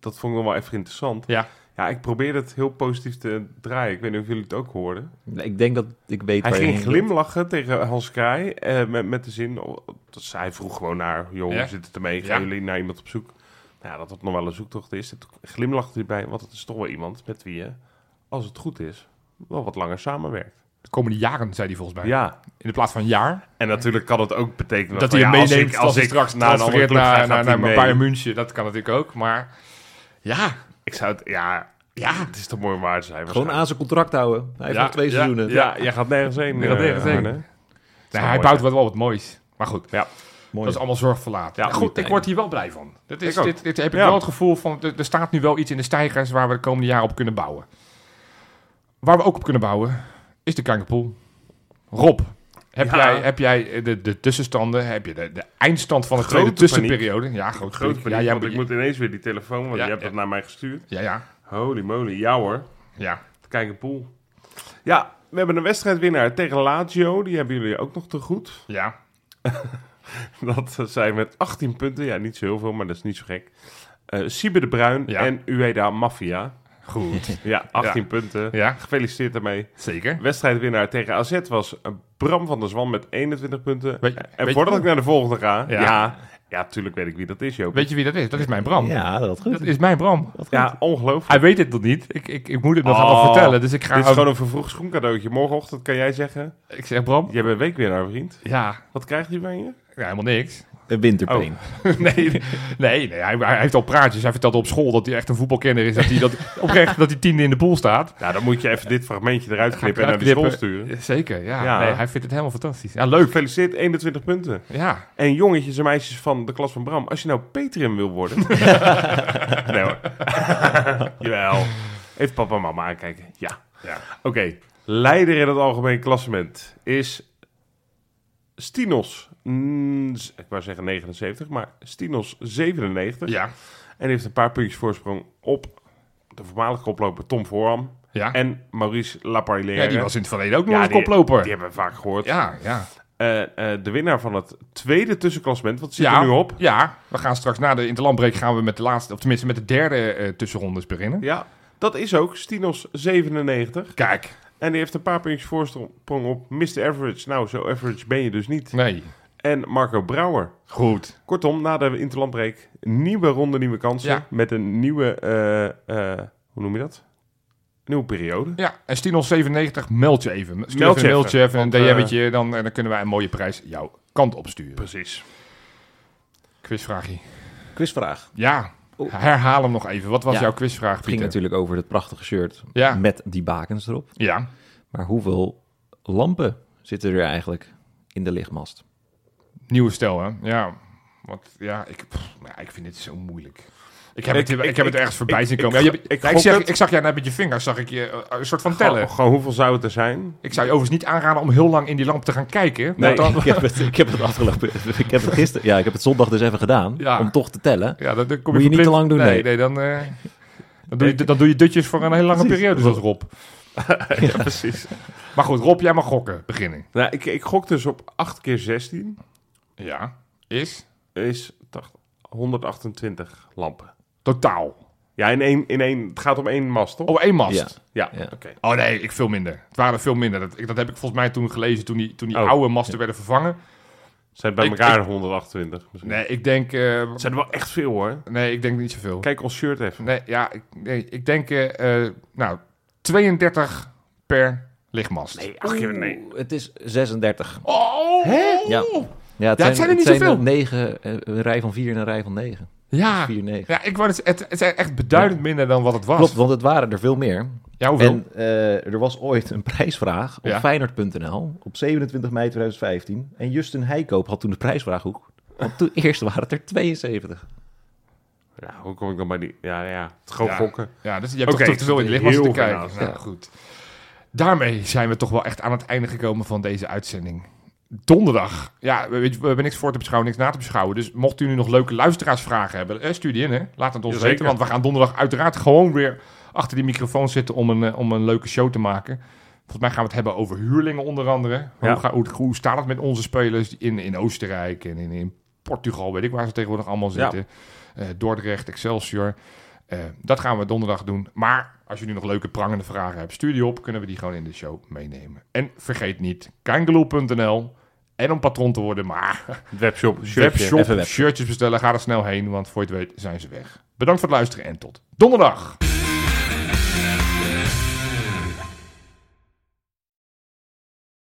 A: Dat vond ik nog wel even interessant.
B: ja.
A: Ja, ik probeerde het heel positief te draaien. Ik weet niet of jullie het ook hoorden.
C: Ik denk dat ik weet
A: Hij
C: waar je
A: ging
C: heen
A: glimlachen tegen Hans Krij eh, met, met de zin... oh, dat zij vroeg gewoon naar... joh,
B: Ja.
A: hoe zit het ermee? Gaan
B: Ja.
A: jullie naar iemand op zoek? Nou, ja, dat dat nog wel een zoektocht is. Toen glimlachte hij bij, want het is toch wel iemand met wie je... als het goed is, wel wat langer samenwerkt.
B: De komende jaren, zei hij volgens mij.
A: Ja,
B: In de plaats van jaar.
A: en natuurlijk kan het ook betekenen...
B: Dat
A: van,
B: hij hem
A: ja, als
B: meeneemt
A: ik- als ik
B: straks
A: naar een andere
B: transfereert
A: club ga,
B: naar,
A: gaat
B: naar,
A: hij
B: naar
A: mee.
B: Bayern München. Dat kan natuurlijk ook, maar... Ja,
A: Ik zou het... Ja, ja, het is toch mooi om waar te zijn.
C: Gewoon aan
A: waarschijnlijk.
C: zijn contract houden. Hij heeft
B: Ja,
C: nog twee
B: ja,
C: seizoenen.
A: Ja, jij gaat nergens heen.
B: Ik ga
A: eh,
B: nergens heen.
A: Arne.
B: Nee,
A: wel
B: hij
A: mooi
B: bouwt
A: zijn.
B: wel wat moois. Maar goed,
A: Ja.
C: Mooi.
B: dat is allemaal zorgverlaat.
A: Ja,
B: Ja, goed,
A: goed,
B: ik word hier wel blij van. Dat is,
A: Ik ook.
B: dit, dit heb ik
A: Ja.
B: wel het gevoel van, er er staat nu wel iets in de stijgers waar we de komende jaren op kunnen bouwen. Waar we ook op kunnen bouwen, is de kankerpool. Rob, heb,
A: Ja.
B: jij, heb jij de, de tussenstanden, heb je de, de eindstand van de
A: Grote
B: tweede tussenperiode? Ja, groot
A: Groot
B: ja,
A: paniek,
B: jij
A: want ik moet ineens weer die telefoon... want
B: Ja,
A: je hebt
B: ja.
A: dat naar mij gestuurd.
B: ja, ja,
A: Holy moly, ja hoor.
B: ja.
A: Kijk, een pool. Ja, we hebben een wedstrijdwinnaar tegen Lazio. Die hebben jullie ook nog te goed.
B: ja.
A: Dat zijn met 18 punten. Ja, niet zo heel veel, maar dat is niet zo gek. Eh Siebe de Bruin
B: Ja.
A: en Ueda Mafia.
B: Goed,
A: Ja, 18 punten.
B: ja,
A: Gefeliciteerd daarmee.
B: zeker.
A: Wedstrijdwinnaar tegen AZ was eh, Bram van der Zwan met 21 punten.
B: Weet-
A: en
B: weet-
A: voordat ik naar de volgende ga...
B: Ja.
A: Ja, ja, tuurlijk weet ik wie dat is, Joop.
B: Weet je wie dat is? Dat is mijn Bram.
C: Ja, dat
B: Dat
C: goed.
B: is mijn Bram.
A: ja, ongelooflijk.
B: Hij weet het nog niet. Ik, ik, ik moet het nog
A: Oh,
B: allemaal vertellen. Dus ik ga
A: Dit is
B: hem-
A: gewoon een vervroegd schoencadeautje. Morgenochtend kan jij zeggen...
B: Ik zeg, Bram,
A: Je bent weekwinnaar, vriend.
B: ja,
A: Wat krijgt hij van je?
B: ja helemaal niks.
C: Een winterpeen.
B: Oh. nee, nee, nee hij, hij heeft al praatjes. Hij vertelde op school dat hij echt een voetbalkenner is. Dat hij dat, oprecht dat hij tiende in de pool staat.
A: Nou, dan moet je even dit fragmentje eruit
B: Ga ik
A: knippen en naar de school
B: uitknippen.
A: sturen.
B: Zeker, ja.
A: Ja.
B: Nee, hij vindt het helemaal fantastisch. Ja, leuk.
A: Gefeliciteerd, 21 punten.
B: Ja,
A: En jongetjes en meisjes van de klas van Bram, als je nou Patreon wil worden... nee hoor. Jawel. Even papa en mama aankijken. Ja.
B: Ja.
A: Oké. Leider in het algemeen klassement is Stinos. Mm, z- ik wou zeggen 79, maar Stinos 97.
B: ja,
A: En heeft een paar puntjes voorsprong op de voormalige koploper Tom Voorham.
B: ja.
A: En Maurice Laparlière.
B: ja, die was in het verleden ook nog
A: Ja,
B: een
A: die-
B: koploper.
A: Die hebben we vaak gehoord.
B: ja, ja.
A: Eh, eh, de winnaar van het tweede tussenklassement, wat zit
B: ja,
A: er nu op?
B: Ja, we gaan straks na de interlandbreek gaan we met de laatste, of tenminste met de derde eh tussenrondes beginnen.
A: Ja, dat is ook Stinos 97.
B: Kijk,
A: En die heeft een paar puntjes voorsprong op Mr. Average. Nou, zo average ben je dus niet.
B: nee,
A: En Marco Brouwer.
B: goed.
A: Kortom, na de interlandbreek, nieuwe ronde, nieuwe kansen.
B: Ja.
A: Met een nieuwe, eh, eh, hoe noem je dat? Nieuwe periode.
B: Ja, en Stinos 97, meld je even. Stuur
A: Meld je
B: even een mailtje,
A: even,
B: even een
A: want, eh,
B: DM'tje, dan, en dan kunnen wij een mooie prijs jouw kant opsturen.
A: Precies.
B: Quizvraagje.
C: Quizvraag.
B: Ja,
C: Oeh.
B: herhaal hem nog even. Wat was
C: Ja,
B: jouw quizvraag,
C: Het ging
B: Pieter?
C: natuurlijk over het prachtige shirt
B: Ja,
C: met die bakens erop.
B: ja.
C: Maar hoeveel lampen zitten er eigenlijk in de lichtmast?
B: nieuwe stijl, hè? Ja, want ja, ik, pff, ja, ik vind dit zo moeilijk. Ik heb,
A: Ik-
B: het, ik,
A: ik-
B: heb het
A: ik-
B: ergens voorbij
A: ik-
B: zien
A: ik-
B: komen. Ja, je hebt-
A: ik
B: ja, Ik,
A: gok
B: zeg,
A: het.
B: ik zag jij net met je vingers, zag ik je eh, een soort van tellen.
A: Gewoon, gewoon hoeveel zou het er zijn?
B: Ik zou je overigens niet aanraden om heel lang in die lamp te gaan kijken. want
A: Nee.
B: dan-
C: ik, heb het, ik heb het afgelopen. Ik heb het gisteren. Ja, ik heb het zondag dus even gedaan.
B: Ja.
C: Om toch te tellen.
B: ja, dan, dan kom
C: Moet je niet
B: verplicht-
C: te lang doen,
B: Nee,
C: nee.
B: nee, dan, eh, dan, doe je, dan doe je dutjes voor een hele lange
C: Precies.
B: periode, zoals Rob.
A: Ja, precies.
B: Maar goed, Rob, jij mag gokken. Beginnen.
A: Nou, ik, ik gok dus op 8 keer 16
B: Ja. Is?
A: is 80 128 lampen.
B: Totaal.
A: Ja, in één, in één, het gaat om één mast, toch?
B: Oh, één mast.
C: Ja.
A: ja,
C: ja.
A: oké.
B: Oh nee, ik veel minder. Het waren er veel minder. Dat, ik, dat heb ik volgens mij toen gelezen, toen die, toen die
A: Oh.
B: oude masten werden vervangen.
A: Zijn bij
B: Ik-
A: elkaar 128 misschien.
B: Nee, ik denk... eh,
A: Het zijn er wel echt veel, hoor.
B: nee, ik denk niet zoveel.
A: Kijk ons shirt even.
B: Nee, ja, ik, nee, ik denk... eh, eh, nou, 32 per lichtmast.
A: Nee, ach, joh, nee.
C: Oeh, Het is 36.
B: Oh!
C: Ja. Ja, het,
B: Ja, het zijn er niet zoveel.
C: negen, eh, een rij van 4 en een rij van 9.
B: Ja.
C: 4, 9.
B: Ja, ik wou het, het, het zijn echt beduidend minder dan wat het was.
C: Klopt, want het waren er veel meer.
B: Ja, hoeveel?
C: En eh, er was ooit een prijsvraag op
B: Nou Ja.
C: Feyenoord.nl op 27 mei 2015. En Justin Heikoop had toen de prijsvraag ook. Want toen eerst waren het er 72.
A: Ja, hoe kom ik dan bij die... Ja, ja. Het gewoon
B: Ja.
A: gokken.
B: Ja, dus je hebt
A: Oké,
B: toch te veel in de
A: heel
B: lichtmassen te
A: veel
B: kijken.
A: naast,
B: Nou,
A: ja.
B: goed. Daarmee zijn we toch wel echt aan het einde gekomen van deze uitzending. Donderdag. Ja, we, weet je, we hebben niks voor te beschouwen, niks na te beschouwen. Dus mocht u nu nog leuke luisteraarsvragen hebben, eh, stuur die in. Hè. Laat het ons
A: Jazeker.
B: weten, want we gaan donderdag uiteraard gewoon weer achter die microfoon zitten om een, eh, om een leuke show te maken. Volgens mij gaan we het hebben over huurlingen onder andere.
A: Ja.
B: Hoe, ga, hoe, hoe staat het met onze spelers in, in Oostenrijk en in, in Portugal, weet ik waar ze tegenwoordig allemaal
A: Ja.
B: zitten. Eh, Dordrecht, Excelsior. Eh, dat gaan we donderdag doen. Maar als je nu nog leuke prangende vragen hebt, stuur die op. Kunnen we die gewoon in de show meenemen. En vergeet niet, kangeloel.nl. En om patron te worden, maar
A: Het Webshop. shirtje.
B: webshop,
C: even web.
B: shirtjes bestellen. Ga er snel heen, want voor je het weet zijn ze weg. Bedankt voor het luisteren en tot donderdag.